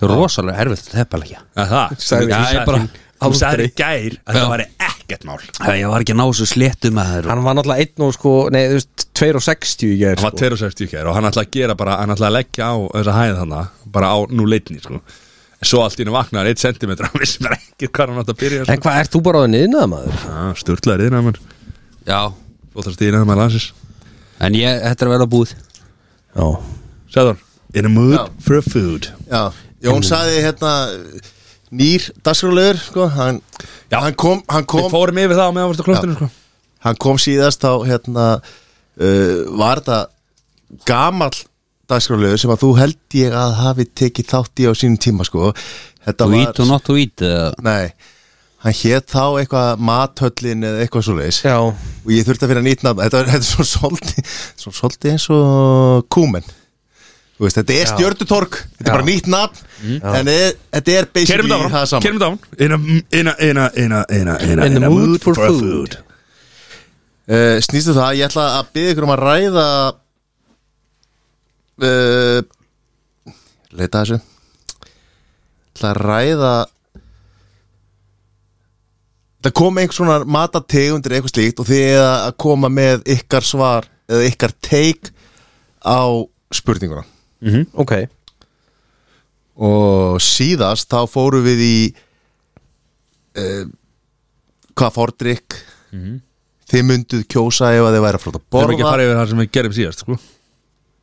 Speaker 3: Það er rosalega erfitt að teppalegja
Speaker 4: að það
Speaker 2: Sagði-
Speaker 4: Já,
Speaker 3: Já, ég bara-
Speaker 4: Þú sagði í gær að
Speaker 3: Já.
Speaker 4: það væri ekkert mál
Speaker 3: Ég var ekki að ná þessu sléttum að það
Speaker 2: Hann var náttúrulega einn og sko, nei, þú veist, 2 og 60 í gær
Speaker 4: Hann var
Speaker 2: sko.
Speaker 4: 260 í gær og hann ætlaði að gera bara hann ætlaði að leggja á þessa hæð þarna bara á nú leitni sko En Svo allt í hennu vaknar hann 1 cm hann vissi bara ekkert hvað hann átt að byrja sko.
Speaker 2: En hvað, ert þú bara á niðnað maður?
Speaker 4: Sturlaður yðin að mann
Speaker 3: Já,
Speaker 4: Flóttast yðin að mann landsins
Speaker 3: en ég, þetta er að vera búið
Speaker 2: Já
Speaker 4: Sæður In a mood
Speaker 1: Já.
Speaker 4: for food
Speaker 1: Já, Jón saði hérna nýr dagskrálegur sko, hann,
Speaker 4: Já.
Speaker 1: hann kom, hann
Speaker 4: Við
Speaker 1: kom,
Speaker 4: fórum yfir það á meðan varstu klóstinu sko
Speaker 1: hann kom síðast á hérna uh, var þetta gamall dagskrálegur sem að þú held ég að hafi tekið þátt í á sínum tíma sko Þetta
Speaker 3: To
Speaker 1: var,
Speaker 3: eat or not to eat uh,
Speaker 1: nei hann hét þá eitthvað mathöllin eða eitthvað svoleiðis
Speaker 2: Já
Speaker 1: og ég þurfti að finna nýtt nafn þetta, þetta er svo svolítið svo svolítið eins og kúmen Þú veist, þetta er stjördutork, þetta er bara nýtt nafn en e- þetta er
Speaker 4: Mm. Kerum
Speaker 1: basically
Speaker 4: þetta áfram,
Speaker 1: það saman
Speaker 4: kerum þetta áfram In a, in a, in a, in a, in a, in a,
Speaker 2: In the mood for
Speaker 4: a
Speaker 2: food.
Speaker 1: uh, Snýstu það, ég ætla að byggja ykkur um að ræða uh, Leita að þessu ætla að ræða Það kom einhver svona matategundir eitthvað slíkt og þið eða að koma með ykkar svar eða ykkar take á spurninguna
Speaker 2: Ok
Speaker 1: og síðast þá fórum við í uh, hvað fordrykk þið mynduð kjósa ef að þið væri að flóta
Speaker 4: Mhm. Þurfum ekki
Speaker 1: borða
Speaker 4: að fara yfir það sem við gerum síðast sko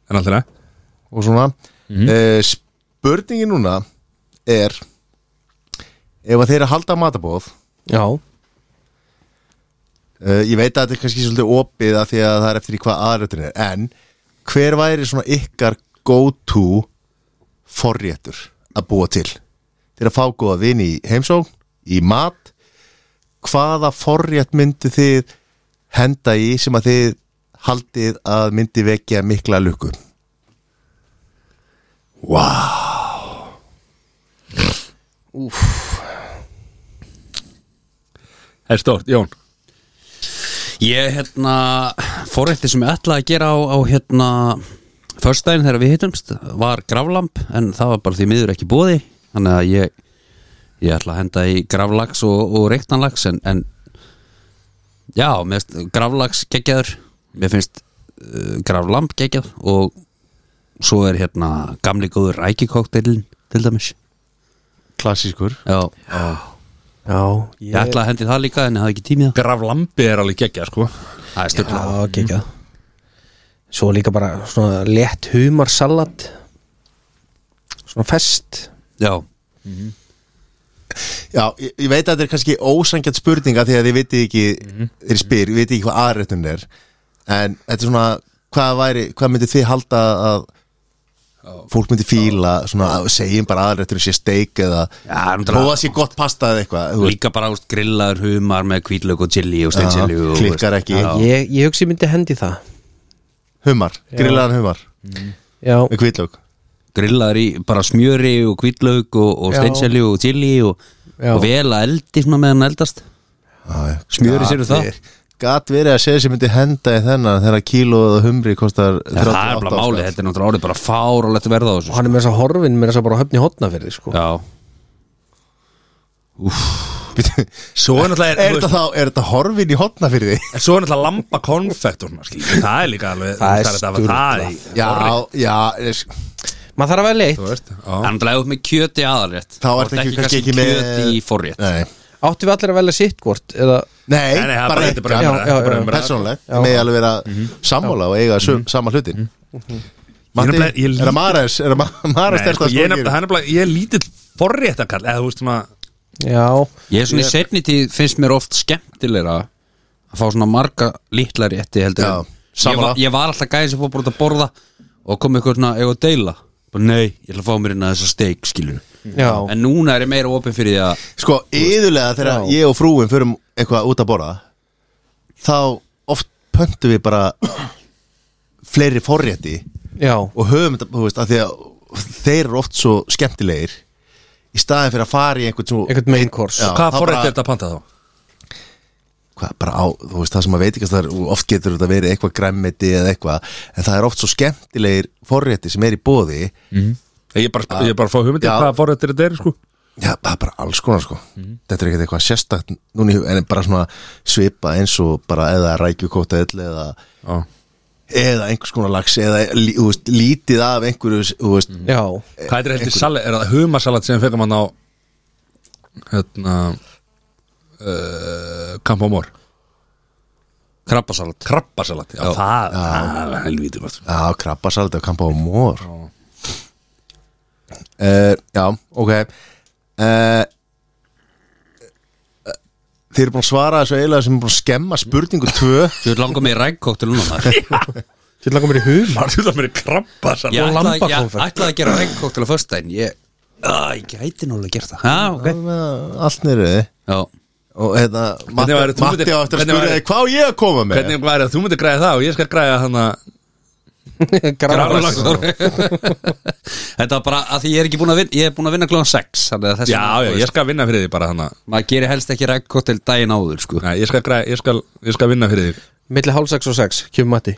Speaker 4: En alltaf næ
Speaker 1: og svona mm spurningin núna er ef að þeir eru að halda matabóð
Speaker 2: Já
Speaker 1: uh, ég veit að þetta er kannski svolítið opið að því að það er eftir í hvað aðrættin er en hver væri svona ykkar go to forréttur að búa til til að fá góða vin í heimsókn í mat hvaða forrétt myndu þið henda í sem að þið haldið að myndi vekja mikla lukku
Speaker 4: Það er stórt, Jón
Speaker 3: Ég, hérna, forrétti sem ég ætlaði að gera á, á hérna Föstdæðin þegar við hittumst var gravlamp En það var bara því miður ekki bóði Þannig að ég, ég ætla að henda í gravlags og, og reyktanlags En, en já, mér finnst gravlags geggjaður Mér finnst uh, gravlamp geggjað Og svo er hérna gamli góður rækikóktelin til dæmis
Speaker 1: klassískur
Speaker 3: Já,
Speaker 2: Já
Speaker 3: ég ætla að hendi það líka en ég hafði ekki tími í það
Speaker 4: Gravlambi er alveg geggja sko
Speaker 3: Það er stöfla
Speaker 2: Já, gekkja Svo líka bara svona létt humarsalat Svona fest
Speaker 3: Já,
Speaker 1: Já, ég, ég veit að þetta er kannski ósangjart spurninga því að þið vitið ekki
Speaker 3: Mhm.
Speaker 1: þeir spyr, vitið ekki hvað aðrættun er en þetta er svona hvað, væri, hvað myndið þið halda að fólk myndi fíla svona, segjum bara aðrættur sé steik eða
Speaker 3: Já, en
Speaker 1: prófa að sé gott pasta eða eitthvað þú veist.
Speaker 3: Líka bara úst, grillaður humar með kvítlaug og chili og
Speaker 1: Já,
Speaker 3: steinsilju og,
Speaker 1: klikkar
Speaker 3: veist,
Speaker 1: ekki.
Speaker 3: já.
Speaker 2: ég, ég hugsi ég myndi hendi í það
Speaker 1: humar, grillaðan humar
Speaker 2: Já,
Speaker 1: með kvítlög
Speaker 3: Grillaður í bara smjöri og kvítlaug og, og
Speaker 2: Já.
Speaker 3: steinsilju og chili og,
Speaker 2: Já.
Speaker 3: og vel að eldi svona meðan eldast Smjörið sérðu það?
Speaker 1: Gat verið að segja sem myndi henda í þennan þegar kílóð og humri kostar
Speaker 3: Það er bara
Speaker 1: 38
Speaker 3: málið,
Speaker 1: áskall.
Speaker 3: þetta er náttúrulega orðið bara fáralegt verða á þessu
Speaker 2: hann er með þess að horfin með þess að bara höfni hotna fyrir sko.
Speaker 3: Já
Speaker 4: Svo er náttúrulega
Speaker 1: Er þetta þá, er þetta horfin í hotna fyrir því?
Speaker 4: En svo er náttúrulega lamba konfekt og svona, skilur. Það er líka alveg
Speaker 2: Það er
Speaker 4: stúrla Það er
Speaker 1: Já, já, er-
Speaker 2: Maður þarf að vera leitt
Speaker 4: Þú veist,
Speaker 3: Það er
Speaker 4: já
Speaker 3: náttúrulega út með kjöti aðalrétt
Speaker 1: Þá
Speaker 3: Þú
Speaker 1: ertu
Speaker 3: ert
Speaker 1: ekki- kannski ekki með-
Speaker 3: kjöti í forrétt
Speaker 1: nei
Speaker 2: Áttu við allir að velja sitt hvort eða...
Speaker 1: Nei,
Speaker 4: Nei, nei, það er bara-
Speaker 1: bara
Speaker 4: þetta er bara
Speaker 2: Já,
Speaker 4: umræða,
Speaker 2: já,
Speaker 4: þetta er bara Mhm.
Speaker 2: já.
Speaker 4: umræða.
Speaker 1: persónlegt
Speaker 2: Já.
Speaker 1: Það með alveg vera sammála og eiga sum, sama hlutin Matti,
Speaker 4: Ég Mhm. nefnilega- ég
Speaker 1: er
Speaker 4: lít-
Speaker 1: það Mares? Er það Mares
Speaker 4: Nei, sko,
Speaker 1: þetta
Speaker 4: ég er nefnilega, hann er bara, ég er lítill forréttakall, eða þú veist svona
Speaker 2: Já,
Speaker 3: Ég er svona í setni tíð finnst mér oft skemmtilegra að fá svona marga litla rétti heldur
Speaker 1: Já,
Speaker 3: en- ég,
Speaker 1: sammála.
Speaker 3: var, ég var alltaf gæði sem fór bara út að borða og kom eitthvað svona, ég var að deila bara, Nei, ég ætla að fá mér inn að þessa steik skilur
Speaker 2: já,
Speaker 3: En núna er ég meira opið fyrir því að
Speaker 1: Sko, yðurlega þegar
Speaker 2: Já.
Speaker 1: ég og frúin förum eitthvað út að borða þá oft pöntum við bara fleiri forrétti
Speaker 2: já
Speaker 1: og höfum þetta, þú veist, að því að þeir eru oft svo skemmtilegir í staðin fyrir að fara í einhvern svo
Speaker 2: Eitthvað main course
Speaker 1: Já,
Speaker 4: Hvaða
Speaker 1: þá
Speaker 4: forrétt
Speaker 1: bara-
Speaker 4: er þetta að panta þá?
Speaker 1: hvað, bara á, þú veist, það sem að veit ekki að það er, oft getur þetta verið eitthvað græmmiti eða eitthvað, en það er oft svo skemmtilegir forrétti sem er í bóði
Speaker 4: Ég er bara, ég er bara að fá hugmyndið
Speaker 1: Já.
Speaker 4: hvaða forréttir þetta er, sko
Speaker 1: já, það er bara alls konar sko þetta er ekkert eitthvað sérstakt núna, í hug- en bara svona svipa eins og bara eða rækjukóta öll eða,
Speaker 4: Já.
Speaker 1: eða einhvers konar lags eða, lí- þú veist, lítið af einhverju þú veist,
Speaker 2: Já,
Speaker 4: Hvað er þetta heldur salat, er það humasalat sem fekar mann á hérna uh, Kampamór
Speaker 3: krabbasalat
Speaker 4: Krabbasalat, já, það það
Speaker 3: Ah,
Speaker 4: er helvítið gott
Speaker 1: já, krabbasalat og kampa á mór uh, já, ok uh, Þið eru búin að svara þessu eiginlega sem er búin að skemma spurningu 2
Speaker 3: Þú vil langa mig í rækkóktel núna maður.
Speaker 2: til að koma í hum
Speaker 4: Marðu það mér krabbasalat
Speaker 3: Ég ætlaði ég
Speaker 2: lambakonfekt.
Speaker 3: ætlaði að gera rækkóktel á föstudaginn Ég, að, ég gæti nálega að gera það Já, ok
Speaker 1: Allt nýrið
Speaker 3: Já
Speaker 1: Og hérna, Matti
Speaker 4: væri þú
Speaker 1: Matti
Speaker 4: myndir-
Speaker 1: á eftir að
Speaker 4: hvernig
Speaker 1: spyrja
Speaker 4: væri-
Speaker 1: þig hvað á ég að koma með
Speaker 4: Hvernig var það, þú myndir græða það og ég skal græða hann að
Speaker 2: Grafalags
Speaker 4: Grafalagsdóri.
Speaker 3: Þetta var bara að því ég er ekki búin að vinna Ég er búin að vinna klóðan 6
Speaker 4: Já, já, ég skal vinna fyrir því bara hann að
Speaker 3: Maður gerir helst ekki rækkóktel daginn áður sko.
Speaker 4: Nei, ég skal, græða, ég, skal, ég skal vinna fyrir því
Speaker 2: Milli hálfsaks og sex, kjöfum mati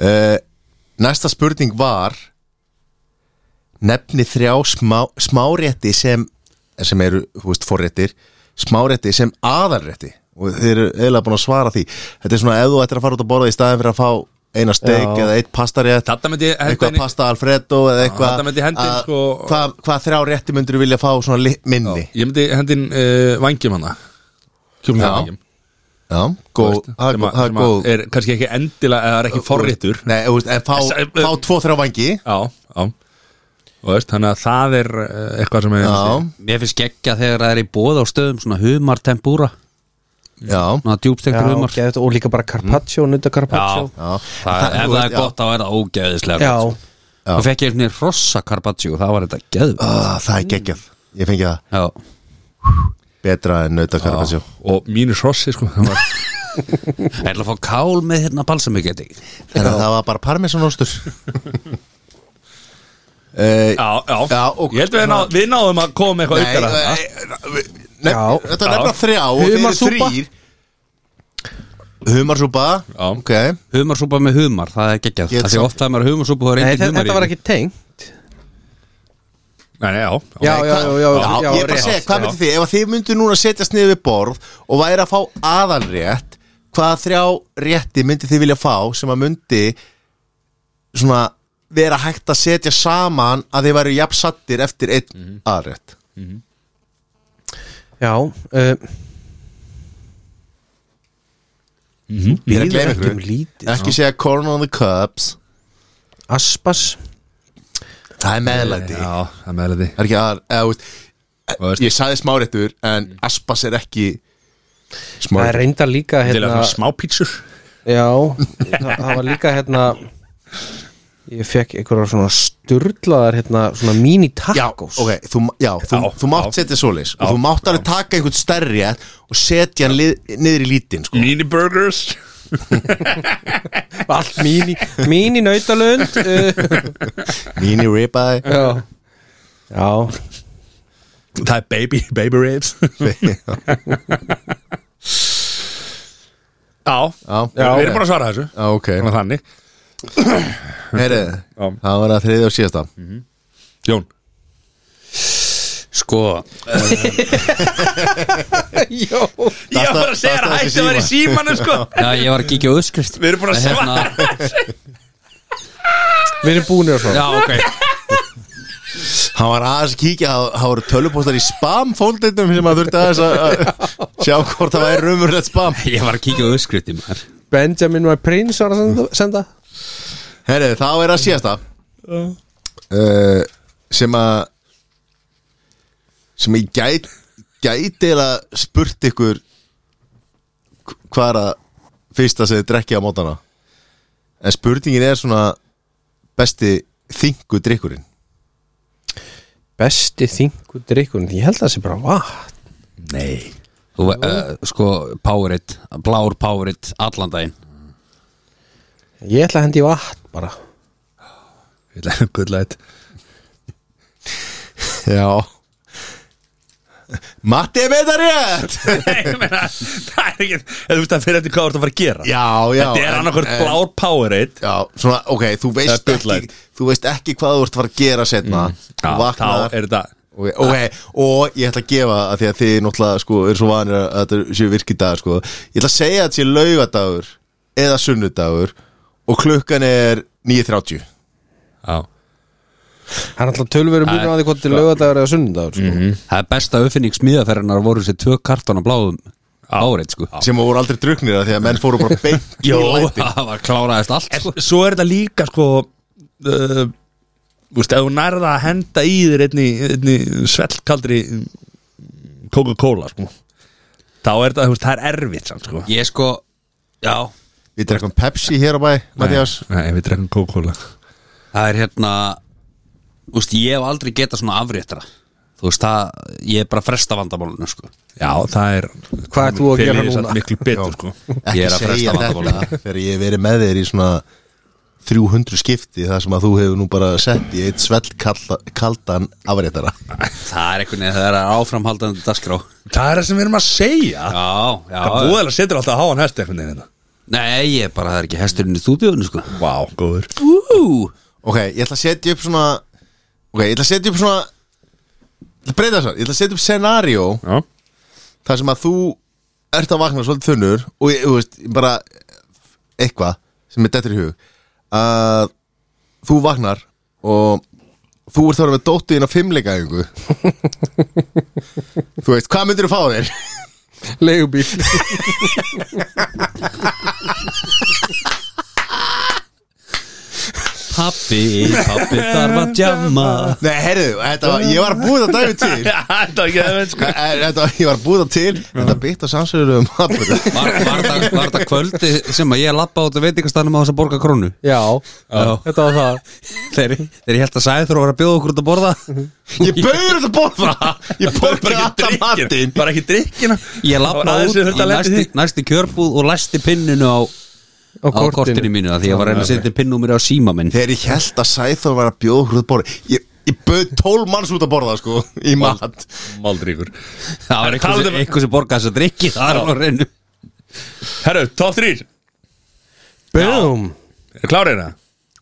Speaker 1: Uh, næsta spurning var nefni þrjá smá, smárétti sem sem eru, þú veist, forréttir smárétti sem aðalrétti og þeir eru eiginlega búin að svara því þetta er svona ef þú ættir að fara út að borða í staðin fyrir að fá eina steik
Speaker 2: Já.
Speaker 1: eða eitt pastarétt
Speaker 4: Þetta myndi ég henda
Speaker 1: eitthvað
Speaker 4: henni
Speaker 1: pasta alfredo eða eitthvað
Speaker 4: þarna myndi hendi inn,
Speaker 1: að-
Speaker 4: sko-
Speaker 1: hvað hva þrjá rétti myndir þú vilja fá svona li- minni
Speaker 4: Ég myndi hendin uh, vangjum hann að Kjúlingavangjum
Speaker 1: já, góð, Sko, það er
Speaker 4: sem,
Speaker 1: góð-
Speaker 4: að-
Speaker 1: það er
Speaker 4: sem að
Speaker 1: góð
Speaker 4: er kannski ekki endilega eða er ekki forréttur
Speaker 1: nei, þú veist, en fá,
Speaker 4: Þess- eh,
Speaker 1: fá tvo þrjá vangi
Speaker 4: Já, já Og veist, þannig að það er eh, eitthvað sem er
Speaker 1: já,
Speaker 3: Mér finnst geggja þegar það er í bóð á stöðum Svona humar tempúra
Speaker 1: já
Speaker 3: Svona
Speaker 2: Já,
Speaker 3: djúbstektur humar
Speaker 2: geðvægt, og líka bara carpaccio,
Speaker 3: Mm.
Speaker 2: nutta carpaccio
Speaker 3: Já.
Speaker 1: Já.
Speaker 3: Það,
Speaker 1: En
Speaker 3: Ef
Speaker 1: þú
Speaker 3: það
Speaker 1: veist,
Speaker 3: er gott þá er það ógeðislega
Speaker 2: Já.
Speaker 3: gott, sko. Þá fekk ég einhvernig rossa carpaccio Það var þetta geðvægt
Speaker 1: Ah, það er geggjað Ég fengi það
Speaker 3: Já,
Speaker 1: betra en nautakarpassjó
Speaker 4: Og mínus hrossi sko það var-
Speaker 3: ég ætla að fá kál með hérna balsamigeti
Speaker 1: Þannig að það var bara parmesanostur uh,
Speaker 4: Já, já,
Speaker 1: Já, og-
Speaker 4: Ég held við, ná, við náðum að koma með
Speaker 1: Nei,
Speaker 4: eitthvað aukara þarna.
Speaker 1: eh, nef,
Speaker 2: Já.
Speaker 1: þetta er nefna
Speaker 4: Já.
Speaker 1: þrjá og þeir eru
Speaker 2: Humarsúpa?
Speaker 1: þrýr Humarsúpa
Speaker 4: Já.
Speaker 1: Ok
Speaker 3: Humarsúpa með humar, það er geggjað
Speaker 1: Get
Speaker 3: Það sé
Speaker 1: samt-
Speaker 3: oft það er maður humarsúpa og það er
Speaker 2: Nei,
Speaker 3: engin
Speaker 2: þetta,
Speaker 3: humar í
Speaker 2: þetta var
Speaker 3: henni.
Speaker 2: ekki tengt
Speaker 4: Nei, nei, já,
Speaker 2: Já, já, já,
Speaker 1: Já,
Speaker 2: já, já,
Speaker 1: Ég er bara
Speaker 2: rétt.
Speaker 1: að segja, hvað
Speaker 4: Já.
Speaker 1: myndir þið? Ef að þið myndir núna setjast niður við borð og væri að fá aðalrétt hvaða þrjá rétti myndir þið vilja fá sem að myndi svona vera hægt að setja saman að þið væri jafn sattir eftir einn
Speaker 4: Mhm.
Speaker 1: aðalrétt
Speaker 2: Já, uh,
Speaker 1: Ég er að gleyma
Speaker 2: ekki um
Speaker 1: ykkur
Speaker 2: lítið
Speaker 1: Ekki segja corn on the cups
Speaker 2: Aspas
Speaker 1: Það er meðlæti
Speaker 4: Já, það meðlega því
Speaker 1: Það er ekki aðal eða, þú veist,
Speaker 4: Og veist,
Speaker 1: Ég sagði smáréttur en aspas er ekki
Speaker 2: Það er
Speaker 1: smáréttur
Speaker 2: reynda líka
Speaker 4: Til að
Speaker 2: hérna,
Speaker 4: smá pítsur
Speaker 2: Já, það, það var líka hérna ég fekk einhverjar svona sturlaðar hérna, svona mini
Speaker 1: Já,
Speaker 2: tacos
Speaker 1: ok, þú, já, þú,
Speaker 4: Já,
Speaker 1: þú mátt
Speaker 4: já.
Speaker 1: setja svoleiðis og
Speaker 4: Já,
Speaker 1: þú mátt alveg taka einhvern stærri rétt og setja hann lið, niður í lítinn sko.
Speaker 4: Miniburgers
Speaker 2: allt mini, mini nautalund uh,
Speaker 1: Mini ribeye
Speaker 2: já já,
Speaker 4: Það er baby, baby ribs Já,
Speaker 1: Já,
Speaker 2: Já,
Speaker 4: við
Speaker 2: ok.
Speaker 4: erum bara að svara þessu
Speaker 1: já ok
Speaker 4: Þannig að þannig
Speaker 1: Heri,
Speaker 4: Já.
Speaker 1: Það var að þriði og síðasta
Speaker 4: Jón,
Speaker 3: Sko,
Speaker 2: já
Speaker 4: ég var bara að segja
Speaker 1: það
Speaker 4: að
Speaker 1: stóðst
Speaker 4: hætti að vera í símanu sko
Speaker 3: já, ég var að kíkja á hérna- öskrift
Speaker 4: Við erum búin að svara
Speaker 2: við erum búinir að svona
Speaker 3: Já, ok
Speaker 1: Hann var aðeins að kíkja Það það voru tölupóstar í spam fóldeitum sem að þurfti aðeins að, að sjá hvort það væri raumurlegt spam
Speaker 3: Ég var að kíkja á öskrifti maður
Speaker 2: Benjamin my prince var að senda, senda.
Speaker 1: Herri, þá er að síðasta uh, sem að sem ég gæt gæti eða spurt ykkur hv- hvað er að fyrsta sem þið drekkið á mótana en spurningin er svona besti þingu drikkurinn
Speaker 2: besti þingu drikkur ég held að það sé bara vatn
Speaker 4: Nei
Speaker 3: Þú, uh, Sko, Powerade, blár Powerade allan daginn
Speaker 2: ég ætla að hendi í vatn bara
Speaker 4: Good light
Speaker 1: Já Matti er með það rétt
Speaker 4: Nei, ég meina, það er ekki eða Þú veist það fyrir eftir hvað þú ert að fara að gera
Speaker 1: Já, já
Speaker 4: Þetta er
Speaker 1: en-
Speaker 4: annarkvöld
Speaker 1: en-
Speaker 4: blár Powerade
Speaker 1: Já, svona, ok, þú
Speaker 4: Eða
Speaker 1: veist
Speaker 4: Bud
Speaker 1: ekki
Speaker 4: Light.
Speaker 1: þú veist ekki hvað þú ert að fara að gera setna
Speaker 4: Já, þá er þetta
Speaker 1: Ok, ok, og ég ætla að gefa að því að þið náttúrulega sko eru svo vanir að þetta séu virki dag sko ég ætla að segja að þetta sé laugadagur eða sunnudagur og klukkan er 9.30
Speaker 4: Já
Speaker 2: hann er alltaf tölverum munur á því hvort til lögadagur eða sunnudagur sko.
Speaker 3: Það er besta uppfinning smiðaferðinar voru sér tvö kartón á bláðum Powerade, sko
Speaker 1: sem voru aldrei druknir að því að menn fóru bara beint í
Speaker 3: Jó,
Speaker 1: læti
Speaker 3: það var kláraðist allt,
Speaker 4: En
Speaker 3: sko
Speaker 4: svo er þetta líka sko uh, Þú veist, ef þú nærða að henda í þér einni, einni svellkaldri Coca-Cola sko Þá er þetta, þú veist, það er erfitt samt sko
Speaker 3: Ég sko, já
Speaker 1: Við drekkum Pepsi hér á bæ, Mattias
Speaker 4: Nei, nei, við drekkum Coca-Cola
Speaker 3: Það er hérna Úst, ég hef aldrei getað svona afréttra Þú veist, það, ég er bara að fresta vandamálunum sko.
Speaker 4: Já, það er
Speaker 2: Hvað ert þú að
Speaker 4: Fyrir
Speaker 2: gera
Speaker 4: því
Speaker 2: núna?
Speaker 4: samt Miklu betur sko
Speaker 3: Ég
Speaker 1: Ekki
Speaker 3: er að
Speaker 1: segja þetta
Speaker 3: fresta vandamálunum
Speaker 1: þegar ég hef verið með þér í svona 300 skipti þar sem að þú hefur nú bara sett í eitt svell kaldan afréttara
Speaker 3: Það er einhvern veginn, það er áframhaldandi dagskrá
Speaker 4: Það er það sem við erum að segja
Speaker 3: Já, já
Speaker 4: Það búðalega setur alltaf að háa hann hest einhvern veginn hérna.
Speaker 3: Nei, ég er bara, það er ekki hesturinn í stúdíónu sko.
Speaker 4: Vá, wow, góður
Speaker 3: Ú,
Speaker 1: Ok, ég ætla að setja upp svona Ok, ég ætla að setja upp svona Ég ætla að breyta þessar, ég ætla að setja upp scenario
Speaker 4: Já,
Speaker 1: þar sem að þú ert að vakna svolítið þunnur og ég, þú veist, ég bara eitthvað sem er dettur í hug að þú vaknar og þú ert þar með dóttu þín á fimmleika Þú veist, hvað myndir þú fá þér?
Speaker 2: leigubíl
Speaker 3: pappi, pappi þarf að djamma
Speaker 1: Nei, heyrðu, þetta var, ég var að búið að dæmi til
Speaker 4: þetta er ekki það veit sko
Speaker 1: Þetta, var- ég var að búið að til Þetta bytt á um samsöðulegum atbyrðu
Speaker 3: Var, var, það, var það kvöldi sem að ég lappa út að veitingastannum á þess að borga krónu
Speaker 2: já,
Speaker 3: Já.
Speaker 2: þetta var það
Speaker 3: Þeir, þeir ég held að sæði þurfa að vera að bjóða okkur út að borða
Speaker 1: Ég bauður þetta borða Ég borði alltaf matinn
Speaker 4: Bara ekki drikkina
Speaker 3: Ég
Speaker 4: Það
Speaker 3: lappa
Speaker 4: var
Speaker 3: út
Speaker 4: aðeins sem þurfti
Speaker 3: í
Speaker 4: að lenda í
Speaker 3: næsti, næsti kjörbúð og læsti pinninu á,
Speaker 2: á
Speaker 3: á kortinu mínu af Því ég var að reyna að setja pinnumir á síma minn
Speaker 1: Þegar ég held að Sæþór var að bjóða okkur út að borða Ég, ég bauð tól manns út að borða sko Í mat
Speaker 4: Maldríkur
Speaker 3: Það var eitthvað sem, eitthvað sem borgaði þess að drikki Það er hann að reynu
Speaker 4: Herru, top 3
Speaker 2: boom
Speaker 4: Er hérna? klárið það?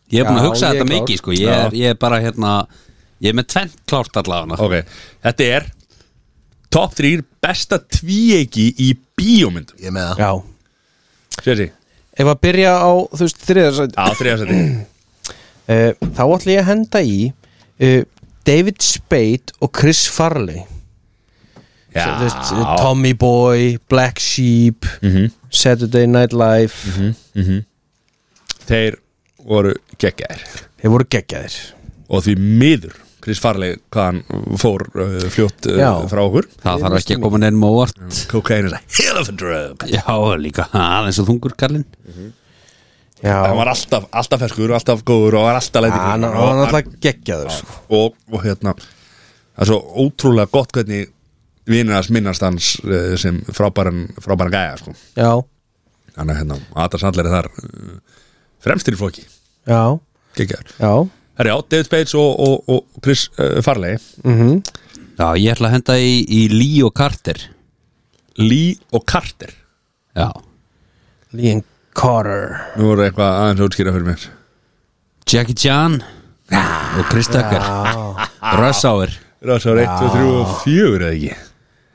Speaker 3: Ég er
Speaker 2: Já,
Speaker 3: búin að hugsa
Speaker 2: ég er
Speaker 3: þetta
Speaker 2: klár.
Speaker 3: mikið sko. ég, er, ég er bara hérna Ég er með tvennt klárt allavega
Speaker 4: Ok, þetta er Top 3 besta tvíegi í bíómyndum
Speaker 1: Ég með það
Speaker 2: já,
Speaker 4: Sér því,
Speaker 2: ef að byrja á þú veist þriðarsætt
Speaker 4: á þriðasæti
Speaker 2: uh, þá ætla ég að henda í uh, David Spade og Chris Farley
Speaker 4: Já,
Speaker 2: Þú veist, eh, Tommy Boy, Black Sheep Saturday Night Live
Speaker 4: þeir voru geggjaðir
Speaker 2: þeir voru geggjaðir
Speaker 4: Og því miður Chris Farley, hvað hann fór uh, fljótt
Speaker 2: Já.
Speaker 4: uh, frá okkur
Speaker 3: Það þarf ekki að koma nefnum á óvart
Speaker 4: Cocaine is a hell of a drug
Speaker 3: Já, líka aðeins og þungur kallinn
Speaker 2: Já,
Speaker 4: hann var alltaf, alltaf ferskur og alltaf góður og var alltaf
Speaker 2: Já, hann hann
Speaker 4: lætingur
Speaker 2: var náttúrulega geggjaður sko.
Speaker 4: og, og hérna það er svo ótrúlega gott hvernig vinnarnas minnast hans eh, sem frábæran, frábæran gæja sko.
Speaker 2: Já,
Speaker 4: þannig að hérna, Adam Sandler er þar eh, fremstir í flóki
Speaker 2: já,
Speaker 4: Gekkjaður.
Speaker 2: já
Speaker 4: Herra, já, David Spades og, og, og Chris uh, Farley
Speaker 2: mm
Speaker 3: Já, ég ætla að henda í, í Lee og Carter
Speaker 4: Lee og Carter
Speaker 3: Já
Speaker 2: Liam Carter
Speaker 4: Nú voru eitthvað aðeins að útskýra fyrir mér
Speaker 3: Jackie Chan og Chris Tucker Rush Hour
Speaker 4: Rásar 1, 2, 3 og 4 eða ekki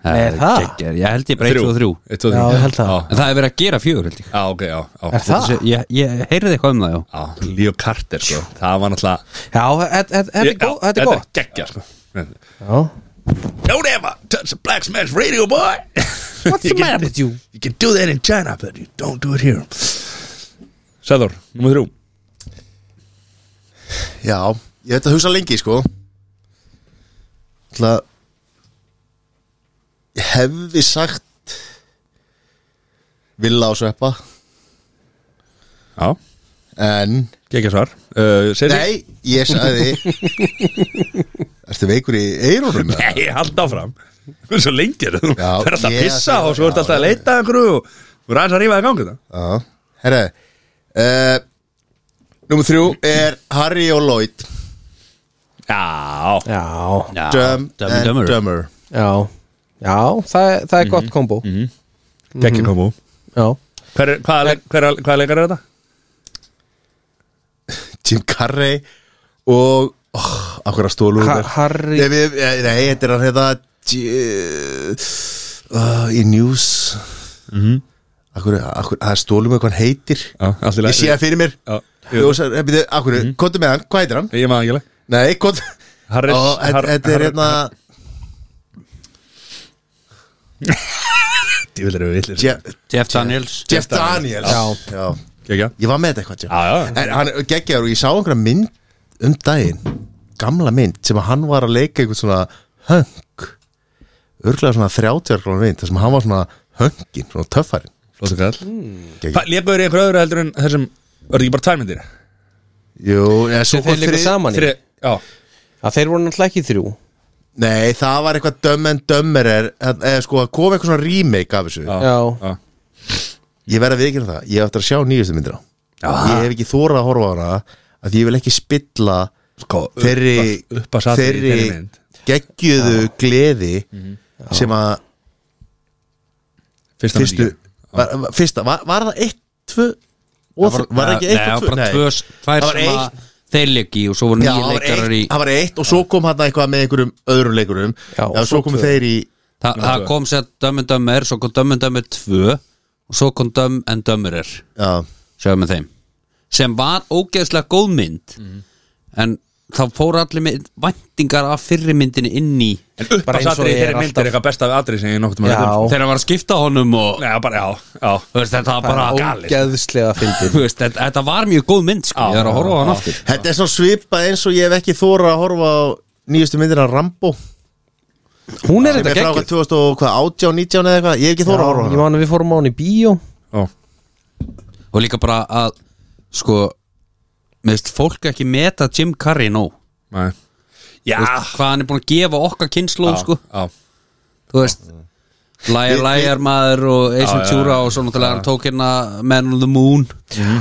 Speaker 2: Er það?
Speaker 3: geggjað. Ég held ég bara 1 og 3
Speaker 4: 1, 2, 3
Speaker 2: Já, ég held það.
Speaker 3: En það er verið að gera fjögur held ég
Speaker 4: Já, ok, já, já.
Speaker 2: Er það?
Speaker 3: Þessi- Ég, ég heyrði eitthvað um það, já
Speaker 4: Já, Lee og Carter, sko Það var náttúrulega
Speaker 2: Já, þetta- þetta þetta er
Speaker 4: Já,
Speaker 2: gó- þetta er gott
Speaker 4: Þetta er geggja, sko
Speaker 2: Já,
Speaker 4: Don't ever touch a black man's radio, boy
Speaker 2: What's the
Speaker 4: You can-
Speaker 2: matter with you?
Speaker 4: You can do that in China, but you don't do it here Sæður, nummer þrjú
Speaker 1: Já, ég veit að hugsa lengi sko Það Ég hefði sagt Villa á sveppa
Speaker 4: Já,
Speaker 1: En
Speaker 4: geggja svar uh, Sessi?
Speaker 1: Nei, ég sagði Ertu veikur í eyrunum? eða?
Speaker 4: Nei, hald áfram Hvað er svo lengir þú?
Speaker 1: Já,
Speaker 4: Það er alltaf að
Speaker 1: ég
Speaker 4: pissa
Speaker 1: ætla-
Speaker 4: og svo er alltaf að
Speaker 1: já,
Speaker 4: leita að einhverju og þú er aðeins að rífa það gangi það
Speaker 1: Já, herra uh, Númer þrjú er Harry og Lloyd
Speaker 4: Já,
Speaker 2: já,
Speaker 3: Já,
Speaker 1: Dumb
Speaker 3: Dumb and Dumber.
Speaker 1: Dumber
Speaker 2: já Já, það er, það er gott kombo
Speaker 4: geggja komu
Speaker 2: Já,
Speaker 4: Hver, hvað, leik, hver, hvað leikar er þetta?
Speaker 1: Jim Carrey og oh, Akkur að stólu
Speaker 2: Ha- Harry
Speaker 1: Nei, við, eh, nei, þetta er hann hérna J- uh, Í news
Speaker 4: Mhm.
Speaker 1: Akkur, akkur, það stólum eitthvað hann heitir
Speaker 4: Já, allt í lagi.
Speaker 1: Ég sé það fyrir mér
Speaker 4: Já, ég veit
Speaker 1: Ljósar, eh, bíddu, Akkur, mm -hmm. kontu með hann, hvað heitir hann?
Speaker 4: það. Ég maður ekki leik
Speaker 1: Nei, kontu Ó,
Speaker 4: Harris- Har-
Speaker 1: þetta- Þetta er
Speaker 4: Har-
Speaker 1: hérna
Speaker 4: Ég vil eru villir
Speaker 1: Je-
Speaker 3: Jeff Daniels
Speaker 1: Jeff Daniels
Speaker 2: Já.
Speaker 1: Já.
Speaker 4: Gekkja
Speaker 1: Ég var með þetta eitthvað Jeff.
Speaker 4: Já, já.
Speaker 1: En hann er geggjaður og ég sá einhverja mynd um daginn Gamla mynd sem að hann var að leika einhvern svona hönk Örglega svona 30 grónu mynd þar sem hann var svona hönkin, svona töffarinn
Speaker 4: Flóttu kall
Speaker 1: Gekkja.
Speaker 4: Hvað leikar í einhverju öðru heldur en þessum Var þetta ekki bara tværmyndir?
Speaker 1: Jú, eða svo
Speaker 2: Þeir þeir líka saman í
Speaker 4: Þri, já
Speaker 2: Já, þeir voru náttúrulega ekki þrjú
Speaker 1: Nei, það var eitthvað döm en dömmer er eða sko að koma eitthvað svona remake af þessu
Speaker 2: Já.
Speaker 4: já.
Speaker 1: Ég verð að viðkynna það, ég hef eftir að sjá nýjustu myndir á Ég hef ekki þórað að horfa á hana að ég vil ekki spilla
Speaker 4: Sko,
Speaker 1: þeirri,
Speaker 4: upp- upp að satri í þeirri mynd. Mhm.
Speaker 1: geggjuðu gleði sem að
Speaker 4: Fyrsta
Speaker 1: fyrstu
Speaker 4: myndin.
Speaker 1: var, var- fyrsta, var, var það eitt, tvö og var, var það ekki eitt
Speaker 3: Nei,
Speaker 1: og tvö?
Speaker 3: bara tvö Tvær
Speaker 1: Það var
Speaker 3: sem
Speaker 1: eitt-
Speaker 3: að þeir leiki og svo voru
Speaker 1: Já,
Speaker 3: nýja
Speaker 1: það var
Speaker 3: leikarar í
Speaker 1: eitt, það var eitt og svo kom hann eitthvað með einhverjum öðrum leikurum
Speaker 2: Já,
Speaker 1: og
Speaker 2: og
Speaker 1: svo
Speaker 2: svo
Speaker 1: komu
Speaker 2: tvö.
Speaker 1: þeir í
Speaker 3: Þa, Það kom sér Dumb and Dumber Svo kom Dumb and Dumber 2 Og svo kom Dumb and Dumberer
Speaker 1: já,
Speaker 3: Sjáum við þeim Sem var ógeðslega góð mynd En þá fór allir með væntingar af fyrri myndinni inn í
Speaker 4: En upp
Speaker 2: Bara
Speaker 4: að
Speaker 2: eins og
Speaker 4: satri í
Speaker 2: ég er
Speaker 4: þeirri mynd
Speaker 2: alltaf-
Speaker 4: er eitthvað besta við atri sem ég nokkuð
Speaker 2: Já.
Speaker 3: Þegar var að skipta honum og
Speaker 4: Já, bara, já, já
Speaker 3: þú veist, Þetta var
Speaker 2: Það
Speaker 3: bara
Speaker 2: er ógeðslega fyndið
Speaker 3: Þú veist, Þetta þetta var mjög góð mynd sko. Ég er að horfa á hann aftur
Speaker 1: þetta er svo svipað eins og ég hef ekki þórað að horfa á nýjustu myndir af Rambo
Speaker 2: Hún er
Speaker 1: sem
Speaker 2: þetta
Speaker 1: er frá
Speaker 2: geggjuð
Speaker 1: hvað 2000 og hvað 18, 19 eða eitthvað, ég hef ekki þórað að horfa á
Speaker 2: Ég
Speaker 1: hana
Speaker 2: man að við fórum á hann í bíó
Speaker 4: Já,
Speaker 3: og líka bara að sko, meðist fólk ekki meta Jim Carrey nóg
Speaker 4: Nei. já.
Speaker 3: Þú veist, hvað hann er búin að gefa okkar kynnslóð
Speaker 4: já,
Speaker 3: sko,
Speaker 4: já.
Speaker 3: þú veist Læjar, læjar maður og Asian
Speaker 4: Já, Mhm. já,
Speaker 3: Tjúra og svo náttúrulega hann tók hérna Man on the Moon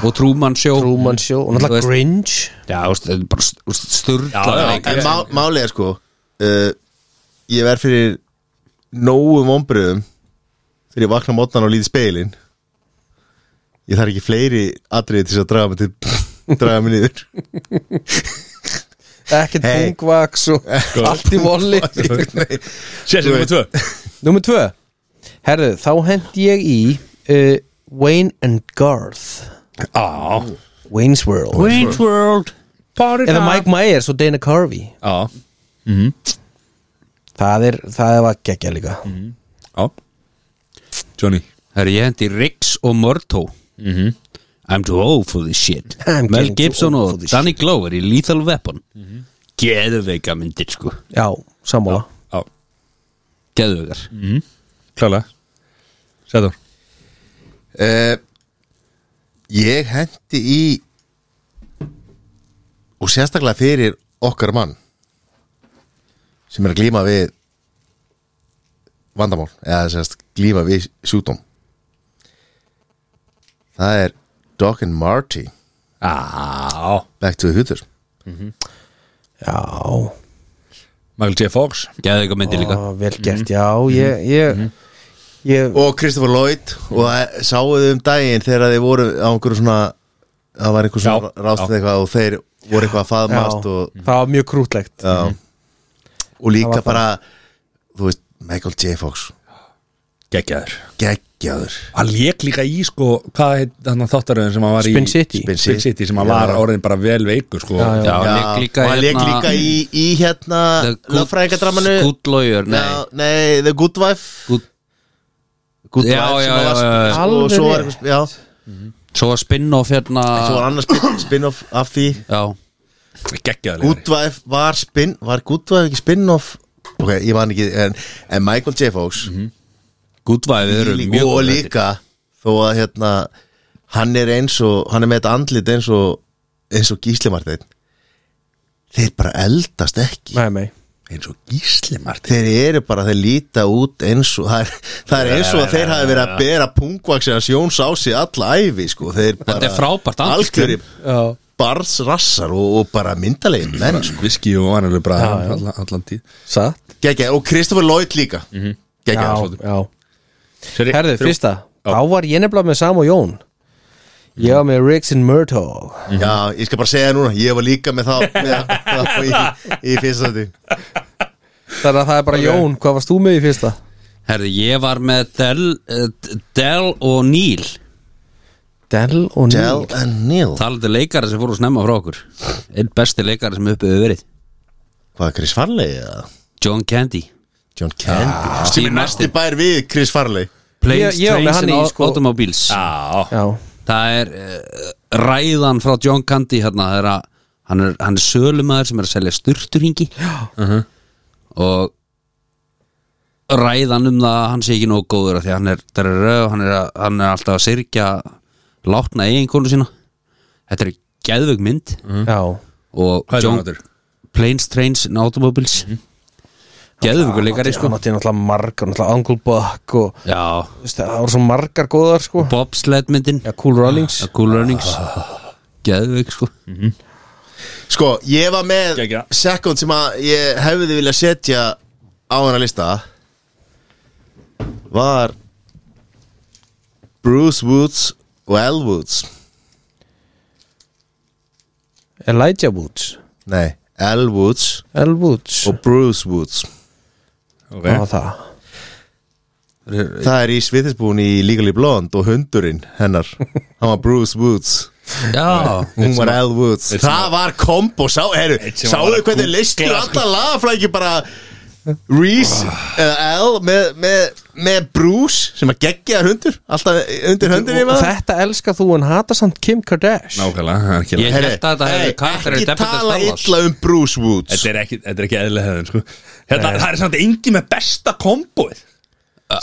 Speaker 3: og Truman Show
Speaker 2: Truman Show og
Speaker 3: Þú
Speaker 2: náttúrulega
Speaker 3: veist-
Speaker 2: Grinch
Speaker 3: Já, þú veist, þetta er bara
Speaker 4: Já, já,
Speaker 3: sturgla
Speaker 1: en má, málið er sko uh, ég verð fyrir nógum ombriðum þegar ég vakna mótnan og lítið speilin ég þarf ekki fleiri atriði til þess að draga mig til draga mig niður
Speaker 2: Ekkert
Speaker 1: Hey.
Speaker 2: pungvaks og allt í volli
Speaker 1: Nei,
Speaker 4: Sér sem
Speaker 1: Þú
Speaker 4: nummer tvö
Speaker 2: Númer tvö Herðu, þá hend ég í uh, Wayne and Garth
Speaker 4: Já
Speaker 2: Wayne's World
Speaker 3: Wayne's World
Speaker 4: Party
Speaker 2: Eða Mike Myers og Dana Carvey
Speaker 4: Já,
Speaker 2: Það er, það var geggja líka
Speaker 1: Mhm.
Speaker 4: já Johnny
Speaker 3: Herri, ég hendi Riggs og Murto
Speaker 4: Mhm.
Speaker 3: I'm too old for this shit
Speaker 2: I'm
Speaker 3: Mel
Speaker 2: getting too
Speaker 3: Gibson
Speaker 2: old
Speaker 3: og
Speaker 2: for this
Speaker 3: Danny Glover í Lethal Weapon
Speaker 4: Mhm.
Speaker 3: Geðveika myndir sko
Speaker 2: Já, sammála
Speaker 4: Já,
Speaker 3: Geðveikar
Speaker 4: Mm. klálega Sæður
Speaker 1: uh, Eh, Ég hendi í og sérstaklega fyrir okkar mann sem er að glíma við vandamál eða sérst glíma við sjúdóm Það er Doc and Marty
Speaker 4: Já
Speaker 1: Back to the Future
Speaker 2: Já,
Speaker 4: Michael J. Fox
Speaker 3: Gæði ykkur myndi líka
Speaker 2: Á, vel gert, já Ég, ég, ég
Speaker 1: Mhm. og Christopher Lloyd og það sáuðu um daginn þegar þeir voru á einhverju svona það var einhver svona
Speaker 4: Já,
Speaker 1: rástið eitthvað og þeir voru eitthvað að
Speaker 2: já,
Speaker 1: faðmast og,
Speaker 2: Það var mjög krútlegt
Speaker 1: já, og
Speaker 2: Það
Speaker 1: líka
Speaker 2: var
Speaker 1: bara þú veist, Michael J. Fox
Speaker 4: Gekkjaður
Speaker 1: geggjaður
Speaker 4: Hann lék líka í sko Hvað heit þannig þáttaröðin sem hann var í
Speaker 2: Spin City
Speaker 1: Spin
Speaker 4: Spin City sem hann var orðin bara vel veikur sko
Speaker 2: Já, já.
Speaker 3: Já,
Speaker 1: Já,
Speaker 3: hann lék líka hérna-
Speaker 1: og hann leik líka í, í hérna lögfræðingadramanu
Speaker 3: Good Lawyer, nei
Speaker 1: nei. nei, The Good Wife
Speaker 3: Good-
Speaker 1: Good
Speaker 3: Já,
Speaker 1: Wife sem
Speaker 3: já, já,
Speaker 1: var-
Speaker 3: já, já.
Speaker 1: og svo var,
Speaker 2: Alveg
Speaker 1: einhver- já,
Speaker 3: Svo að spin-off hérna
Speaker 1: svo var annars spin- spin-off af því
Speaker 3: Já,
Speaker 4: Gekkjaður
Speaker 1: Good Wife var spin var Good Wife ekki spin-off ok, ég man ekki, en, en Michael J. Fox
Speaker 3: Good Vibe eru
Speaker 1: Líka-
Speaker 3: mjög
Speaker 1: og
Speaker 3: góðir þættir.
Speaker 1: líka þó að hérna hann er eins og, hann er með þetta andlit eins og eins og Gísli Marteinn þeir bara eldast ekki
Speaker 2: Nei, nei
Speaker 4: Eins og Gísli Martin
Speaker 1: þeir eru bara, þeir líta út eins og það er, það er eins og að þeir hafi verið að bera pungvaksina sjóns á sig alla æfi sko, þeir bara
Speaker 3: Þetta er frábært andlit.
Speaker 1: algjöri
Speaker 2: Já,
Speaker 1: barnsrassar og, og bara myndalegin menn sko
Speaker 4: Viski og vanilur bara allan, allan tíð
Speaker 2: satt
Speaker 1: Gekja, og Kristoffer Lloyd líka mm -hmm.
Speaker 2: Já,
Speaker 1: Gekja,
Speaker 2: já
Speaker 4: Seri,
Speaker 2: Herðu, fyrsta Þá var ég nefnilega með Sam og Jón Ég var með Riggs and Murtaugh
Speaker 1: Já, ég skal bara segja það núna, ég var líka með þá með, þá í, í fyrsta því
Speaker 2: Þannig að það er bara Jón, hvað varst þú með í fyrsta?
Speaker 3: Herði, ég var með Del, eh, Del og Neil
Speaker 2: Dell og
Speaker 1: Del
Speaker 2: Neil
Speaker 1: and Neil
Speaker 3: Talandi leikari sem fóru snemma frá okkur Einn besti leikari sem uppið hefur verið
Speaker 1: Hvað er Chris Farley eða?
Speaker 3: John Candy
Speaker 1: John Candy
Speaker 3: Steve Martin
Speaker 1: Bær við Chris Farley
Speaker 3: Planes,
Speaker 2: Ég- ég var með
Speaker 3: Trains
Speaker 2: hann
Speaker 3: and
Speaker 2: í,
Speaker 3: Au-
Speaker 2: sko-
Speaker 3: Automobiles
Speaker 4: Já
Speaker 2: Já,
Speaker 1: Ah.
Speaker 3: Það er uh, ræðan frá John Candy hérna, það er að hann er, hann er sölumæður sem er að selja sturturhingi
Speaker 4: Mhm.
Speaker 3: -huh. og ræðan um það að hann sé ekki nógu góður af því að hann er, það er röð, hann, er að, hann er alltaf að syrkja látna eiginkonu sína Þetta er geðvögg mynd
Speaker 1: Mhm.
Speaker 2: já
Speaker 3: og
Speaker 4: Mhm. Hvað er
Speaker 3: John-
Speaker 4: það áttur?
Speaker 3: Planes, Trains and Automobiles
Speaker 4: Mhm.
Speaker 3: mm. Geðvöggur leikari sko
Speaker 2: Hann átti náttúrulega margar, náttúrulega Uncle Buck og
Speaker 3: Já,
Speaker 2: þú veist, það voru svo margar góðar sko
Speaker 3: Bobsled myndin
Speaker 2: Já, Cool Runnings
Speaker 3: A Cool Runnings
Speaker 4: Ah.
Speaker 3: Geðvögg sko
Speaker 1: Sko, ég var með
Speaker 4: Gegja.
Speaker 1: Second sem að ég hefði viljað setja á hana lista Var Bruce Woods og L Woods
Speaker 2: Elijah Woods
Speaker 1: Nei, L Woods
Speaker 2: L Woods
Speaker 1: og Bruce Woods
Speaker 2: Það var
Speaker 4: Ok
Speaker 2: það
Speaker 1: Það er í Sviðisbúin í Legally Blonde og hundurinn hennar Hann var Bruce Woods
Speaker 3: Já,
Speaker 1: Hún var Elle Woods Það var kombo, sá, heru,
Speaker 4: sem var
Speaker 1: sáðu
Speaker 4: að
Speaker 1: hvernig
Speaker 4: googla,
Speaker 1: listur
Speaker 4: sko.
Speaker 1: alltaf lagaflæki bara Reese eða Elle með, með, með Bruce sem að geggja hundur alltaf undir höndin í
Speaker 2: og
Speaker 1: maður
Speaker 2: þetta elskar þú en hata samt Kim Kardashian
Speaker 4: Nákvæmlega, það er ekki
Speaker 3: Ég-
Speaker 4: ég...
Speaker 1: Heyrðu,
Speaker 3: held að þetta hefði
Speaker 1: hey,
Speaker 3: karakterinn í
Speaker 1: Ekki
Speaker 3: Debbie
Speaker 1: tala
Speaker 3: Dallas.
Speaker 1: illa um Bruce Woods
Speaker 4: Þetta er ekki, þetta er ekki eðlilega hefðin sko Þetta, það er samt engin með besta komboið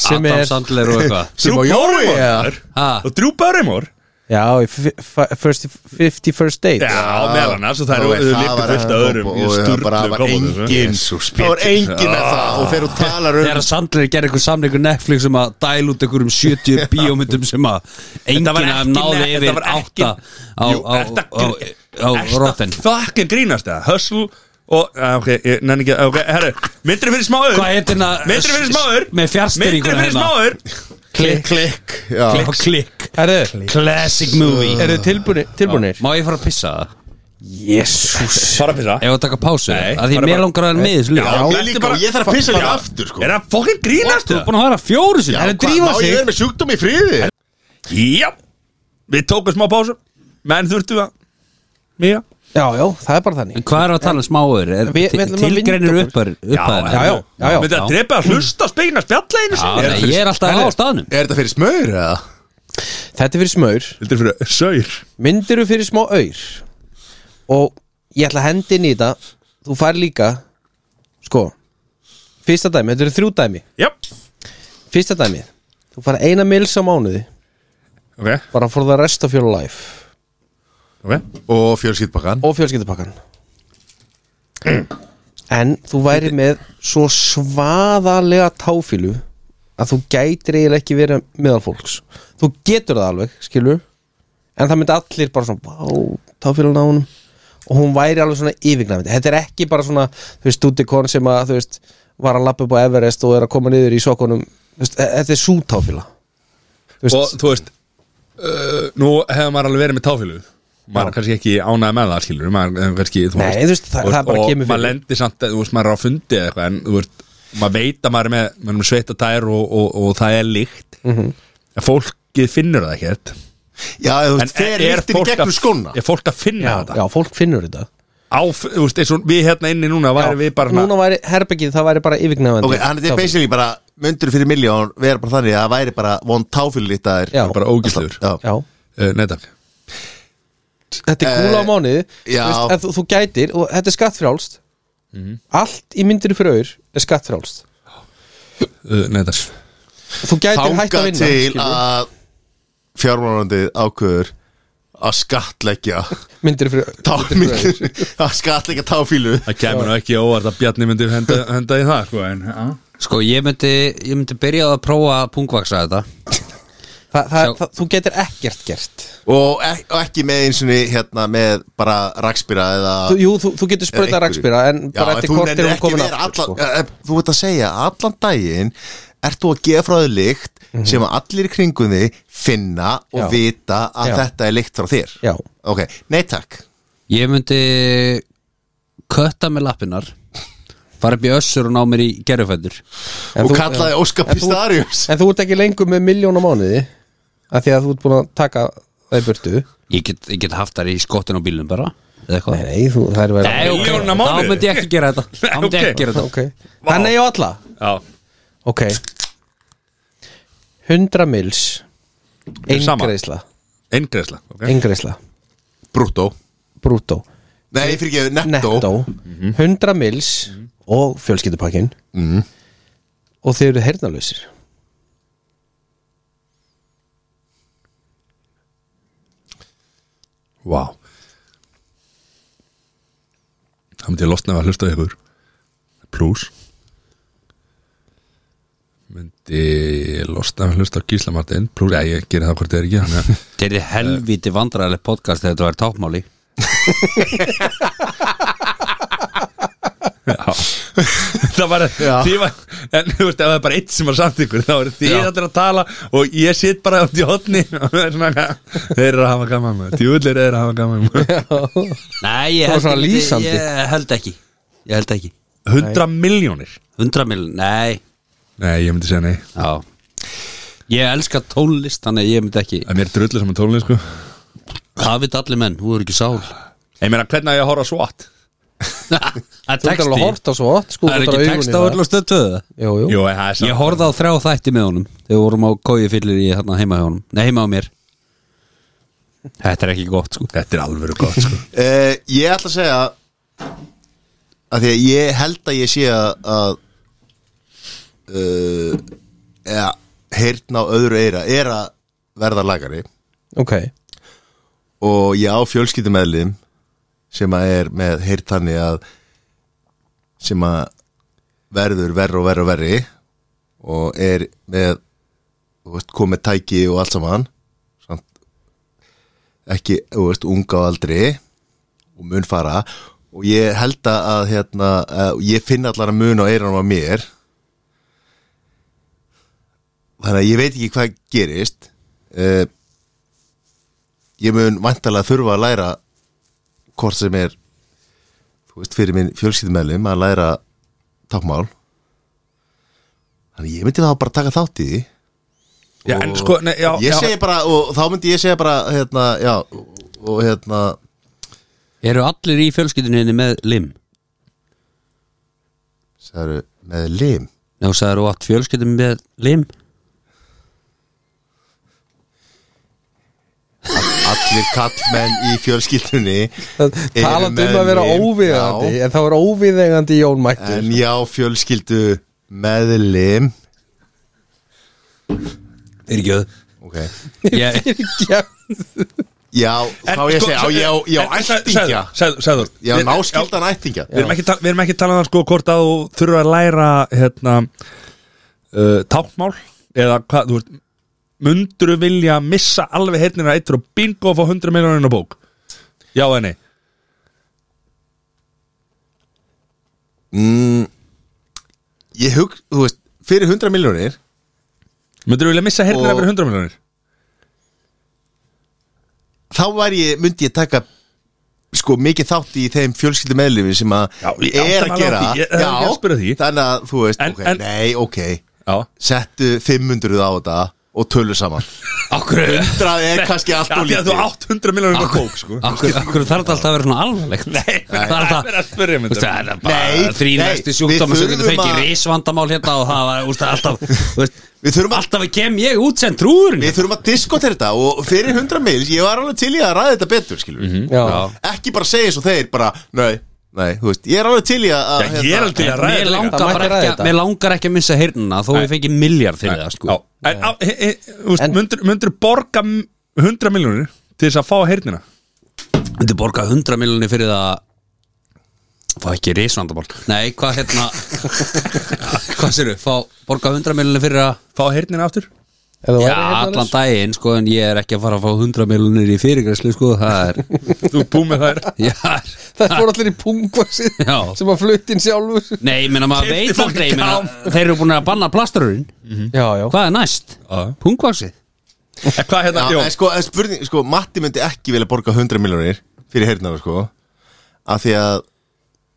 Speaker 2: Sem
Speaker 3: Adam
Speaker 2: er-
Speaker 3: Sandler og eitthvað
Speaker 4: Drew
Speaker 1: og Jói,
Speaker 4: Barrymore
Speaker 1: ja.
Speaker 4: maður.
Speaker 3: Ha.
Speaker 4: Og Drew Barrymore
Speaker 2: já, í fi- fi- first, 50 First Date
Speaker 4: Já, meðal annars og það
Speaker 1: Jói,
Speaker 4: eru
Speaker 1: það
Speaker 4: lipið
Speaker 1: var
Speaker 4: fullt
Speaker 1: kombo
Speaker 4: öðrum í
Speaker 1: og það
Speaker 4: sturlu
Speaker 1: bara var
Speaker 4: komboðum, sko.
Speaker 1: engin það var engin með það og þegar þú talar um
Speaker 3: Þegar Sandler gerði eitthvað samleikur Netflix um að dæla út einhverjum 70 bíómyndum sem að enginn
Speaker 4: var
Speaker 3: af þeim
Speaker 4: ekki
Speaker 3: náði
Speaker 4: net- þetta
Speaker 3: yfir
Speaker 4: var
Speaker 3: 8
Speaker 4: ekki-
Speaker 3: á,
Speaker 4: Jú,
Speaker 3: á,
Speaker 4: ertu
Speaker 3: á,
Speaker 4: að grí-
Speaker 3: á
Speaker 4: ertu að
Speaker 3: Rotten
Speaker 4: fucking grínast það Hustle og ah, Ok, ég nenni ekki Ok, herru Myndri fyrir smáður
Speaker 3: Hvað heitir hérna-
Speaker 4: Myndri fyrir smáður
Speaker 3: Með fjárstýringuna
Speaker 4: Myndri fyrir
Speaker 3: hérna.
Speaker 4: smáður
Speaker 1: klikk, klikk já.
Speaker 3: Klikk, klikk
Speaker 2: Herðu,
Speaker 3: Classic movie
Speaker 2: eru þið tilbúnir? tilbúnir?
Speaker 3: Má ég fara að pissa það?
Speaker 2: Jésús
Speaker 4: Fara að pissa
Speaker 3: Ef að taka pásu
Speaker 4: Nei,
Speaker 3: Að því
Speaker 4: bara-
Speaker 3: mér langar að vera með í þessu
Speaker 1: Já,
Speaker 3: líka
Speaker 1: ég
Speaker 4: ertu
Speaker 1: líka
Speaker 4: bara-
Speaker 1: og ég þarf að pissa
Speaker 4: Já.
Speaker 1: líka aftur sko
Speaker 4: Er það fucking grínast
Speaker 3: Þú er
Speaker 4: það?
Speaker 3: búin að höra fjóru
Speaker 1: Já,
Speaker 3: sinni Það er
Speaker 1: hvað,
Speaker 3: drífa
Speaker 1: má ég
Speaker 3: sig
Speaker 1: verið með sjúkdóm í friði?
Speaker 4: Já Við tókum smá pásu Menn þurftu að Mía
Speaker 2: Já, já, það er bara þannig
Speaker 3: Hvað er að tala um smáður? Er
Speaker 2: Við- við ætlum að
Speaker 3: tilgreinir
Speaker 2: vinda okkur.
Speaker 3: uppar upphæðina?
Speaker 2: já, já, já, já.
Speaker 4: Myndi að drepa að hlusta á spegina
Speaker 3: Já,
Speaker 4: spjalleginu
Speaker 3: nei, Ég er alltaf á staðnum
Speaker 1: Er þetta fyrir smöður eða?
Speaker 2: Þetta er fyrir smör,
Speaker 4: Þetta er fyrir saur
Speaker 2: myndir fyrir smá auður og ég ætla að hendi inn í þetta þú fær líka sko, fyrsta dæmi, þetta eru þrjú dæmi
Speaker 4: Já
Speaker 2: fyrsta dæmi, þú fær eina mils á mánuði
Speaker 4: Ok,
Speaker 2: bara for the rest of your life
Speaker 4: ok
Speaker 1: Og fjölskyldbakkan
Speaker 2: og fjölskyldupakkan en þú væri með svo svaðalega táfílu að þú gætir eiginlega ekki verið meðal fólks þú getur það alveg, skilur en það myndi allir bara svona vá, táfílan á honum og hún væri alveg svona yfirgnæmandi þetta er ekki bara svona, þú veist, stúdikon sem að þú veist, var að lappa upp á Everest og er að koma niður í sokkunum Þú veist, e, þetta er sú táfíla Þú veist,
Speaker 4: Og þú veist uh, Nú hefur maður alveg verið með táfílu Maður er kannski ekki ánægð með það skilur Maður er kannski þú
Speaker 2: Nei, þú veist, það-
Speaker 4: og-
Speaker 2: það bara kemur
Speaker 4: Og maður
Speaker 2: fyrir.
Speaker 4: lendir samt Þú veist, maður er á fundi eða eitthvað En þú veist, maður veit að maður er með Maður er með sveita tær og, og, og það er líkt
Speaker 2: Mhm.
Speaker 4: -hmm. En fólkið finnur það ekkert
Speaker 1: Já, þú
Speaker 4: En e-
Speaker 1: veist, fer lyktin í gegnum skóna
Speaker 4: Er fólk að finna
Speaker 2: já,
Speaker 4: þetta?
Speaker 2: já, fólk finnur þetta
Speaker 4: Á, þú veist, eins og við hérna inni núna
Speaker 2: Já,
Speaker 4: Væri við bara
Speaker 2: núna væri herbyggið, það væri bara yfirgnæfandi
Speaker 1: Ok, hann þetta er basically bara Mundur fyrir miljón Verður bara þannig að það væri bara Von táfyllit að
Speaker 2: Já.
Speaker 1: þér
Speaker 4: bara ógíslegur
Speaker 1: Já.
Speaker 2: Já,
Speaker 4: uh, Nei takk
Speaker 2: þetta er kúla á
Speaker 1: Eh,
Speaker 2: mánuði
Speaker 1: já. Mhm.
Speaker 2: þú, veist, en þú, þú gætir, og þetta er skattfrjálst Allt í myndir fyrir auður er skattfrjálst
Speaker 4: uh, Nei takk
Speaker 2: Þú gætir hætt að
Speaker 1: Þanga
Speaker 2: vinna
Speaker 1: til
Speaker 2: skilur.
Speaker 1: að Fjármálandi ákveður Að skattleggja
Speaker 2: Myndir fyrir auður
Speaker 1: Táfyllir Að skattleggja táfyllu
Speaker 4: Það kemur nú ekki á óvart að Bjarni myndi henda, henda í það sko, en, já.
Speaker 3: Sko, ég myndi, ég myndi byrja að prófa að pungvaksa þetta
Speaker 2: Þa, það,
Speaker 3: Sjá.
Speaker 2: það, Þú gætir ekkert gert
Speaker 1: Og ek- og ekki með eins og hérna Með bara rakspýra eða
Speaker 2: þú, Jú, þú, þú
Speaker 1: einhverju.
Speaker 2: getur spröðað rakspýra En bara
Speaker 1: en
Speaker 2: eftir
Speaker 1: þú
Speaker 2: kortir
Speaker 1: nennir
Speaker 2: er hún
Speaker 1: ekki
Speaker 2: komin
Speaker 1: vera
Speaker 2: aftur
Speaker 1: allan-
Speaker 2: sko.
Speaker 1: Eh, eh, Þú veit að segja, allan daginn ert þú að gefa frá þér lykt sem að allir í kringum þig finna og
Speaker 2: Mhm. Já.
Speaker 1: vita að
Speaker 2: Já.
Speaker 1: þetta er lykt frá þér
Speaker 2: Já.
Speaker 1: Ok, nei takk
Speaker 3: Ég myndi kötta með lappinar fara upp í össur og ná mér í gerufættur
Speaker 2: En
Speaker 1: Og
Speaker 2: þú-
Speaker 1: kallaði
Speaker 2: já.
Speaker 1: Óskar
Speaker 2: En þú-
Speaker 1: Pistarius.
Speaker 2: En þú ert ekki lengur með miljón á mánuði Af því að þú ert búin að taka það í burtu
Speaker 3: ég get, ég get haft þær í skottin á bílnum bara eða eitthvað
Speaker 2: Nei, nei, þú, það er verið
Speaker 3: Nei, ok,
Speaker 4: Milljón á
Speaker 3: Þá
Speaker 4: mánuði?
Speaker 3: myndi ég ekki gera þetta Þá myndi ég
Speaker 4: ok.
Speaker 3: ekki gera þetta
Speaker 2: Ok, þannig á alla
Speaker 4: Já.
Speaker 2: Ok 100 mils
Speaker 4: Eru sama?
Speaker 2: Eingreisla
Speaker 4: Eingreiðsla
Speaker 3: Eh?
Speaker 4: okay.
Speaker 2: Eingreisla
Speaker 1: Brútó
Speaker 2: Brútó
Speaker 1: Nei, fyrir ekki, netto,
Speaker 2: Netto 100 mils
Speaker 3: Mhm.
Speaker 2: Og fjölskyldupakkin Og þeir eru hernalausir
Speaker 4: Vá Það myndi ég losna við að hlusta á ykkur Plus Myndi ég losna við að hlusta á Gísla Martin Plus, já ég gerir það hvort það er ekki þannig að-
Speaker 3: Þetta er helviti vandræðileg podcast þegar þetta var tápmáli
Speaker 4: Það var,
Speaker 1: Já.
Speaker 4: því var En þú veist, ef það er bara eitt sem var samt ykkur Þá er því
Speaker 1: Já.
Speaker 4: allir að tala Og ég sitt bara átt í hotni Þeir eru að hafa gaman maður. Djúðlir eru að hafa gaman maður.
Speaker 3: Nei, ég
Speaker 2: Það var
Speaker 3: held,
Speaker 2: svona
Speaker 3: ekki,
Speaker 2: lýsandi.
Speaker 3: ég held ekki Ég held ekki
Speaker 4: 100 miljónir
Speaker 3: 100 miljon, nei
Speaker 4: Nei, ég myndi segja nei
Speaker 3: Já Ég elska tónlist, þannig að ég myndi ekki
Speaker 4: Það er mér drullu saman tólunni sko
Speaker 3: Það veit allir menn, þú eru ekki sál
Speaker 4: Ég meina, hvernig á ég að horfa svart?
Speaker 3: Það er
Speaker 2: Þú ert
Speaker 3: texti
Speaker 2: alveg hort á svo oft sko,
Speaker 3: Það
Speaker 2: þú
Speaker 3: er
Speaker 2: ert
Speaker 3: ekki
Speaker 2: að augun í
Speaker 3: text á
Speaker 2: það.
Speaker 3: öllu stöðtöðu
Speaker 2: Jú, jú
Speaker 4: Jú, en það er samt
Speaker 3: Ég horfði á þrjá þætti með honum Þegar við vorum á kói fyllir í hérna heima hjá honum Nei, heima á mér Þetta er ekki gott sko
Speaker 4: Þetta er alveg gott sko
Speaker 1: uh, Ég ætla að segja að Því að ég held að ég sé að, að uh, ja, Heyrna á öðru eira Er að verða lagari
Speaker 2: Ok
Speaker 1: og ég á fjölskyldumeðlim sem að er með heyrt þannig að sem að verður verri og verri og verri og er með þú veist, komið tæki og allt saman samt ekki, þú veist, unga á aldri og mun fara og ég held að hérna að ég finn allar að mun á eiranum að mér þannig að ég veit ekki hvað gerist Eh, eða ég mun vantarlega þurfa að læra hvort sem er þú veist, fyrir minn fjölskyldumælum að læra tákmál þannig ég myndi þá bara taka þátt í því
Speaker 4: Já, en sko, nei, já,
Speaker 1: ég
Speaker 4: já,
Speaker 1: segi bara, og þá myndi ég segja bara hérna, já, og- og hérna
Speaker 3: Eru allir í fjölskylduninni með lim?
Speaker 1: sagði, með lim
Speaker 3: Nei, þú sagði þú átt fjölskyldum með lim?
Speaker 1: allir kallmenn í fjölskyldunni
Speaker 2: Það
Speaker 1: eru
Speaker 2: talandi um
Speaker 1: með
Speaker 2: að vera
Speaker 1: lim,
Speaker 2: óviðegandi
Speaker 1: já.
Speaker 2: En þá er óviðegandi Jón Mættur
Speaker 1: en já, fjölskyldu með lim
Speaker 3: Er ekki öð
Speaker 1: ok
Speaker 4: sko,
Speaker 3: ég,
Speaker 2: Já,
Speaker 1: Já, þá ég segi, á ég á, ég á
Speaker 4: en-
Speaker 1: ættingja
Speaker 4: sagði- sagði- sagði þú.
Speaker 1: Ég á
Speaker 4: Við-
Speaker 1: náskildan ættingja
Speaker 4: Við erum ekki, tal- við erum ekki talað um það, sko hvort að þú þurfa að læra hérna uh, tákmál eða hvað, þú veist munduru vilja missa alveg hérna eitt og bingo og fá 100 miljoninn á bók Já eða nei
Speaker 1: mm, Ég hug, þú veist, fyrir 100 miljónir
Speaker 4: Munduru vilja missa hérna
Speaker 1: Og-
Speaker 4: fyrir 100 miljonir
Speaker 1: Þá væri ég, myndi ég taka sko mikið þátt í þeim fjölskyldum meðlum sem að
Speaker 4: Já, ég
Speaker 1: er að
Speaker 4: átta mig alveg
Speaker 1: gera
Speaker 4: á því, ég- það er ekki að spyrja því.
Speaker 1: þannig að þú veist,
Speaker 4: En-
Speaker 1: ok,
Speaker 4: en-
Speaker 1: nei, ok
Speaker 4: Já
Speaker 1: settu 500 á þetta og tölu saman
Speaker 3: akkur, akkur,
Speaker 1: 100 er kannski allt og
Speaker 4: Því að
Speaker 1: lítið
Speaker 4: þú átt 100 miljoninn á bók sko
Speaker 3: akkur þarf þetta alltaf að vera svona alvarlegt
Speaker 4: Nei,
Speaker 3: Ah. það er
Speaker 4: það
Speaker 3: alltaf
Speaker 4: er að spyrja
Speaker 3: Þú
Speaker 4: myndur
Speaker 3: veist, Það er bara
Speaker 1: Nei,
Speaker 3: þrín
Speaker 1: nei,
Speaker 3: næstu
Speaker 1: við
Speaker 3: sjúkdóma sem getur
Speaker 1: þurfum
Speaker 3: fengið
Speaker 1: að-
Speaker 3: risvandamál hérna og það var, úst, alltaf, þú veist,
Speaker 1: Við þurfum að
Speaker 3: alltaf kem ég út sem trúurinn
Speaker 1: Við þurfum að diskotera þetta og fyrir 100 mils ég var alveg til í að ræða þetta betur, skilur við
Speaker 4: Mhm.
Speaker 2: já,
Speaker 1: Ekki bara segja eins og þeir bara, nei, nei, þú veist, ég er alveg til í að hérna-
Speaker 4: Já, ég er alveg til í að
Speaker 3: Mér
Speaker 4: ræða þetta
Speaker 3: langar,
Speaker 2: Það mætti
Speaker 3: bara
Speaker 2: ræða
Speaker 3: ekki,
Speaker 2: þetta.
Speaker 3: að- mér langar ekki að missa heyrnina þó við fengið miljard fyrir það
Speaker 4: Já,
Speaker 3: sko.
Speaker 4: en á- he- he- þú veist,
Speaker 2: En-
Speaker 4: myndir- myndirðu borga m- 100 miljonir til þess að fá hernina
Speaker 3: Þetta borga 100 miljonir fyrir það Fá ekki risvandamál Nei, hvað hérna Hvað séru, fá borga 100 miljonir fyrir að
Speaker 4: fá hernina aftur
Speaker 2: Ef þú
Speaker 3: Já,
Speaker 2: værir heyrnarlaus?
Speaker 3: allan daginn sko En ég er ekki að fara að fá 100 miljonir í fyrirgræslu sko Það er,
Speaker 4: þú er búið með þær
Speaker 3: já, er
Speaker 2: Það fór allir í pungvaxið
Speaker 3: Já.
Speaker 2: sem að flutt inn sjálfur
Speaker 3: Nei, ég meina maður
Speaker 4: Keypti
Speaker 3: veit
Speaker 4: fólk
Speaker 3: aldrei ég meina,
Speaker 4: gám.
Speaker 3: Þeir eru búin að banna plastururinn
Speaker 2: Já, já
Speaker 3: Hvað er næst?
Speaker 4: Já.
Speaker 3: Pungvaxið
Speaker 4: En hvað hérna,
Speaker 1: Já,
Speaker 4: Jón?
Speaker 1: en sko, en spurning, sko, Matti myndi ekki vilja borga 100 miljonir fyrir heyrnar, sko af því að,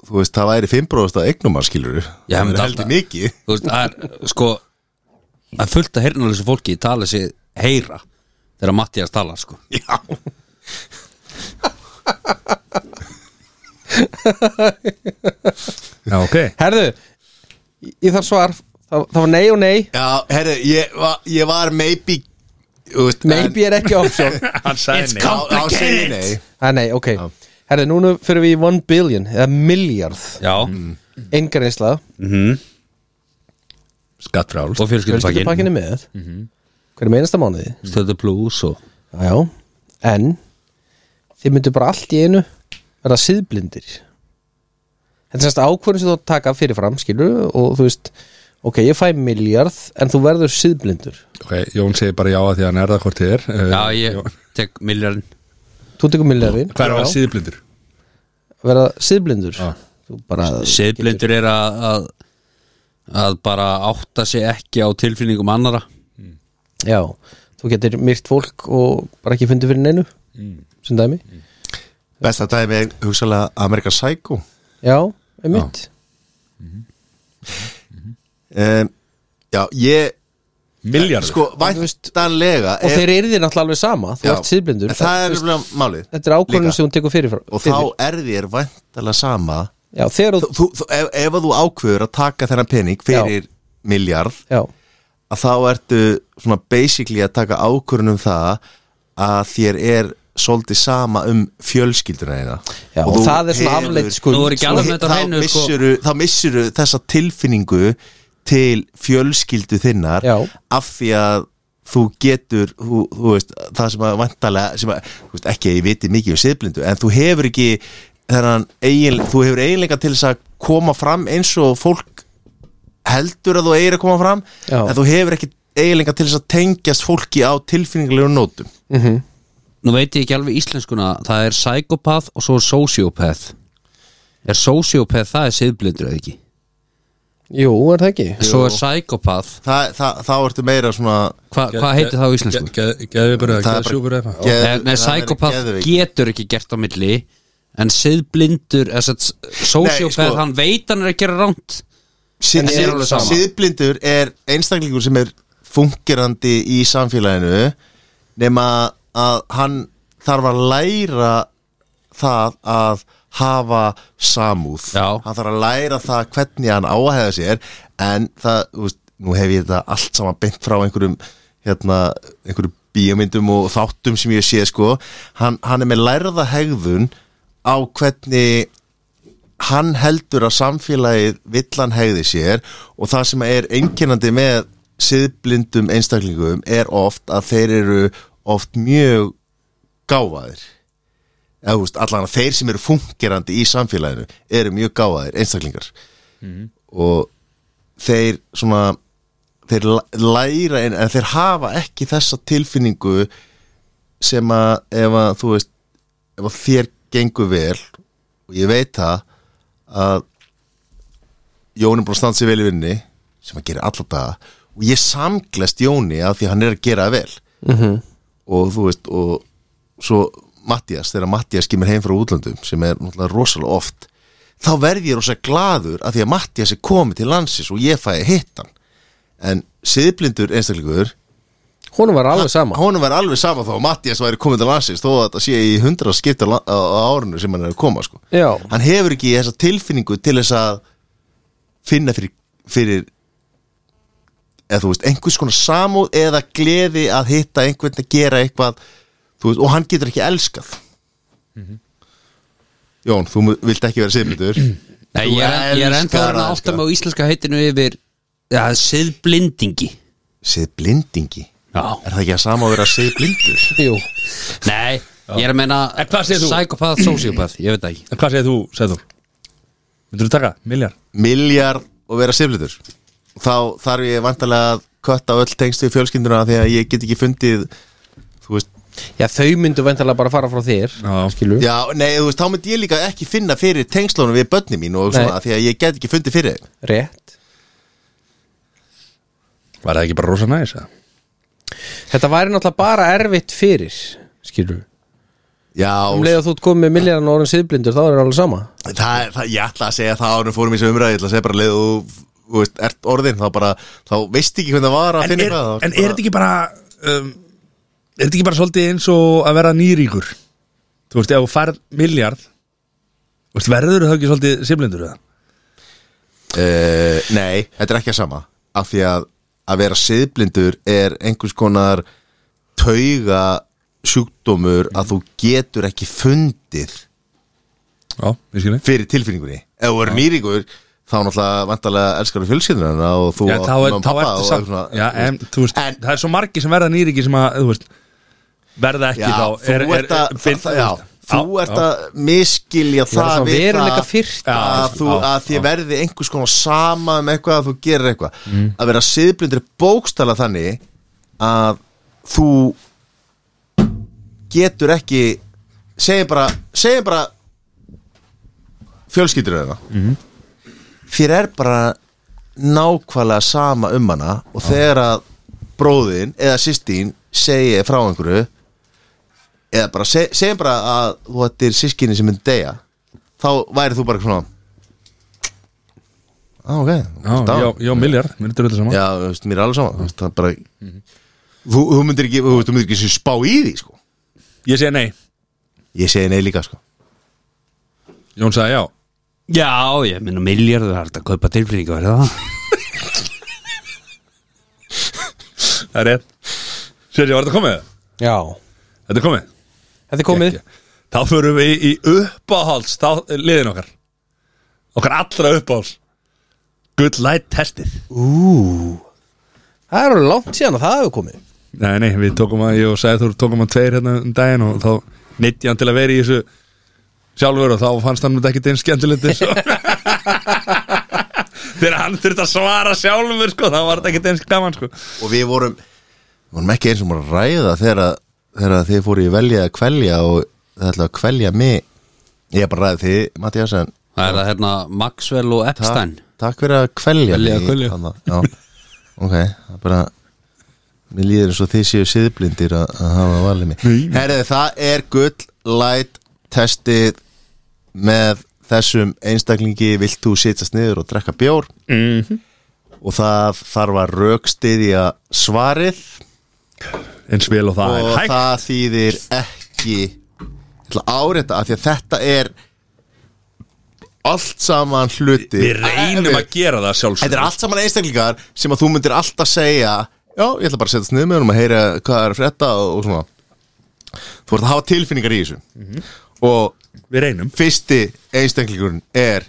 Speaker 1: þú veist, það væri 5% að eignum að skilur við
Speaker 3: Já,
Speaker 1: Það
Speaker 3: myndi
Speaker 1: er heldur
Speaker 3: alltaf-
Speaker 1: mikið
Speaker 3: Þú veist, það er sko Það er fullt að heyrnalösa fólki tala sig heyra Þegar Mattias talar sko
Speaker 1: Já,
Speaker 4: Já, ok
Speaker 2: Herðu, ég- ég þarf svar Það, það var nei og nei
Speaker 1: já herri, ég, va, ég var maybe þú veist,
Speaker 2: Maybe er ekki option
Speaker 4: Hann sagði
Speaker 1: en,
Speaker 4: nei
Speaker 1: á, á, segi nei
Speaker 2: Það er nei, ok Herðu, núna fyrir við í 1 billion eða miljard
Speaker 3: Já mm.
Speaker 2: Engarreinsla
Speaker 4: Skattfrálst
Speaker 3: Mhm. Og fjölskyldupakkin
Speaker 2: Fjölskyldupakkinni með mm -hmm. Hverjum einasta mánuði
Speaker 3: Stöðu plus og
Speaker 2: Já, já En Þið myndu bara allt í einu Verða síðblindir Þetta er semst ákvörðin sem þú átt að taka fyrirfram Skilur og þú veist Ok, ég fæ miljard en þú verður síðblindur
Speaker 4: Ok, Jón segir bara já að því að hann er það hvort þið er Uh,
Speaker 3: Já, ég
Speaker 4: Jón.
Speaker 3: tek miljardin
Speaker 2: Þú tekur miljardin
Speaker 4: Hvað er að vera síðblindur?
Speaker 2: verða síðblindur Þú bara
Speaker 3: Seðblindur er að, að að bara átta sig ekki á tilfinningum annara
Speaker 2: Já, þú getur myrt fólk og bara ekki fundið fyrir neinu
Speaker 1: Mm.
Speaker 2: sem dæmi
Speaker 1: Besta dæmi er hugsalega Amerikan Psycho
Speaker 2: Já, einmitt
Speaker 1: um, Já, ég
Speaker 4: Miljardur
Speaker 1: Sko,
Speaker 2: En þú veist-
Speaker 1: væntanlega
Speaker 2: Og
Speaker 1: er-
Speaker 2: þeir eru þér náttúrulega alveg sama Þú
Speaker 1: Já.
Speaker 2: ert síðblindur
Speaker 1: En það er
Speaker 2: Þú veist,
Speaker 1: nefnilega málið
Speaker 2: Þetta er ákvörðin
Speaker 1: líka.
Speaker 2: sem hún tekur fyrir
Speaker 1: Og þá er þér væntanlega sama
Speaker 2: Já, þegar
Speaker 1: þú,
Speaker 2: þú
Speaker 1: þú, þú, ef, ef að þú ákveður að taka þennan pening fyrir miljard
Speaker 2: Já,
Speaker 1: að þá ertu svona basically að taka ákvörðun um það að þér er svolítið sama um fjölskylduna eina
Speaker 2: Já, og það er svona sko. afleidd skuld.
Speaker 3: Þú er ekki alveg með þetta á hreinu,
Speaker 1: þá,
Speaker 3: sko.
Speaker 1: missuru, þá missuru þessa tilfinningu til fjölskyldu þinnar
Speaker 2: Já.
Speaker 1: af því að þú getur, þú, þú veist það sem að vantalega, sem að þú veist, ekki að ég viti mikið um siðblindu, en þú hefur ekki þennan, eigin, þú hefur eiginlega til þess að koma fram eins og fólk heldur að þú eigir að koma fram
Speaker 2: Já.
Speaker 1: en þú hefur ekki eiginlega til þess að tengjast fólki á tilfinningulegu nótum
Speaker 2: Mhm.
Speaker 3: Nú veit ég ekki alveg íslenskuna Það er psychopath og svo er sociopath Er sociopath það er seðblindur eða ekki?
Speaker 2: jú, er það ekki
Speaker 3: Svo er psychopath
Speaker 1: Þa, það, þá ertu meira svona
Speaker 3: Hva, Hvað heitir það á íslensku?
Speaker 4: Geðvíkur
Speaker 1: Það er
Speaker 4: eða
Speaker 1: bara-
Speaker 4: geðsjúkur eða eitthvað
Speaker 1: geð-
Speaker 3: Nei,
Speaker 1: það
Speaker 3: nei,
Speaker 1: er
Speaker 3: psychopath
Speaker 1: geðveiki.
Speaker 3: getur ekki gert á milli En siðblindur Sociopath,
Speaker 1: Nei, sko.
Speaker 3: hann veit hann er að gera ránt
Speaker 1: Sið-
Speaker 3: En er alveg sama.
Speaker 1: Siðblindur er einstaklingur sem er fungerandi í samfélaginu nema að hann þarf að læra það að hafa samúð
Speaker 3: Já.
Speaker 1: hann þarf að læra það hvernig hann á að hefða sér en það, þú veist, nú hef ég þetta allt saman beint frá einhverjum hérna, einhverjum bíómyndum og þáttum sem ég sé sko hann, hann er með lærða hegðun á hvernig hann heldur að samfélagið villan hegði sér og það sem er einkennandi með siðblindum einstaklingum er oft að þeir eru oft mjög gáfaðir eða þú veist, allan að þeir sem eru fungerandi í samfélaginu eru mjög gáfaðir einstaklingar og þeir svona þeir la- læra en, en þeir hafa ekki þessa tilfinningu sem að ef að þú veist ef að þér gengur vel og ég veit það að Jón er búin að standa sér vel í vinni sem hann gerir alla daga og ég samglast Jóni að því að hann er að gera það vel
Speaker 2: Mhm.
Speaker 1: og þú veist og svo Mattias, þegar Mattias kemur heim frá útlöndum sem er náttúrulega rosalega oft þá verð ég rosalega gladur að því að Mattias er komið til landsins og ég fæði hittan en siðblindur einstaklingur
Speaker 2: Honum var alveg sama
Speaker 1: honum verð alveg sama þá að Mattias væri komið til landsins þó að þetta sé í hundra skipta á á árinu sem hann er að koma sko
Speaker 2: Já,
Speaker 1: hann hefur ekki þessa tilfinningu til þess að finna fyrir, fyrir eða þú veist, einhvers konar samúð eða gleði að hitta einhvern að gera eitthvað þú veist, og hann getur ekki elskað Jón, þú mu- vilt ekki vera siðblindur
Speaker 3: Nei,
Speaker 1: Þú
Speaker 3: ég er, ég er
Speaker 1: elskar
Speaker 3: ennþá að reyna
Speaker 1: að
Speaker 3: að átta
Speaker 1: elska.
Speaker 3: mig á íslenska heitinu yfir ja, siðblindingi
Speaker 1: siðblindingi
Speaker 3: Já.
Speaker 1: er það ekki að sama að vera siðblindur
Speaker 2: jú
Speaker 3: Nei, ég er að meina
Speaker 4: En hvað segir þú?
Speaker 3: Psychopath, sociopath, ég veit það ekki
Speaker 4: En hvað segir þú, segir þú? Myndur þú taka? Miljar?
Speaker 1: miljard og vera siðblindur þá þarf ég vantarlega að kötta öll tengstu í fjölskylduna því að ég get ekki fundið þú veist,
Speaker 2: Já, þau myndu vendarlega bara fara frá þér
Speaker 4: Já.
Speaker 2: Skilu
Speaker 1: Já, nei, þú veist, þá myndi ég líka ekki finna fyrir tengslunum við börni mín og svona,
Speaker 2: Nei.
Speaker 1: því að ég get ekki fundið fyrir þeim.
Speaker 2: Rétt
Speaker 4: Var það ekki bara rosa næs? eða?
Speaker 2: Þetta væri náttúrulega bara erfitt fyrir Skilu
Speaker 1: Já,
Speaker 2: Um leið að þú ert komið með milljarn og orðin siðblindur Þá er það alveg sama
Speaker 1: það, það, ég ætla að segja það árum fórum í þessu umræði, ég ætla að segja bara leið og, þú veist, ert orðin, þá bara þá veist ekki hvernig það var að
Speaker 4: En
Speaker 1: finna
Speaker 4: er,
Speaker 1: eitthvað, þá
Speaker 4: en er þetta ekki bara sko. um, Er þetta ekki bara svolítið eins og að vera nýríkur? Þú veist, ef þú færð miljard Þú veist, verður það ekki svolítið simlindur eða?
Speaker 1: bara, uh, Nei, þetta er ekki að sama af því að að vera siðblindur er einhvers konar tauga sjúkdómur að þú getur ekki fundið
Speaker 4: Já, ég skilji
Speaker 1: fyrir tilfinningunni ef þú er nýringur þá náttúrulega vantarlega elskar þú fjölskyldunarna og þú
Speaker 4: Já,
Speaker 1: átt
Speaker 4: þá er,
Speaker 1: mamma og
Speaker 4: þá
Speaker 1: pabba
Speaker 4: ertu
Speaker 1: og
Speaker 4: samt
Speaker 1: eitthvað svona,
Speaker 4: Já, en þú veist,
Speaker 1: en-
Speaker 4: það er svo margi sem verða nýríki sem að, þú veist Verða ekki
Speaker 1: já,
Speaker 4: þá
Speaker 1: þú ert að
Speaker 4: finn-
Speaker 1: það- já, þú
Speaker 4: Já,
Speaker 1: ert að miskilja
Speaker 2: Það er
Speaker 1: það
Speaker 2: svona
Speaker 1: við
Speaker 2: veruleika
Speaker 1: það
Speaker 2: fyrst
Speaker 4: Já.
Speaker 1: að, þú,
Speaker 4: já,
Speaker 1: að þið verði einhvers konar sama um eitthvað að þú gerir eitthvað
Speaker 4: Mm.
Speaker 1: að vera siðblindur er bókstala þannig að þú getur ekki segjum bara, segjum bara fjölskyldur þeirra þér er bara nákvæmlega sama um hana og þegar að bróðin eða sýstín segi frá einhverju eða bara seg, segjum bara að þú ættir sískinni sem myndi deyja þá væri þú bara svona ah, ok,
Speaker 4: Já, já, já, miljard, myndur þetta saman
Speaker 1: já, þú veist, mér er alveg sama þú veist, það er bara
Speaker 4: Mhm.
Speaker 1: þú, þú myndir ekki, þú veist, þú myndir ekki sem spá í því sko.
Speaker 4: Ég segi nei,
Speaker 1: ég segi nei líka sko.
Speaker 4: Jón sagði já
Speaker 3: Já, ég meina miljardur er hægt að kaupa tilfinningu verið það
Speaker 4: Það er rétt Sérri, var þetta komið?
Speaker 2: Já
Speaker 4: Þetta er komið
Speaker 2: Þetta er komið
Speaker 4: Ekki. Þá förum við í uppáhalds þá, liðin okkar Okkar allra uppáhalds Good light testið
Speaker 2: Það er alveg langt síðan að það hefur komið
Speaker 4: Nei, nei, við tókum að, ég og sagði þú tókum að tveir hérna um daginn og þá neitt ég hann til að vera í þessu sjálfur og þá fannst hann mér ekki einn skemmtilegt eins og þegar hann þurfti að svara sjálfur sko, þá var þetta ekki eins gaman sko
Speaker 1: og við vorum við vorum ekki eins og bara að ræða þegar, að- þegar að þið fóru í velja að kvelja og það ætla að kvelja mig ég er bara að ræða þið, Mattias en
Speaker 3: Það er það hérna Maxwell og Epstein
Speaker 1: takk, takk fyrir að kvelja
Speaker 3: Kvelja,
Speaker 1: mig
Speaker 3: kvelja.
Speaker 1: þarna. Já. ok, það er bara mér líður eins og þið séu siðblindir að, að hafa valið mig herrið það er gull light testið með þessum einstaklingi vilt þú sitjast niður og drekka bjór -hmm. og það þarf að rökstiðja svarið
Speaker 4: eins vel og það
Speaker 1: og
Speaker 4: er hægt
Speaker 1: það þýðir ekki ég ætla að árétta af því að þetta er allt saman hluti
Speaker 4: Við reynum að gera það
Speaker 1: Þetta
Speaker 4: sjálfsögur
Speaker 1: er allt saman einstaklingar sem að þú myndir alltaf segja Já, ég ætla bara að setja sniðum með honum að heyra hvað er að frétta og, og svona Þú ert að hafa tilfinningar í þessu
Speaker 4: Mhm.
Speaker 1: Og
Speaker 4: Við reynum
Speaker 1: fyrsti einstaklingurinn er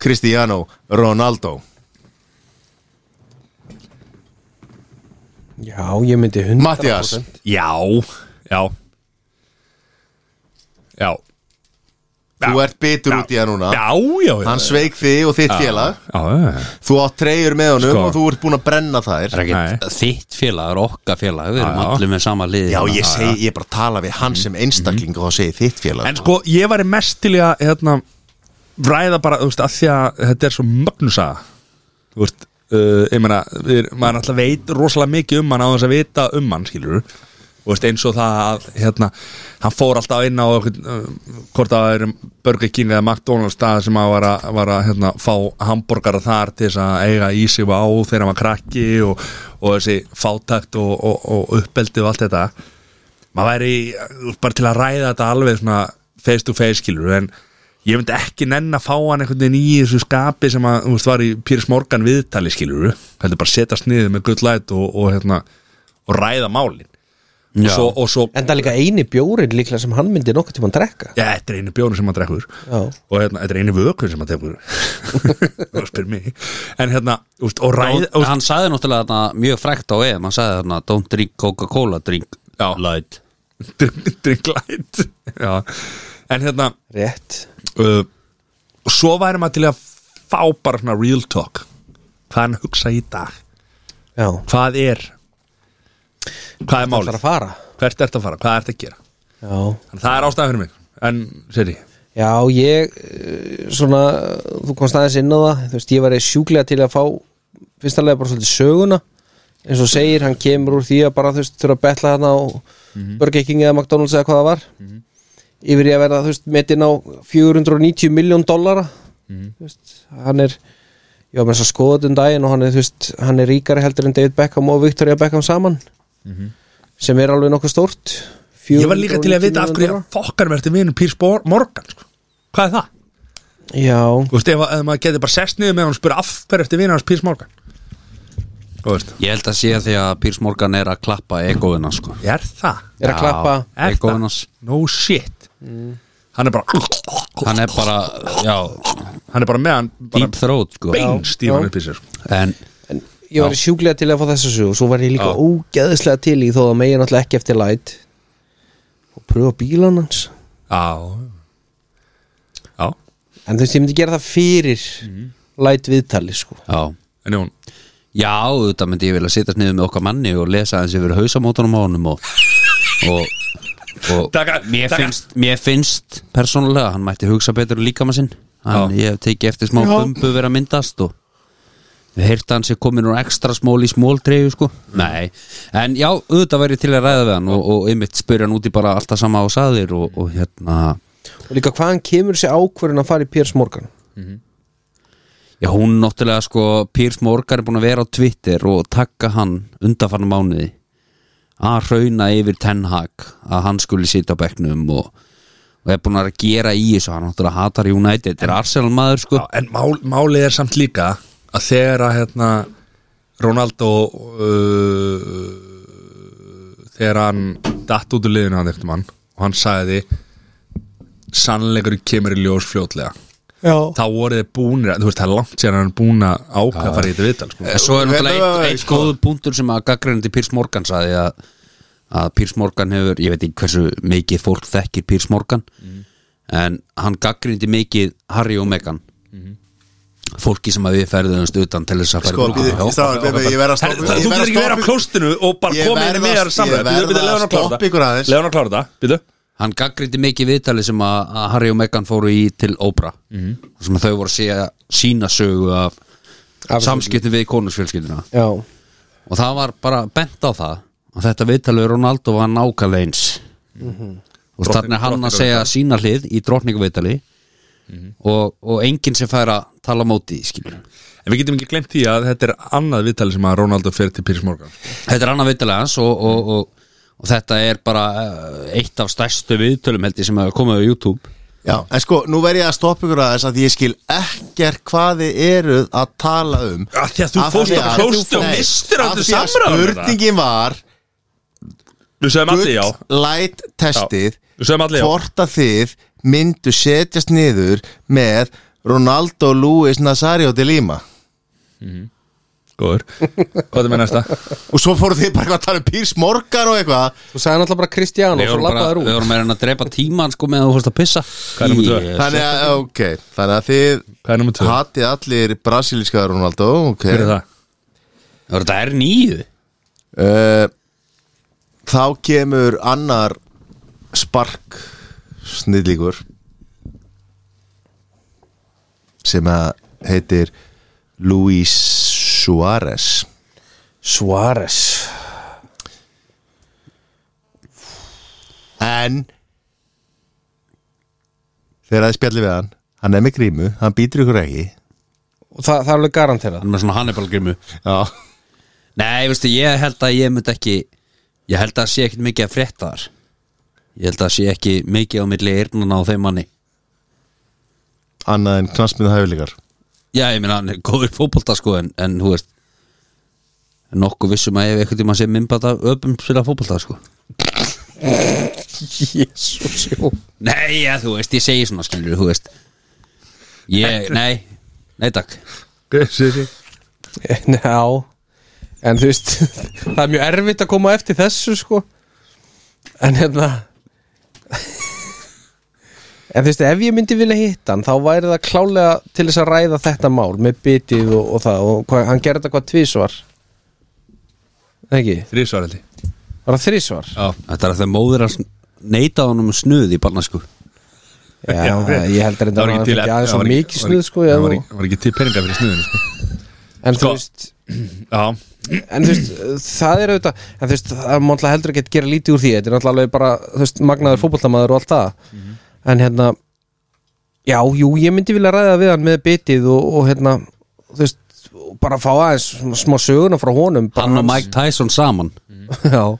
Speaker 1: Cristiano Ronaldo
Speaker 2: Já, ég myndi 100%
Speaker 1: Mattias,
Speaker 4: Já, já Já
Speaker 1: þú
Speaker 4: Já.
Speaker 1: ert bitur út í það núna
Speaker 4: Já, já, já
Speaker 1: Hann sveik þig og þitt félag
Speaker 4: Já, já, já.
Speaker 1: Þú átt treyjur með honum
Speaker 4: Sko.
Speaker 1: og þú ert búin að brenna þær
Speaker 3: Það er ekkert þitt félag, það er okkar félag Við erum
Speaker 4: Já, já.
Speaker 3: allir með sama lið
Speaker 1: Já, ég segi, ég er bara að tala við hann
Speaker 4: Mhm.
Speaker 1: sem einstakling og þá segi þitt félag
Speaker 4: En sko, ég væri mest til í að hérna, ræða bara, þú veist, að því að þetta er svo mögnusaga Þú veist, uh, ég meina, við, maður alltaf veit rosalega mikið um hann á þess að vita um hann, skilur Þú veist, eins og það að, hérna, hann fór alltaf inn á einhvern, uh, hvort að það er Burger King eða McDonalds stað sem að var að, var að hérna, fá hambúrgara þar til þess að eiga í sig á þegar hann var krakki og, og þessi fátakt og, og, og uppbeldið og allt þetta maður væri uh, bara til að ræða þetta alveg svona face to face skilur en ég myndi ekki nenn að fá hann einhvern veginn í þessu skapi sem að þú veist, var í Píris Morgan viðtali skilur heldur bara setjast niður með gullæt og, og, hérna, og ræða málin og
Speaker 3: Já.
Speaker 4: svo, og svo
Speaker 2: En það er líka eini bjórin líklega sem hann myndi nokkuð tíma að drekka
Speaker 4: ja, þetta er einu bjónu sem maður drekkur
Speaker 2: Já.
Speaker 4: og hérna, þetta er einu vökun sem maður tekur þú spyr mig en hérna, úst, og ræða
Speaker 3: Og
Speaker 4: úst,
Speaker 3: hann sagði náttúrulega þarna mjög frækt á EM Hann sagði þarna, don't drink Coca-Cola, drink
Speaker 4: Já.
Speaker 3: light
Speaker 4: drink light já. en hérna
Speaker 2: Rétt
Speaker 4: uh, og svo væri maður til að fá bara svona real talk hvað hann hugsa í dag
Speaker 2: Já
Speaker 4: hvað er hvað er
Speaker 2: Það er
Speaker 4: málið,
Speaker 2: að fara
Speaker 4: hvert ertu að fara, hvað ertu að gera
Speaker 2: Já
Speaker 4: Þannig, það er ástæðan fyrir mig, en sér ég
Speaker 2: Já, ég eh, svona, þú komst aðeins inn á það þú veist, ég var sjúklega til að fá fyrst alveg bara svolítið söguna eins og segir, hann kemur úr því að bara þú veist, þurfa að betla þarna á Burger King eða McDonalds eða hvað það var yfir í að verða, þú veist, metin á 490 miljón dollara þú veist, hann er ég var með þess að skoða þetta um daginn og hann er, þú veist, hann er ríkari heldur en David Beckham og Victoria Beckham saman sem er alveg nokkuð stórt
Speaker 4: ég var líka til að
Speaker 2: 490
Speaker 4: vita af hverju
Speaker 2: milljóna dollara.
Speaker 4: að fokkar verður vinur Pírs Bor- Morgan sko. hvað er það?
Speaker 2: Já,
Speaker 4: Þú veist, ef, ef maður getur bara sest niður með hann og spyrir af hverju eftir vinur hans Pírs Morgan Þú veist,
Speaker 3: Ég held að sé því að Pírs Morgan er að klappa egoðina sko
Speaker 4: er það?
Speaker 2: er að klappa
Speaker 4: Er
Speaker 3: egoðina
Speaker 4: það? No shit Hann er bara
Speaker 3: Hann er bara, já,
Speaker 4: Hann er bara með hann bara
Speaker 3: deep throat sko
Speaker 4: beinst í
Speaker 2: Já.
Speaker 4: hann upp í sér sko.
Speaker 3: En
Speaker 2: En ég var sjúklega til að fá þessa sögu og svo var ég líka ógeðislega til í þó að megi náttúrulega ekki eftir læt og pröfa bílan hans
Speaker 4: Já Já,
Speaker 2: en þú veist, ég myndi gera það fyrir
Speaker 3: Mhm.
Speaker 2: læt viðtali, sko
Speaker 3: Já,
Speaker 4: en Jón
Speaker 3: já þetta myndi ég vilja sittast niður með okkar manni og lesa aðeins yfir hausamótunum á honum og, og, og
Speaker 4: Taka-
Speaker 3: mér,
Speaker 4: taka.
Speaker 3: Finnst, mér finnst persónulega, hann mætti hugsa betur um líkama sinn hann, ég hef tekið eftir smá bumbu vera að myndast og við heyrta hann sér komin úr ekstra smól í smóldreifu sko, nei en já, auðvitað væri til að ræða við hann og, og einmitt spyrja hann út í bara alltaf sama á saðir og, og hérna
Speaker 2: og líka hvaðan kemur sér ákvörðin að fara í Piers Morgan
Speaker 3: Já, hún náttúrulega sko Pírs Morgan er búin að vera á Twitter og takka hann undanfarnar mánuði að hrauna yfir Ten Hag að hann skuli sitja á bekknum og, og er búin að vera að gera í þessu hann náttúrulega hatar United, er Arsenal maður sko
Speaker 4: Já, en mál, málið er samt líka að þegar að hérna Ronaldo uh, þegar hann datt út úr liðinu hann eftir mann og hann sagði sannleikur kemur í ljós fljótlega
Speaker 2: Já,
Speaker 4: þá voru þið búnir, þú veist það er langt sér hann er búin að ákveða að fara í þetta sko- viðtal sko.
Speaker 3: En Eh, svo er náttúrulega
Speaker 1: Veitu,
Speaker 3: einn ein góðu punktur sem að gaggrinandi Pírs Morgan sagði að, að Pírs Morgan hefur, ég veit ekki hversu mikið fólk þekkir Pírs Morgan en hann gaggrindi mikið Harry og Meghan fólki sem að við ferðumst utan til þess að
Speaker 1: Sko,
Speaker 3: fara í brúðkaup.
Speaker 1: býðu, stráðan, býðu, ég verð að
Speaker 4: Herri,
Speaker 1: stoppa
Speaker 4: það-
Speaker 1: ég
Speaker 4: Þú
Speaker 1: verð að
Speaker 4: getur ekki verið á
Speaker 1: stoppa-
Speaker 4: klóstinu og bara
Speaker 1: Ég
Speaker 4: komið
Speaker 1: verð
Speaker 4: inn
Speaker 1: að-
Speaker 4: með þér
Speaker 1: ég
Speaker 4: samræð
Speaker 1: verð að
Speaker 4: Leðan að klára
Speaker 1: stoppa ykkur
Speaker 4: þetta
Speaker 1: aðeins.
Speaker 4: Leðan að klára þetta, býtu
Speaker 3: hann gaggrindi mikið viðtalið sem að, að Harry og Meghan fóru í til Oprah sem að þau voru að segja sína sögu af
Speaker 2: Af-
Speaker 3: samskipti við konusfjölskyldina
Speaker 2: já,
Speaker 3: og það var bara bent á það og þetta viðtalið Ronaldo var nákvæmlega eins og þannig er hann að segja sína hlið í drottningaviðtali og, og enginn sem fær að tala á móti því, skilur
Speaker 4: En við getum ekki glemt því að þetta er annað viðtali sem að Ronaldo fer til Píris Morgan
Speaker 3: Þetta er annað viðtalið hans og, og, og, og þetta er bara eh, eitt af stærstu viðtölum held ég sem hefur komið á YouTube
Speaker 1: Já, en sko, nú verð ég að stoppa ykkur aðeins að ég skil ekkert hvað þið eruð að tala um
Speaker 4: Af því að þú
Speaker 1: Af
Speaker 4: fórst
Speaker 1: því
Speaker 4: á
Speaker 1: að-
Speaker 4: klósti og
Speaker 1: Nei,
Speaker 4: mistir
Speaker 1: af
Speaker 4: allir
Speaker 1: því að
Speaker 4: samræður
Speaker 1: Spurningin var,
Speaker 4: Við sögum allir já
Speaker 1: gull light testið
Speaker 4: Við sögum allir já
Speaker 1: hvort að þið myndu setjast niður með Ronaldo Luis Nazario de Lima
Speaker 4: góður Hvað er með næsta?
Speaker 1: Og svo fóruð þið bara eitthvað að tala um Pírs Morgan og eitthvað
Speaker 2: Þú sagði náttúrulega bara Kristján og
Speaker 3: Við
Speaker 2: svo
Speaker 3: vorum bara,
Speaker 2: lappaður
Speaker 3: við
Speaker 2: út
Speaker 3: vorum meira en að drepa tíman sko með að þú fórst að pissa
Speaker 4: Hvað er númer tvö?
Speaker 3: Yes.
Speaker 1: Þannig að, ok, þannig að þið
Speaker 4: Hvað er nummer 2?
Speaker 1: hatið allir brasilíska Ronaldo, ok
Speaker 4: Hver er það?
Speaker 3: Voru Þetta er nýðu
Speaker 1: Eh, Þá kemur annar spark snillíkur sem að heitir Luis Suárez
Speaker 2: Suárez
Speaker 1: en þegar það spjallir við hann hann er með grímu, hann býtur ykkur ekki
Speaker 2: Og það, það er alveg garanterað
Speaker 3: Hann er með svona Hannibal grimmu
Speaker 1: Já,
Speaker 3: Nei, veistu, ég held að ég myndi ekki Ég held að það sé ekkit mikið að frétta þar Ég held að það sé ekki mikið á milli eyrnana á þeim manni
Speaker 1: annað en knastmið hæfileikar
Speaker 3: Já, ég meina, hann er góður fótbolta sko En, en þú veist en Nokkuð vissum að ef eitthvað tíma sé minnbata Öpum spila fótbolta sko
Speaker 2: Jésús, jú
Speaker 3: Nei, já, þú veist, ég segi svona skilur, þú veist Ég, nei, nei takk
Speaker 2: Já En þú veist, það er mjög erfitt að koma eftir þessu sko En hérna En þú veist, ef ég myndi vilja hitta hann þá væri það klálega til þess að ræða þetta mál með bitið og, og það og hva, hann gerði þetta hvað tvísvar Ekki,
Speaker 4: Þrísvaraldi
Speaker 2: var það þrísvar?
Speaker 3: Þetta er að það móðir að neita honum um snuð í barnasku
Speaker 2: Já, ég held að
Speaker 4: var
Speaker 2: þetta
Speaker 4: ekki
Speaker 2: hann
Speaker 4: til-
Speaker 2: fyrir aðeins
Speaker 4: það
Speaker 2: og
Speaker 4: var ekki-
Speaker 2: mikið snuð sko
Speaker 4: Það
Speaker 2: ég,
Speaker 4: var ekki- það var ekki til peninga fyrir snuðinu sko.
Speaker 2: En
Speaker 4: Sko.
Speaker 2: þú veist,
Speaker 4: Já,
Speaker 2: en þú veist, það er auðvitað en þú veist, það er náttúrulega heldur ekki að gera lítið úr því þetta er náttúrulega alveg bara, þú veist, magnaður fótboltamaður og allt það en hérna já, jú, ég myndi vilja ræða við hann með bitið og, og hérna þú veist, og bara fá aðeins sm- smá söguna frá honum bara
Speaker 3: Hann og
Speaker 2: hans-
Speaker 3: Mike Tyson saman
Speaker 2: já,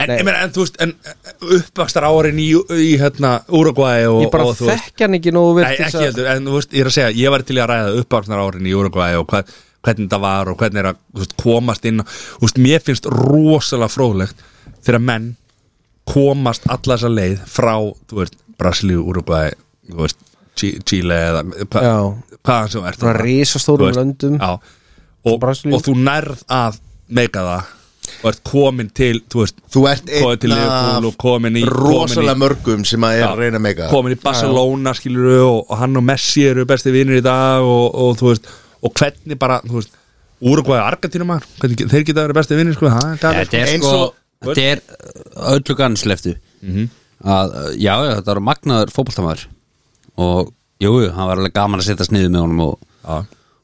Speaker 4: En,
Speaker 2: Nei.
Speaker 4: en, en þú veist, en uppvakstar árin í, í hérna, Uruguay og,
Speaker 2: ég bara
Speaker 4: og, þú veist-
Speaker 2: þekk hann ekki nógu vel
Speaker 4: Nei,
Speaker 2: til
Speaker 4: ekki
Speaker 2: þess að-
Speaker 4: heldur, en þú veist, ég er að segja Ég var til í að ræða uppvakstar árin í Uruguay og hvað, hvernig það var og hvernig er að þú veist, komast inn og, þú veist, Mér finnst rosalega fróðlegt þegar menn komast alla þessa leið frá, þú veist, Brasilíu, Uruguay þú veist, Chi- Chile eða hva,
Speaker 2: Já.
Speaker 4: hvaðan sem þú ert
Speaker 2: Frá risastórum
Speaker 4: Þú veist,
Speaker 2: löndum.
Speaker 4: Já, og,
Speaker 2: Brasilíu.
Speaker 4: og þú nærð að meika það og ert komin til, þú veist
Speaker 1: Þú ert
Speaker 4: Komið til
Speaker 1: einn
Speaker 4: Liverpool og komin í-
Speaker 1: af rosalega
Speaker 4: komin
Speaker 1: mörgum sem að er að reyna að meika
Speaker 4: komin í Barcelona skilur við og, og hann og Messi eru besti vinnir í dag og, og þú veist og hvernig bara, þú veist Úrugvæði Argentínum maður, hvernig get- þeir geta verið besti vinnir sko, það er galið,
Speaker 3: Þetta er
Speaker 1: eins
Speaker 3: sko,
Speaker 1: og-
Speaker 3: þetta er uh, öllu gansleftu að, uh, Já, já, þetta eru magnaður fótboltamaður og jú, jú, hann var alveg gaman að setja sniðu með honum og,
Speaker 4: Já.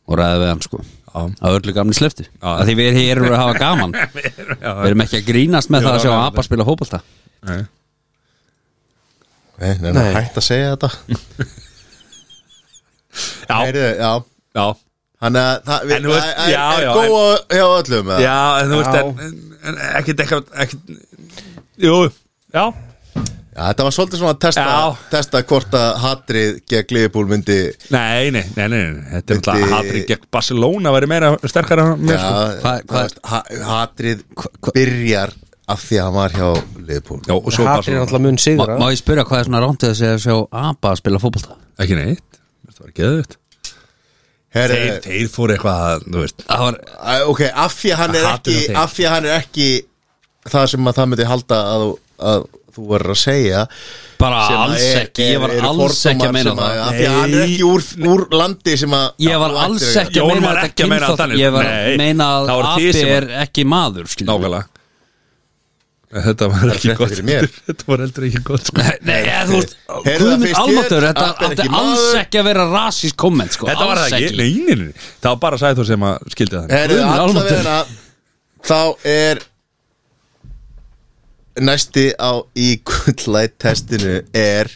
Speaker 3: og ræða við hann sko
Speaker 4: Já.
Speaker 3: að öllu gamli sleftu að því við erum að hafa gaman við erum ekki að grínast með
Speaker 4: Við
Speaker 3: það að
Speaker 4: erum
Speaker 3: sjá
Speaker 4: að
Speaker 3: að
Speaker 4: hafa
Speaker 3: apa spila fótbolta
Speaker 1: Nei, nei, nei,
Speaker 2: Nei.
Speaker 1: hætt að segja þetta
Speaker 4: Já,
Speaker 1: Heyrðu, Já,
Speaker 4: já,
Speaker 1: þannig að það
Speaker 4: En þú
Speaker 1: það
Speaker 4: veist,
Speaker 1: er-
Speaker 4: já,
Speaker 1: er
Speaker 4: já,
Speaker 1: góð á- hjá öllum eða?
Speaker 4: já, en þú
Speaker 2: Já.
Speaker 4: veist en, en- en ekkit eitthvað ekkit, jú, já
Speaker 1: Já, þetta var svolítið svona að testa,
Speaker 4: Já.
Speaker 1: testa hvort að hatrið gegn Liverpool myndi
Speaker 4: nei, nei, nei, nei, nei. þetta er
Speaker 1: Myndi-
Speaker 4: alltaf hatrið gegn Barcelona væri meira sterkara en mér, sko.
Speaker 1: Já,
Speaker 3: Hvað- hvað-
Speaker 1: veist, ha, hatrið byrjar af því að hann var hjá Liverpool
Speaker 4: já, og
Speaker 2: Hatri
Speaker 4: svo
Speaker 2: er
Speaker 4: Barcelona,
Speaker 2: náttúrulega mun
Speaker 3: má,
Speaker 2: sigur
Speaker 3: má ég spyrja hvað er svona rántið að segja að sjá apa að spila fótbolta
Speaker 4: ekki neitt þetta var geðut
Speaker 1: Herre,
Speaker 4: þeir, þeir fóru eitthvað, að, þú veist
Speaker 3: það var
Speaker 1: Æ, Ok, af því að hann er
Speaker 4: Hatrið
Speaker 1: ekki
Speaker 4: á þeim.
Speaker 1: af því að hann er ekki það sem að það myndi halda að, þú- að þú verður að segja
Speaker 3: bara
Speaker 1: sem að
Speaker 3: alls
Speaker 1: er-
Speaker 3: ekki, ég var
Speaker 1: eru
Speaker 3: alls
Speaker 1: fordómar
Speaker 3: ekki að meina
Speaker 1: sem
Speaker 3: það
Speaker 1: af því að hann er ekki úr, úr landi sem að
Speaker 3: Ég var
Speaker 1: þú ættir
Speaker 3: alls
Speaker 1: að-
Speaker 3: ekki að
Speaker 4: Jón
Speaker 3: meina
Speaker 4: var
Speaker 3: þetta
Speaker 4: ekki að meina
Speaker 3: kynþátt-
Speaker 4: þannig.
Speaker 3: Ég var
Speaker 4: Nei,
Speaker 3: að meina að
Speaker 4: það voru þið
Speaker 3: api
Speaker 4: sem
Speaker 3: er ekki maður skilur.
Speaker 4: Nákvæmlega Þetta var ekki
Speaker 1: fréttir
Speaker 4: gott
Speaker 1: fyrir mér.
Speaker 4: Þetta var heldur ekki gott sko.
Speaker 3: Nei, Nei, eða, þú veist
Speaker 1: Heyrðu það
Speaker 3: Guðmund
Speaker 1: fyrst hér,
Speaker 3: Almáttur, þetta
Speaker 1: api er
Speaker 3: átti
Speaker 1: ekki
Speaker 3: alls
Speaker 1: maður.
Speaker 3: ekki að vera rasist komment sko,
Speaker 4: Þetta var
Speaker 3: alls
Speaker 4: það ekki Nei, nei, nei, nei. það var bara Sæþór sem að skildi það
Speaker 1: Herðu,
Speaker 3: Guð minn almáttugur.
Speaker 1: allavega þá er næsti á í gullæt testinu er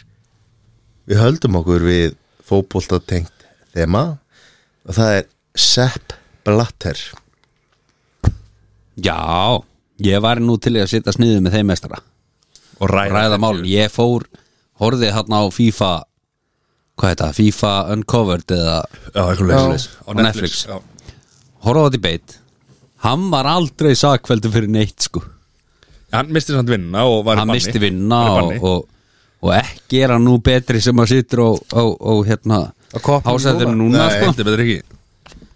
Speaker 1: við höldum okkur við fótbolta tengt þema og það er Sepp Blatter
Speaker 3: Já, ég var nú til í að sitja sniðu með þeim mestara
Speaker 4: Og ræða,
Speaker 3: ræða málin, ég fór horfði hann á FIFA hvað heit það, FIFA Uncovered eða
Speaker 4: Já, eitthvað leys
Speaker 3: Já. Á Netflix. horfði á þetta í beit hann var aldrei sakveldu fyrir neitt sko
Speaker 4: Hann misti samt vinnuna og var í
Speaker 3: hann
Speaker 4: banni.
Speaker 3: misti vinna
Speaker 4: Var í banni.
Speaker 3: og, og, og ekki er hann nú betri sem að situr og, og, og hérna
Speaker 2: Á koppnum
Speaker 3: ásæður
Speaker 2: núna.
Speaker 3: núna
Speaker 4: Nei,
Speaker 3: sko
Speaker 4: þetta betur ekki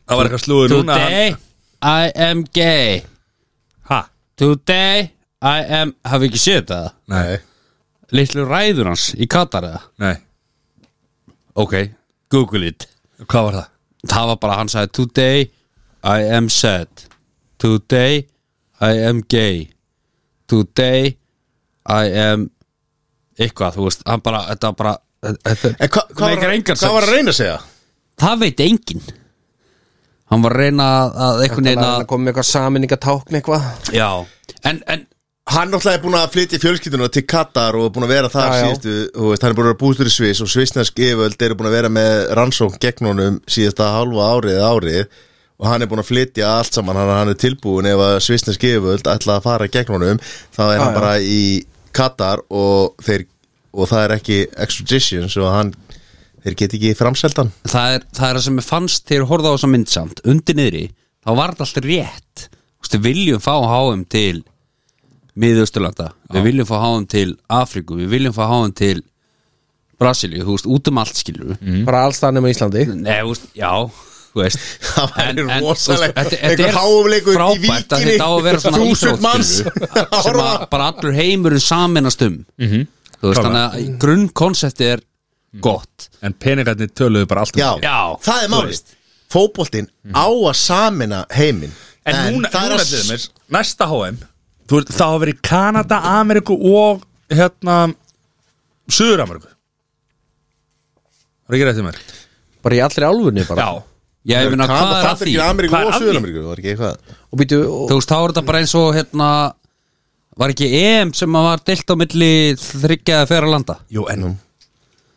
Speaker 4: Það var eitthvað slúður núna hann-
Speaker 3: Today I am gay
Speaker 4: Ha?
Speaker 3: Today I am Hafið ekki séð þetta?
Speaker 4: Nei,
Speaker 3: Litlu ræður hans í Katar eða?
Speaker 4: nei
Speaker 3: Ok, google it
Speaker 4: Hvað var það?
Speaker 3: Það var bara hann sagði Today I am sad Today I am gay Today I am Eitthvað, þú veist, hann bara, þetta var bara þetta,
Speaker 1: En hva, hva
Speaker 3: Meikar
Speaker 1: var,
Speaker 3: engan
Speaker 1: hvað
Speaker 3: sens.
Speaker 1: var að reyna að segja?
Speaker 3: Það veit enginn Hann var að reyna að- að einhvern veginn
Speaker 2: Það
Speaker 3: að
Speaker 2: kom með eitthvað saminningatákn eitthvað
Speaker 3: Já, en, en
Speaker 1: Hann náttúrulega er búin að flytja fjölskylduna til Katar og búin að vera þar
Speaker 2: Já, já.
Speaker 1: síðustu þú veist, Hann er búin að vera bústur í Sviss og svissnesk yfirvöld eru búin að vera með rannsókn gegn honum síðasta halva árið eða árið og hann er búin að flytja allt saman hann, hann er tilbúin ef að svissnesk yfirvöld ætla að fara gegn honum þá er hann
Speaker 2: já.
Speaker 1: bara í Katar og, þeir, og það er ekki extradition svo að hann, þeir get ekki framselt hann
Speaker 3: það er það er það sem ég fannst þegar ég horfði á þessa mynd samt undir niðri, þá var þetta alltaf rétt Þú veist, við viljum fá háum til miðausturlanda við viljum fá háum til Afríku við viljum fá háum til Brasilíu, þú veist, út um allt skilur mm.
Speaker 4: Mhm.
Speaker 2: Bara alls það nema Íslandi
Speaker 4: Mm.
Speaker 3: Nei, þú veist, já þú veist
Speaker 1: Það væri
Speaker 3: En- en,
Speaker 1: rosalegt.
Speaker 3: þú veist, þetta- þetta
Speaker 1: Einhver
Speaker 3: er
Speaker 1: háumleikur í
Speaker 3: frábært að
Speaker 1: Víkinni.
Speaker 3: þetta á að vera svona
Speaker 1: Þúsund
Speaker 3: íþrótt,
Speaker 1: manns
Speaker 3: skilurðu,
Speaker 1: að
Speaker 3: sem
Speaker 1: horfa.
Speaker 3: að bara allur heimurinn saminast um -hmm. þú veist, þannig að grunnkonsepti er gott
Speaker 4: En peningarnir töluðu bara allt um
Speaker 1: Já,
Speaker 4: sig.
Speaker 3: Já,
Speaker 1: það er
Speaker 3: þú
Speaker 1: málið
Speaker 3: veist.
Speaker 1: Fótboltinn á að samina heiminn
Speaker 4: En, núna,
Speaker 1: það er
Speaker 4: núna
Speaker 1: að
Speaker 4: til mér, næsta HM þú veist, Það hafa verið Kanada, Ameríku og hérna Suður-Ameríku Það er ekki rétt í mér
Speaker 2: Bara í allri álfunni bara
Speaker 4: Já,
Speaker 3: Já, ég meina, hvað er að því?
Speaker 1: Það er Ameríku
Speaker 4: Hvað er
Speaker 1: og
Speaker 4: að því?
Speaker 1: Suður-Ameríku Það er ekki eitthvað
Speaker 2: Og býtu og,
Speaker 3: þú veist, þá er þetta bara eins og hérna var ekki EM sem að var deilt á milli þryggja eða fjara landa
Speaker 4: jú, en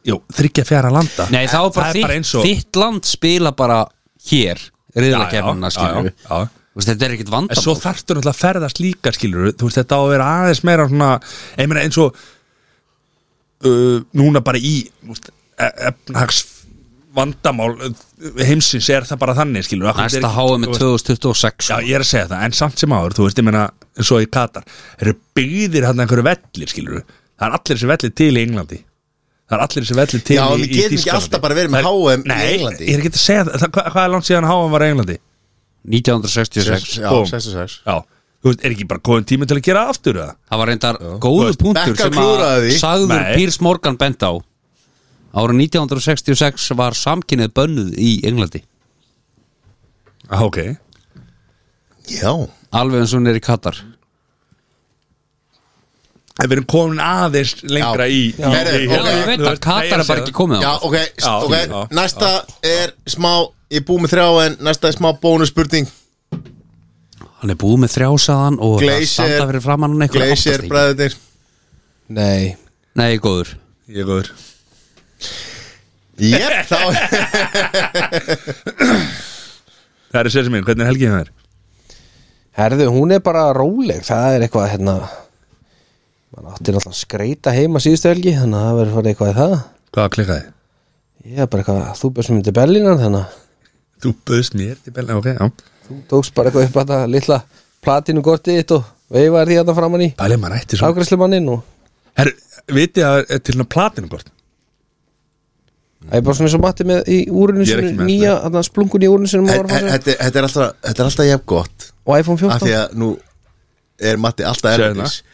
Speaker 4: Jú, þryggja fjara landa
Speaker 3: nei, þá er bara,
Speaker 4: Það er bara
Speaker 3: þitt,
Speaker 4: eins og
Speaker 3: þitt land spila bara hér, riðlakefnina skilur
Speaker 4: já, já.
Speaker 3: þú veist, þetta er ekkit
Speaker 4: En svo
Speaker 3: vandamál
Speaker 4: þarftu náttúrulega að ferðast líka skilur Þú veist, þetta á að vera aðeins meira svona Ég meina eins og uh, Núna bara í þú veist, e- efnahags vandamál uh, heimsins er það bara þannig skilur Akkur er
Speaker 3: næsta
Speaker 4: ekki-
Speaker 3: háið
Speaker 4: þú
Speaker 3: með
Speaker 4: veist,
Speaker 3: 2026
Speaker 4: Já, ég er að segja það, en samt sem áður, þú veist, ég meina eins og í Katar, eru byggðir hann einhverju vellir, skilur það er allir þessi vellir til í Englandi það er allir þessi vellir til
Speaker 1: Já, við
Speaker 4: í, í
Speaker 1: getum ekki
Speaker 4: Þýskalandi.
Speaker 1: alltaf bara verið með
Speaker 4: Það er-
Speaker 1: HM í
Speaker 4: Nei,
Speaker 1: Englandi.
Speaker 4: ég er ekki að segja það, það hvað, hvað er langt síðan HM var í Englandi?
Speaker 3: 1966
Speaker 1: Já,
Speaker 4: Búmm.
Speaker 1: 66
Speaker 4: Já, þú veist, er ekki bara góðum tími til að gera aftur það?
Speaker 3: það var reyndar góðu
Speaker 1: veist,
Speaker 3: punktur
Speaker 1: Beckham
Speaker 3: sem
Speaker 1: klúðraði
Speaker 3: að
Speaker 1: því.
Speaker 3: sagður
Speaker 4: Nei.
Speaker 3: Pírs Morgan bent á árið 1966 var samkynnið bönnuð í Englandi
Speaker 4: Ah, ok,
Speaker 1: Já,
Speaker 3: alveg eins og hún er í Katar
Speaker 4: en við erum komin aðeins lengra
Speaker 1: Já.
Speaker 4: í
Speaker 1: Já.
Speaker 4: í-
Speaker 1: Herri,
Speaker 4: í-
Speaker 1: ok.
Speaker 4: hérna,
Speaker 3: ég veit
Speaker 4: þú
Speaker 3: að
Speaker 4: veist, nei,
Speaker 3: Katar
Speaker 4: ég
Speaker 3: er bara
Speaker 4: segi
Speaker 3: ekki komið
Speaker 1: já,
Speaker 3: á
Speaker 1: ok,
Speaker 4: Já,
Speaker 1: ok
Speaker 4: já,
Speaker 1: Næsta er smá Ég búið með þrjá en næsta er smá bónusspurning
Speaker 3: Hann er búið með þrjásaðan og það
Speaker 1: Glacier-
Speaker 3: standa fyrir framann hann eitthvað
Speaker 1: Glacier bræðinir
Speaker 2: Nei
Speaker 3: Nei, góður
Speaker 4: það. Ég er góður.
Speaker 1: Jep, þá
Speaker 4: Það er sér sem minn, hvernig er helgið það er?
Speaker 2: Herðu, hún er bara róleg Það er eitthvað hérna Man átti náttúrulega skreita heima síðustu helgi Þannig að það verður farið eitthvað í það
Speaker 4: Hvað klikkaði?
Speaker 2: Ég er bara eitthvað, þú best mér til Berlínan Þannig að
Speaker 4: Þú böðst mér til Belna, ok, já
Speaker 2: þú tókst bara eitthvað upp að það litla platinu gortið þitt og veifaðir því að það framann í
Speaker 4: Bælið maður ætti svo
Speaker 2: afgræslumannin og
Speaker 4: Herru, vitið að er til svona platinukort
Speaker 2: það er bara svona eins og mati með í úrunum
Speaker 4: Ég er ekki
Speaker 2: sinu
Speaker 4: með
Speaker 2: nýja, þannig að splungun í úrunum sinu
Speaker 1: He-
Speaker 2: maður var
Speaker 1: he-
Speaker 2: að fara sér.
Speaker 1: Þetta þetta er alltaf Þetta er alltaf jafn gott
Speaker 2: og iPhone
Speaker 1: Af
Speaker 2: 14
Speaker 1: því að nú er Matti alltaf
Speaker 4: Sérna.
Speaker 1: erfis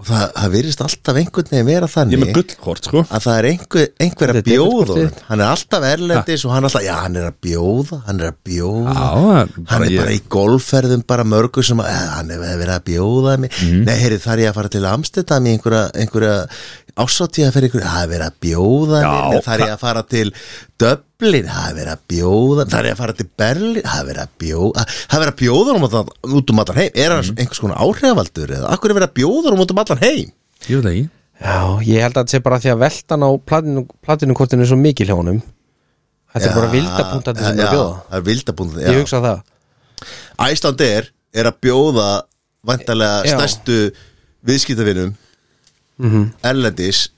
Speaker 1: Og það, það virðist alltaf einhvern veginn vera
Speaker 4: Ég er
Speaker 1: þannig
Speaker 4: með gullkort, sko
Speaker 1: að það er einhver, einhver að
Speaker 2: Þetta er
Speaker 1: bjóða
Speaker 2: debitkort
Speaker 1: honum. hann er alltaf erlendis og hann er alltaf, já hann er að bjóða hann er að bjóða
Speaker 4: Já,
Speaker 1: hann er
Speaker 4: ég-
Speaker 1: bara í golfferðum bara mörgu sem að, eh, hann er verið að bjóða mig nei, heyri, þar ég að fara til Amstedam í einhverja, einhverja ásáttíða fyrir einhverja, það er verið að bjóða
Speaker 4: Já,
Speaker 1: mig þar ég að fara til Dublin, það er verið að bjóða þar ég að fara til Berlin, það er verið að bjóða það er verið að bjóða um allan, út um allan heim er hann einhvers konar áhrifavaldur eða akkur er verið að bjóða um út um allan heim
Speaker 4: Ég veit það ekki
Speaker 2: já, ég held að þetta sé bara því að veltan á platinu, platinu kortinu er svo mikil hjá honum þetta er bara
Speaker 1: Já,
Speaker 2: vildapúntandi sem er
Speaker 1: já,
Speaker 2: að bjóða
Speaker 1: það er vildabúntandi, já.
Speaker 2: ég hugsa það,
Speaker 1: Æslandir er að bjóða vantarlega
Speaker 2: Já.
Speaker 1: stærstu viðskiptavinum Erlendis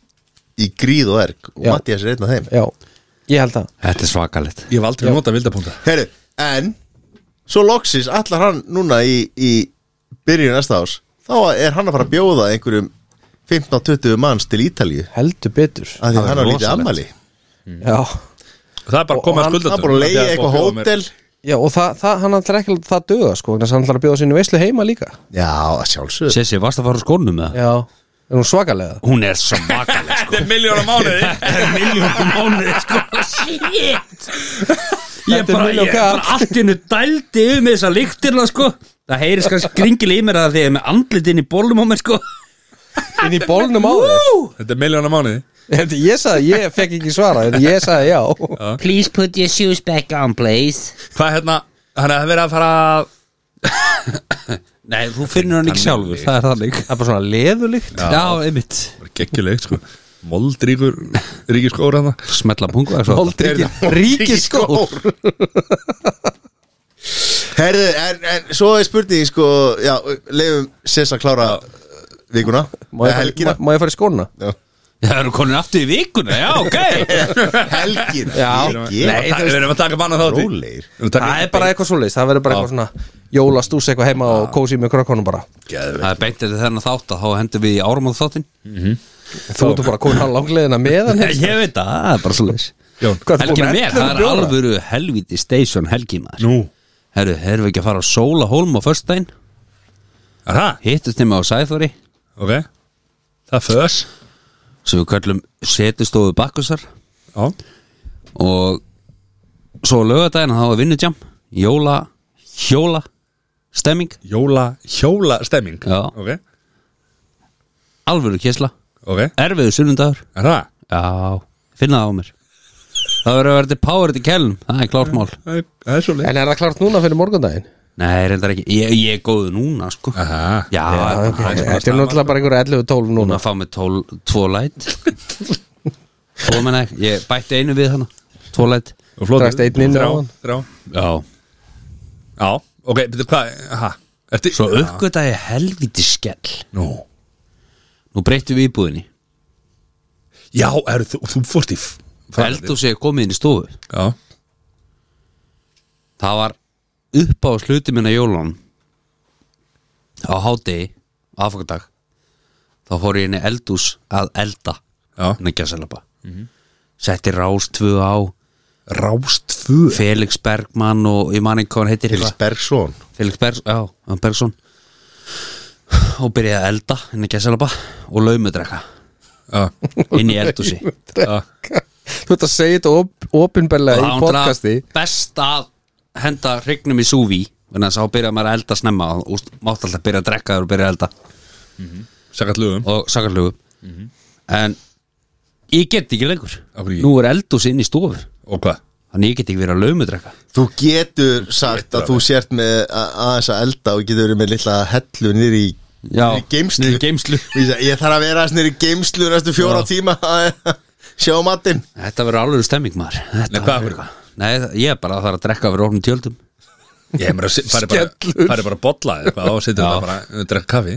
Speaker 1: í gríð og erg og
Speaker 2: Mhm. Já.
Speaker 1: Mattias er einn af þeim
Speaker 2: já, ég held það
Speaker 3: Þetta er svakalegt
Speaker 4: Ég hef aldrei Já. notað vildapunta
Speaker 1: Heyru, en svo loksis allar hann núna í, í byrjun næsta ás þá er hann að fara að bjóða einhverjum 15-20 manns til Ítalíu
Speaker 2: heldur betur
Speaker 1: af því
Speaker 3: Það
Speaker 1: að
Speaker 3: er
Speaker 1: hann á lítið
Speaker 3: rosalegt.
Speaker 1: ammali
Speaker 2: já,
Speaker 4: Það er bara að koma að
Speaker 2: hann-
Speaker 4: skulda
Speaker 1: hann búin að leiða eitthvað hótel
Speaker 2: Já, og það, það, hann ætlar ekki að það döða sko, þannig að hann ætlar að bjóða sinni veislu heima líka
Speaker 1: Já, að sjálfsögðu
Speaker 3: Sessi, varst að fara úr skónum með það?
Speaker 2: Já, er hún svakalega
Speaker 3: Hún er svakaleg sko
Speaker 4: Þetta er miljóna mánuði
Speaker 3: Þetta er miljónum mánuði sko Shit Ég
Speaker 2: Þetta er
Speaker 3: bara,
Speaker 2: milljón
Speaker 3: ég bara allt innu dældi um þessa lyktirna sko Það heyris kannski gringil í mér að því ég er með andlitin í bólum á mér sko
Speaker 2: inn í bólnum á þér
Speaker 4: Þetta er miljóna mánuði
Speaker 2: Þetta- Ég sagði, ég fekk ekki svara Þetta ég sagði já
Speaker 5: Please put your shoes back on, please.
Speaker 4: Hvað er hérna Hann er verið að fara að-
Speaker 3: Nei, þú finnur hann ekki sjálfur, það er þannig
Speaker 2: Það er bara svona leðulikt
Speaker 3: Já, Já einmitt
Speaker 4: Bara Gekkjuleg sko Moldríkur hérna. Ríkiskóra hann
Speaker 3: Smetla pungu
Speaker 2: Ríkiskór
Speaker 1: Herðu, en, en svo er spurning sko, já, leifum Sess að klára uh, vikuna
Speaker 2: Má
Speaker 1: Eh,
Speaker 2: ég fara-
Speaker 1: helgina
Speaker 2: má- má ég fara í skóna?
Speaker 1: Já.
Speaker 3: Það eru konin aftur í vikuna, já, ok
Speaker 1: Helgina
Speaker 2: Já.
Speaker 1: Helgina.
Speaker 4: Nei, það er verið að taka manna þátt í.
Speaker 1: Rólegir.
Speaker 4: Við erum að taka-
Speaker 2: Það er bara eitthvað svoleiðis, það verður bara eitthvað svona jólastús eitthvað heima og kósi með krökkunum bara
Speaker 3: Það er beintir þennan þátt að þá hendur við í áramóð þáttin
Speaker 2: Þú ertu bara komin á langleðina meðan hérna.
Speaker 3: Ég veit það, það er bara svo leis
Speaker 4: Jón,
Speaker 2: Hvað, ertu búin
Speaker 3: Helgina
Speaker 2: með
Speaker 3: mér,
Speaker 2: 11
Speaker 3: það er
Speaker 2: bjóra?
Speaker 3: alvöru helviti station helgina
Speaker 4: Nú
Speaker 3: Herru, erum við ekki að fara á Sólahólm á föstudaginn
Speaker 4: Er það?
Speaker 3: Hittust þeim á Sæþóri
Speaker 4: Ok Það er föðs
Speaker 3: sem við kallum setustofu bakkusar
Speaker 4: Já
Speaker 3: og svo á laugardaginn þá er vinnutjám jóla, hjóla stemming,
Speaker 4: Jóla Hjóla stemming
Speaker 3: Já.
Speaker 4: Ok
Speaker 3: alvöru kessla
Speaker 4: Ok Er
Speaker 3: erfiðu sunnundagur
Speaker 4: það?
Speaker 3: Já, finna það á mér Það verður að vera til power til kellum Það er klárt mál
Speaker 4: Það er- það er svo leið
Speaker 2: En er það klart núna fyrir morgundaginn?
Speaker 3: Nei, reyndar ekki Ég, ég er góð núna, sko Já,
Speaker 4: Aha
Speaker 3: það er bara-
Speaker 2: Þetta er náttúrulega bara einhverja 11-12
Speaker 3: Hún
Speaker 2: núna
Speaker 3: að fá mig tól, tvo læt Tvo menna ekki Ég bætti einu við hana Tvo læt
Speaker 4: Og flótið.
Speaker 2: Drakst einn inn
Speaker 4: Þrjá,
Speaker 2: áðan.
Speaker 4: Þrjá
Speaker 3: Já
Speaker 4: Já Ok, betur hvað Aha Ertu
Speaker 3: Svo uppgöta ég helviti skell
Speaker 4: Nú
Speaker 3: Nú breytum við íbúðinni
Speaker 4: Já, er, þú, þú fórst í f- farandi.
Speaker 3: Eldur sé komið inn í stofu
Speaker 4: Já
Speaker 3: Það var upp á sluti minna jólun Á hádegi Aðfokadag Þá fór ég inn í eldús að elda
Speaker 4: Já.
Speaker 3: Nei, gæsalapa Setti rás tvö á
Speaker 4: Rást tvö
Speaker 3: Felix Bergmann og ég man ekki hvað hann heitir
Speaker 1: Felix
Speaker 3: eitthvað.
Speaker 1: Bergson
Speaker 3: Felix Berg, já, hann Bergson Og byrjaði að elda inn í gæsalapa Og laumudrekka
Speaker 4: Já,
Speaker 3: inn í eldúsi
Speaker 4: já
Speaker 2: Þú ert að segja þetta op opinberlega í podcasti
Speaker 3: best að henda hrygnum í súvi Þannig að sá byrjaði maður að elda snemma og mátt alltaf byrja að drekka þegar og byrja að elda
Speaker 4: Sækart lögum
Speaker 3: og sakarlögu en ég get ekki lengur
Speaker 4: Mhm. Af hverju?
Speaker 3: nú er eldús inn í stofur
Speaker 4: Og hvað?
Speaker 3: þannig ég get ekki verið að laumudrekka
Speaker 1: Þú getur sagt að þú sért með a- aðeins að elda og getur verið með litla hellu nýri í
Speaker 3: Já,
Speaker 1: niður í geymslu.
Speaker 3: niður í geymslu.
Speaker 1: Ég sagði, Ég þarf að vera aðeins nýri geimslu næstu fjóra tíma að sjá matinn
Speaker 3: þetta verður alveg stemming maður þetta
Speaker 4: Nei, hvað af
Speaker 3: verður
Speaker 4: hverju?
Speaker 3: eitthvað. Nei, það- ég er bara að það er að drekka fyrir ofnum tjöldum
Speaker 4: Ég hef mér að fara bara
Speaker 2: Skellur.
Speaker 4: Fara bara að bolla eða eitthvað og setja það bara að drekka kaffi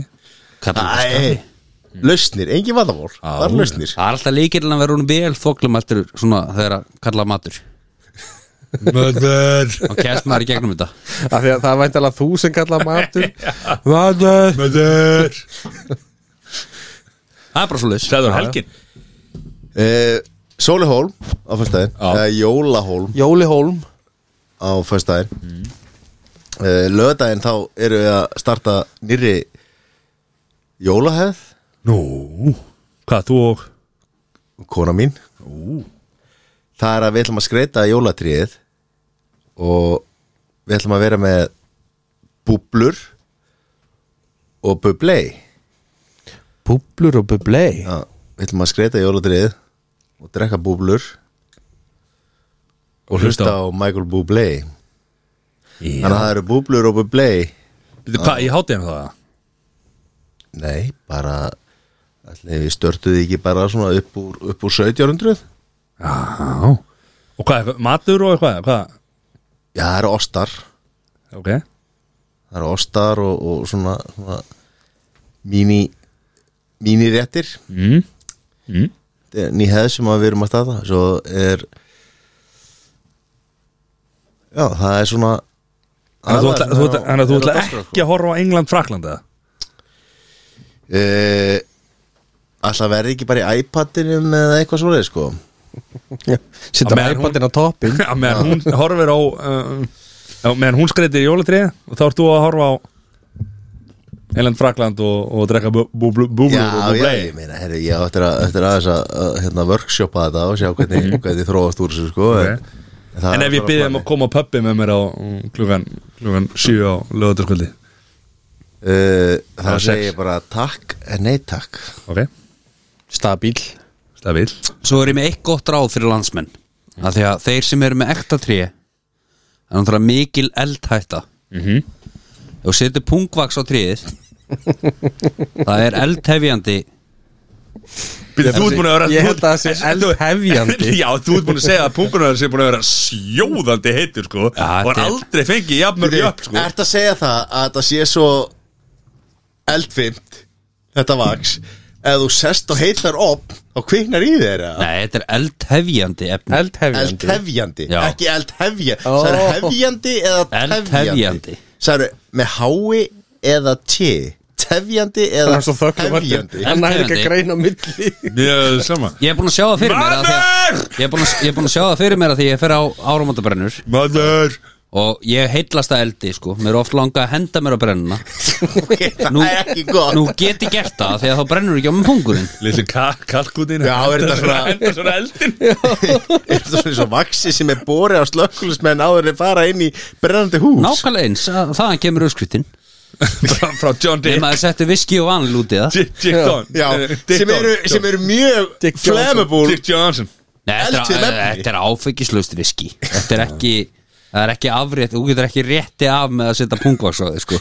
Speaker 1: Æ, lausnir, engin vandamál Bara lausnir
Speaker 3: það er alltaf líkilin að vera hún vel þoklum eftir svona þegar að kalla matur
Speaker 4: Möður
Speaker 3: og kæst maður í gegnum þetta
Speaker 2: Af því að Það er væntalega þú sem kalla matur eh? Matur
Speaker 4: Möður
Speaker 3: það er bara svo leys
Speaker 4: Sæður helgin
Speaker 1: uh, Sólihólm á fyrstæðin
Speaker 4: Já.
Speaker 1: uh, Jólahólm
Speaker 2: Jóli Holm
Speaker 1: á fyrstæðin mm. uh, Löðdæðin þá eru við að starta nýri jólahefð
Speaker 4: Nú Hvað þú og
Speaker 1: kona mín Ú. það er að við ætlum að skreita jólatriðið og við ætlum að vera með búblur og bublei
Speaker 2: Búblur og bublei
Speaker 1: Já, við ætlum að skreita jólatriðið og drekka búblur og hlusta á Michael Bublé þannig að það eru búblur og bublei
Speaker 4: Býttu, Hvað, ég háti hann það
Speaker 1: Nei, bara ætli við störtuði ekki bara svona upp úr, upp úr 1700
Speaker 4: Já Og hvað, matur og eitthvað Hvað,
Speaker 1: Já, það eru ostar
Speaker 4: ok
Speaker 1: Það eru ostar og, og svona, svona mini miniréttir
Speaker 4: Mm. Mm.
Speaker 1: Þetta er ný hefð sem að við erum að staða Svo er Já, það er svona
Speaker 4: Þannig að þú ætla- þú ætla- þannig að þú ætla
Speaker 1: ekki
Speaker 4: ekki að horfa á England Fraklanda
Speaker 1: Alltaf Eh, verði ekki bara í iPadinum eða eitthvað svoleið sko
Speaker 2: Sittar
Speaker 4: meðan hún-
Speaker 2: iPadin á toppin
Speaker 4: Já, meðan hún horfir á uh, Já, meðan hún skreitir í jólatrið og þá ert þú að horfa á Elend Frakland og, og drekka bú- bú- bú- búblur
Speaker 1: Já, já,
Speaker 4: og búblei
Speaker 1: ég meina, herri, ég á eftir að, eftir aðeins að, að hérna, workshopa þetta og sjá hvernig, hvernig þróast úr þessu, sko
Speaker 4: Mhm. Ok.
Speaker 1: en, en, það
Speaker 4: En
Speaker 1: er
Speaker 4: ef ég
Speaker 1: bara
Speaker 4: byrði um að
Speaker 1: planið.
Speaker 4: koma á pöppi með mér á mm, klukkan, klukkan 7 á lögutaskvöldi
Speaker 1: Uh, Þá
Speaker 4: Eða
Speaker 1: segi
Speaker 4: sex.
Speaker 1: ég bara takk, en nei takk
Speaker 4: Ok,
Speaker 2: Stabíl
Speaker 4: stabil
Speaker 3: Svo er ég með eitt gott ráð fyrir landsmenn að Því að þeir sem eru með ekta tré Það er náttúrulega mikil eldhætta mm -hmm. Þú setur pungvaks á tréð Það er eldhefjandi
Speaker 4: Býrðu, þú ert búin að vera
Speaker 2: Ég held að það sé
Speaker 4: þú- en-
Speaker 2: eldhefjandi.
Speaker 4: Já, þú ert búin að segja að punkunar sé búin að vera sjóðandi heitur sko
Speaker 3: Já,
Speaker 4: og er
Speaker 3: þetta er-
Speaker 4: aldrei fengið jafnmörg jöfn sko
Speaker 1: Ert að segja það að þetta sé svo eldfimt þetta vaks ef þú sest og heitar upp þá kviknar í þeirra
Speaker 3: Nei, þetta er eldhefjandi efni
Speaker 2: Eldhefjandi
Speaker 1: eldhefjandi,
Speaker 3: Já.
Speaker 1: ekki eldhefja
Speaker 2: Ó.
Speaker 1: það er hefjandi eða tefjandi
Speaker 3: Eldhefjandi.
Speaker 1: það er með hái eða t tefjandi eða
Speaker 2: er svo þöggur
Speaker 1: hefjandi
Speaker 2: Hann er ekki að
Speaker 3: Eldhefjandi.
Speaker 2: greina á milli
Speaker 4: Mjög sama
Speaker 3: Ég er búin að sjá það fyrir mér að því að,
Speaker 4: Maður!
Speaker 3: Ég er búin að, ég er búin að sjá það fyrir mér að því ég fer á áramótabrennur
Speaker 4: Maður
Speaker 3: Og ég heitlast að eldi sko Mér er oft langa að henda mér á brennuna
Speaker 1: okay, það
Speaker 3: Nú-
Speaker 1: er ekki gott
Speaker 3: Nú get ég gert það því að þá brennur ekki á með pungurinn
Speaker 4: Lilli kalkutin
Speaker 1: Já, er þetta svona-
Speaker 4: Enda svona eldin
Speaker 1: er það svona svo vaksi sem er borið á slökkulismenn áður en fara inn í brennandi hús
Speaker 3: Nákvæmlega eins, að- þaðan kemur öskritin
Speaker 4: frá, frá John Dick
Speaker 3: Nefn að settu viski og vanil út í það
Speaker 4: Dick, Dick Don
Speaker 1: Já,
Speaker 4: Eh, Dick
Speaker 1: sem,
Speaker 4: Don,
Speaker 1: eru,
Speaker 4: John.
Speaker 1: sem eru mjög
Speaker 2: Dick Johnson.
Speaker 1: flammable
Speaker 4: Dick Johnson
Speaker 3: Nei,
Speaker 1: Eldfim
Speaker 3: þetta er,
Speaker 1: efni.
Speaker 3: þetta er áfengislaust viski Þetta er ekki Það er ekki afrétt, þú getur ekki rétti af með að setja pungvaks á þig sko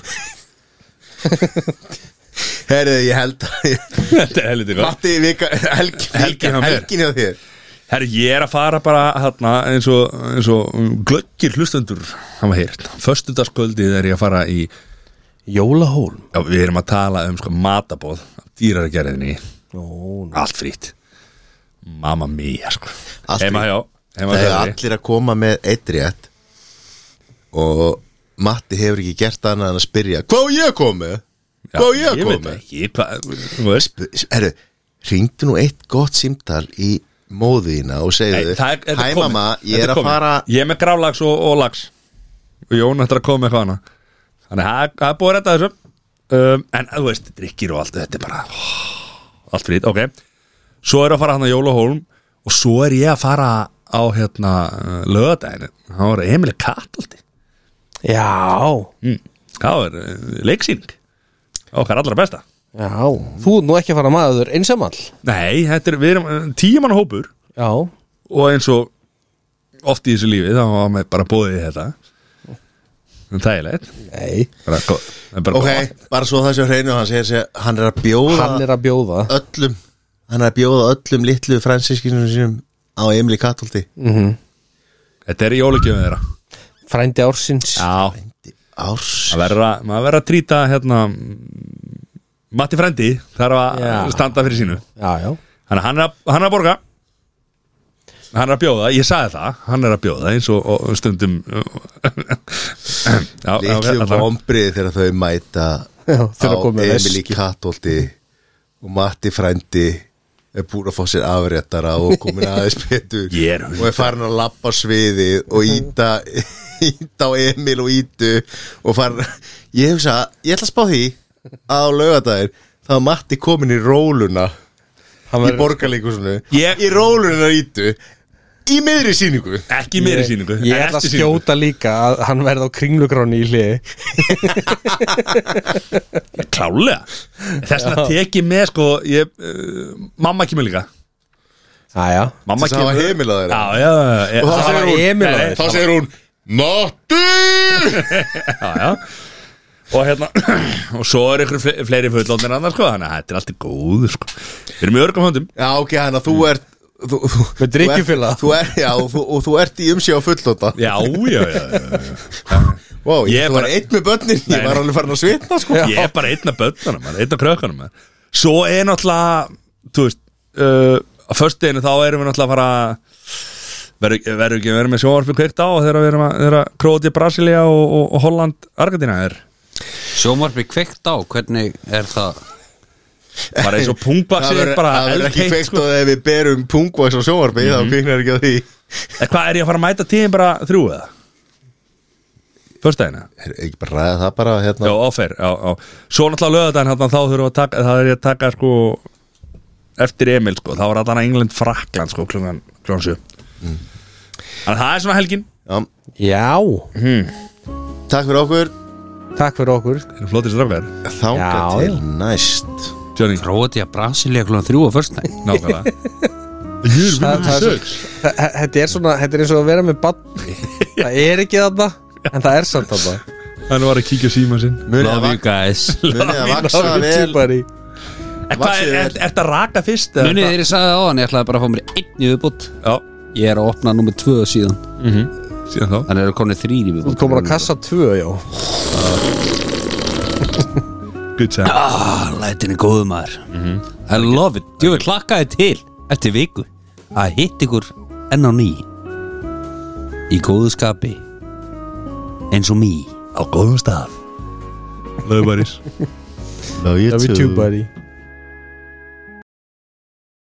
Speaker 1: herrið ég held að
Speaker 4: Þetta er helviti gott
Speaker 1: Matti, vika, helgi,
Speaker 4: Helgi
Speaker 1: helgi,
Speaker 4: hjá mér.
Speaker 1: helgin hjá þér
Speaker 4: Herri, ég er að fara bara hérna eins og, eins og um, glöggir hlustendur hafa heyrt Föstudagskvöldið er ég að fara í
Speaker 2: Jólahólm
Speaker 4: Já, við erum að tala um sko matabóð af dýrargerðinni
Speaker 2: Jón
Speaker 4: Allt frýtt Mamma mia, sko
Speaker 1: Allt
Speaker 4: Heima
Speaker 1: frítt.
Speaker 4: hjá Heima
Speaker 1: það er
Speaker 4: hjá Sölvi.
Speaker 1: allir að koma með eitt rétt og Matti hefur ekki gert annað en að spyrja hvað á ég að koma með?
Speaker 4: Já,
Speaker 1: hvað á ég að
Speaker 4: Ég
Speaker 1: koma
Speaker 4: veit
Speaker 1: með?
Speaker 4: ekki hvað þú veist.
Speaker 1: Sp- herru, ringdu nú eitt gott símtal í móðina og
Speaker 4: Nei,
Speaker 1: segðu
Speaker 4: það er- þetta
Speaker 1: hæ
Speaker 4: er komið.
Speaker 1: mamma, ég
Speaker 4: Þetta
Speaker 1: er að
Speaker 4: komið.
Speaker 1: fara
Speaker 4: Ég er með grálags og, og lags Og Jón ættir að koma með eitthvað hana Þannig að það er búið að redda þessu um, En þú veist, drikkir og allt Þetta er bara ó, Allt frýtt, ok Svo er að fara hann að Jólahólm Og svo er ég að fara á hérna Löðadæðinu, það var Emil Kataldi
Speaker 2: Já
Speaker 4: mm. Það var eh, leiksýning Okkar allra besta
Speaker 2: Já Þú ert nú ekki að fara maður einsamall
Speaker 4: Nei, þetta er, við erum tíman hópur
Speaker 2: Já
Speaker 4: og eins og oft í þessu lífi þá var maður bara bóðið í þetta það er þægilegt
Speaker 2: Nei
Speaker 4: bara, gott- það er bara
Speaker 1: ok,
Speaker 4: gott.
Speaker 1: bara svo það sé á hreinu hann segir sig, hann er að bjóða
Speaker 2: Hann er að bjóða
Speaker 1: öllum hann er að bjóða öllum litlu fransískinum sínum á Emil í Katolti
Speaker 2: Mhm.
Speaker 4: þetta er í jólugjöfum þeirra
Speaker 2: Frændi ársins
Speaker 4: já,
Speaker 1: árs
Speaker 4: það verður að maður verður að trýta hérna Matti Frendi þarf að
Speaker 2: Já.
Speaker 4: standa fyrir sínu
Speaker 2: Já, já
Speaker 4: hann, hann, er að, hann er að borga hann er að bjóða, ég sagði það hann er að bjóða eins og, og stundum já, já, hérna.
Speaker 1: litlu
Speaker 4: allavega.
Speaker 1: vombrið þegar þau mæta
Speaker 2: hérna Já,
Speaker 1: á
Speaker 2: þurfa að koma með
Speaker 1: Emil í
Speaker 2: veski.
Speaker 1: Katolti og Matti Frændi er búin að fá sér afréttara og komin aðeins betur
Speaker 4: Ég er
Speaker 1: og er farin að lappa sviði og
Speaker 2: Mhm.
Speaker 1: íta íta á Emil og ítu og farin ég hugsa, ég ætla að spá því að á laugardagir þá er Matti komin í róluna
Speaker 2: Hann
Speaker 1: í
Speaker 2: verður-
Speaker 1: borgarleikusinu
Speaker 4: Ég-
Speaker 1: í róluna ítu í miðri síningu
Speaker 4: ekki meiri síningu
Speaker 2: Ég ætla að skjóta líka að hann verði á kringlugráni í hliði
Speaker 4: klálega þess vegna tek ég með sko ég, uh, mamma kemur líka
Speaker 2: Æja
Speaker 4: mamma
Speaker 1: Til þess að hafa Emil á þeirra?
Speaker 4: já, já, já, já,
Speaker 1: Og þá
Speaker 4: Það
Speaker 1: segir
Speaker 4: var
Speaker 1: hún-
Speaker 4: Emil á
Speaker 2: Nei,
Speaker 4: þeirra.
Speaker 1: þá segir hún Matti
Speaker 4: já, já. og hérna og svo er ykkur fle- fleiri fullónir annars sko þannig að þetta er alltaf góð sko. við erum í örgum höndum
Speaker 1: Já, ok, hann að þú ert þú, þú,
Speaker 2: Með drykkjufélaga.
Speaker 1: þú ert, þú er, Já, og þú, og þú ert í umsjá fullóta
Speaker 4: já, já, já, já, já.
Speaker 1: Vá, ég,
Speaker 4: Ég er
Speaker 1: þú var
Speaker 4: bara-
Speaker 1: einn með börnin
Speaker 4: Nei,
Speaker 1: Ég var
Speaker 4: nei.
Speaker 1: alveg farin að svitna, sko
Speaker 4: ég er bara einn af börnunum maður, einn af krökkunum maður. svo er náttúrulega þú veist uh, á föstudeginu þá erum við náttúrulega að fara verður verður ekki að vera með sjónvarpi kveikt á þegar við erum að, þegar að Króti, Brasilia og, og, og Holland, Argentina er
Speaker 3: Sjómarfi kveikt á, hvernig er það
Speaker 4: bara eins og pungbaksi
Speaker 1: Það verður-
Speaker 4: bara
Speaker 1: það verður ekki
Speaker 4: eldheitt,
Speaker 1: kveikt
Speaker 4: sko.
Speaker 1: og ef við berum pungvax á sjónvarpi þá kviknar ekki á því
Speaker 4: En Hvað er ég að fara að mæta tíðin bara þrjú eða? Föstudagina
Speaker 1: Er ekki bara ræða það bara hérna
Speaker 4: Já, áfer, já, já Svo náttúrulega lögadaginn hann þá þurfum við að taka Það er ég að taka sko Eftir Emil sko, þá var allan að England Frakland sko klungan, klungan 7
Speaker 1: Mm.
Speaker 4: Þannig að það er svona helgin
Speaker 1: Já,
Speaker 2: Já,
Speaker 1: Takk fyrir okkur
Speaker 2: takk fyrir okkur
Speaker 4: Það eru flottir strafgar
Speaker 1: Þanga
Speaker 2: Já,
Speaker 1: til næst
Speaker 4: Johnny,
Speaker 3: Króti að Brasilia klúna þrjú á förstæð
Speaker 4: nákvæmlega
Speaker 2: Það- það er svo- þa- þa- Þetta er svona, þetta er eins og að vera með badni Það er ekki þarna En það er samt þarna
Speaker 4: Hann var að kíkja á síma sinn
Speaker 1: Munið að
Speaker 3: Love you
Speaker 1: vak-
Speaker 3: guys
Speaker 1: munið að vaksa
Speaker 2: Það er
Speaker 1: vel
Speaker 2: tjúpari
Speaker 4: En hvað, er, er, er það raka fyrst? eða
Speaker 3: Munið
Speaker 4: hvað?
Speaker 3: þeir ég sagði á hann, ég ætlaði bara að fá mér einn í viðbútt
Speaker 4: Já,
Speaker 3: Ég er að opna nummer tvö síðan
Speaker 4: Mhm. síðan þá
Speaker 3: Þannig eru komnið þrýr í
Speaker 2: Þú
Speaker 3: viðbútt
Speaker 2: komur að kassa tvö, já
Speaker 4: Good time
Speaker 3: Ah, lætin er góðu maður I love it, ég vil klakka þið til eftir viku að hitt ykkur enn á ný í góðu skapi eins og mý
Speaker 4: Á góðum stað Lögubarís
Speaker 1: Love you
Speaker 2: Það er
Speaker 1: too
Speaker 2: tjúpari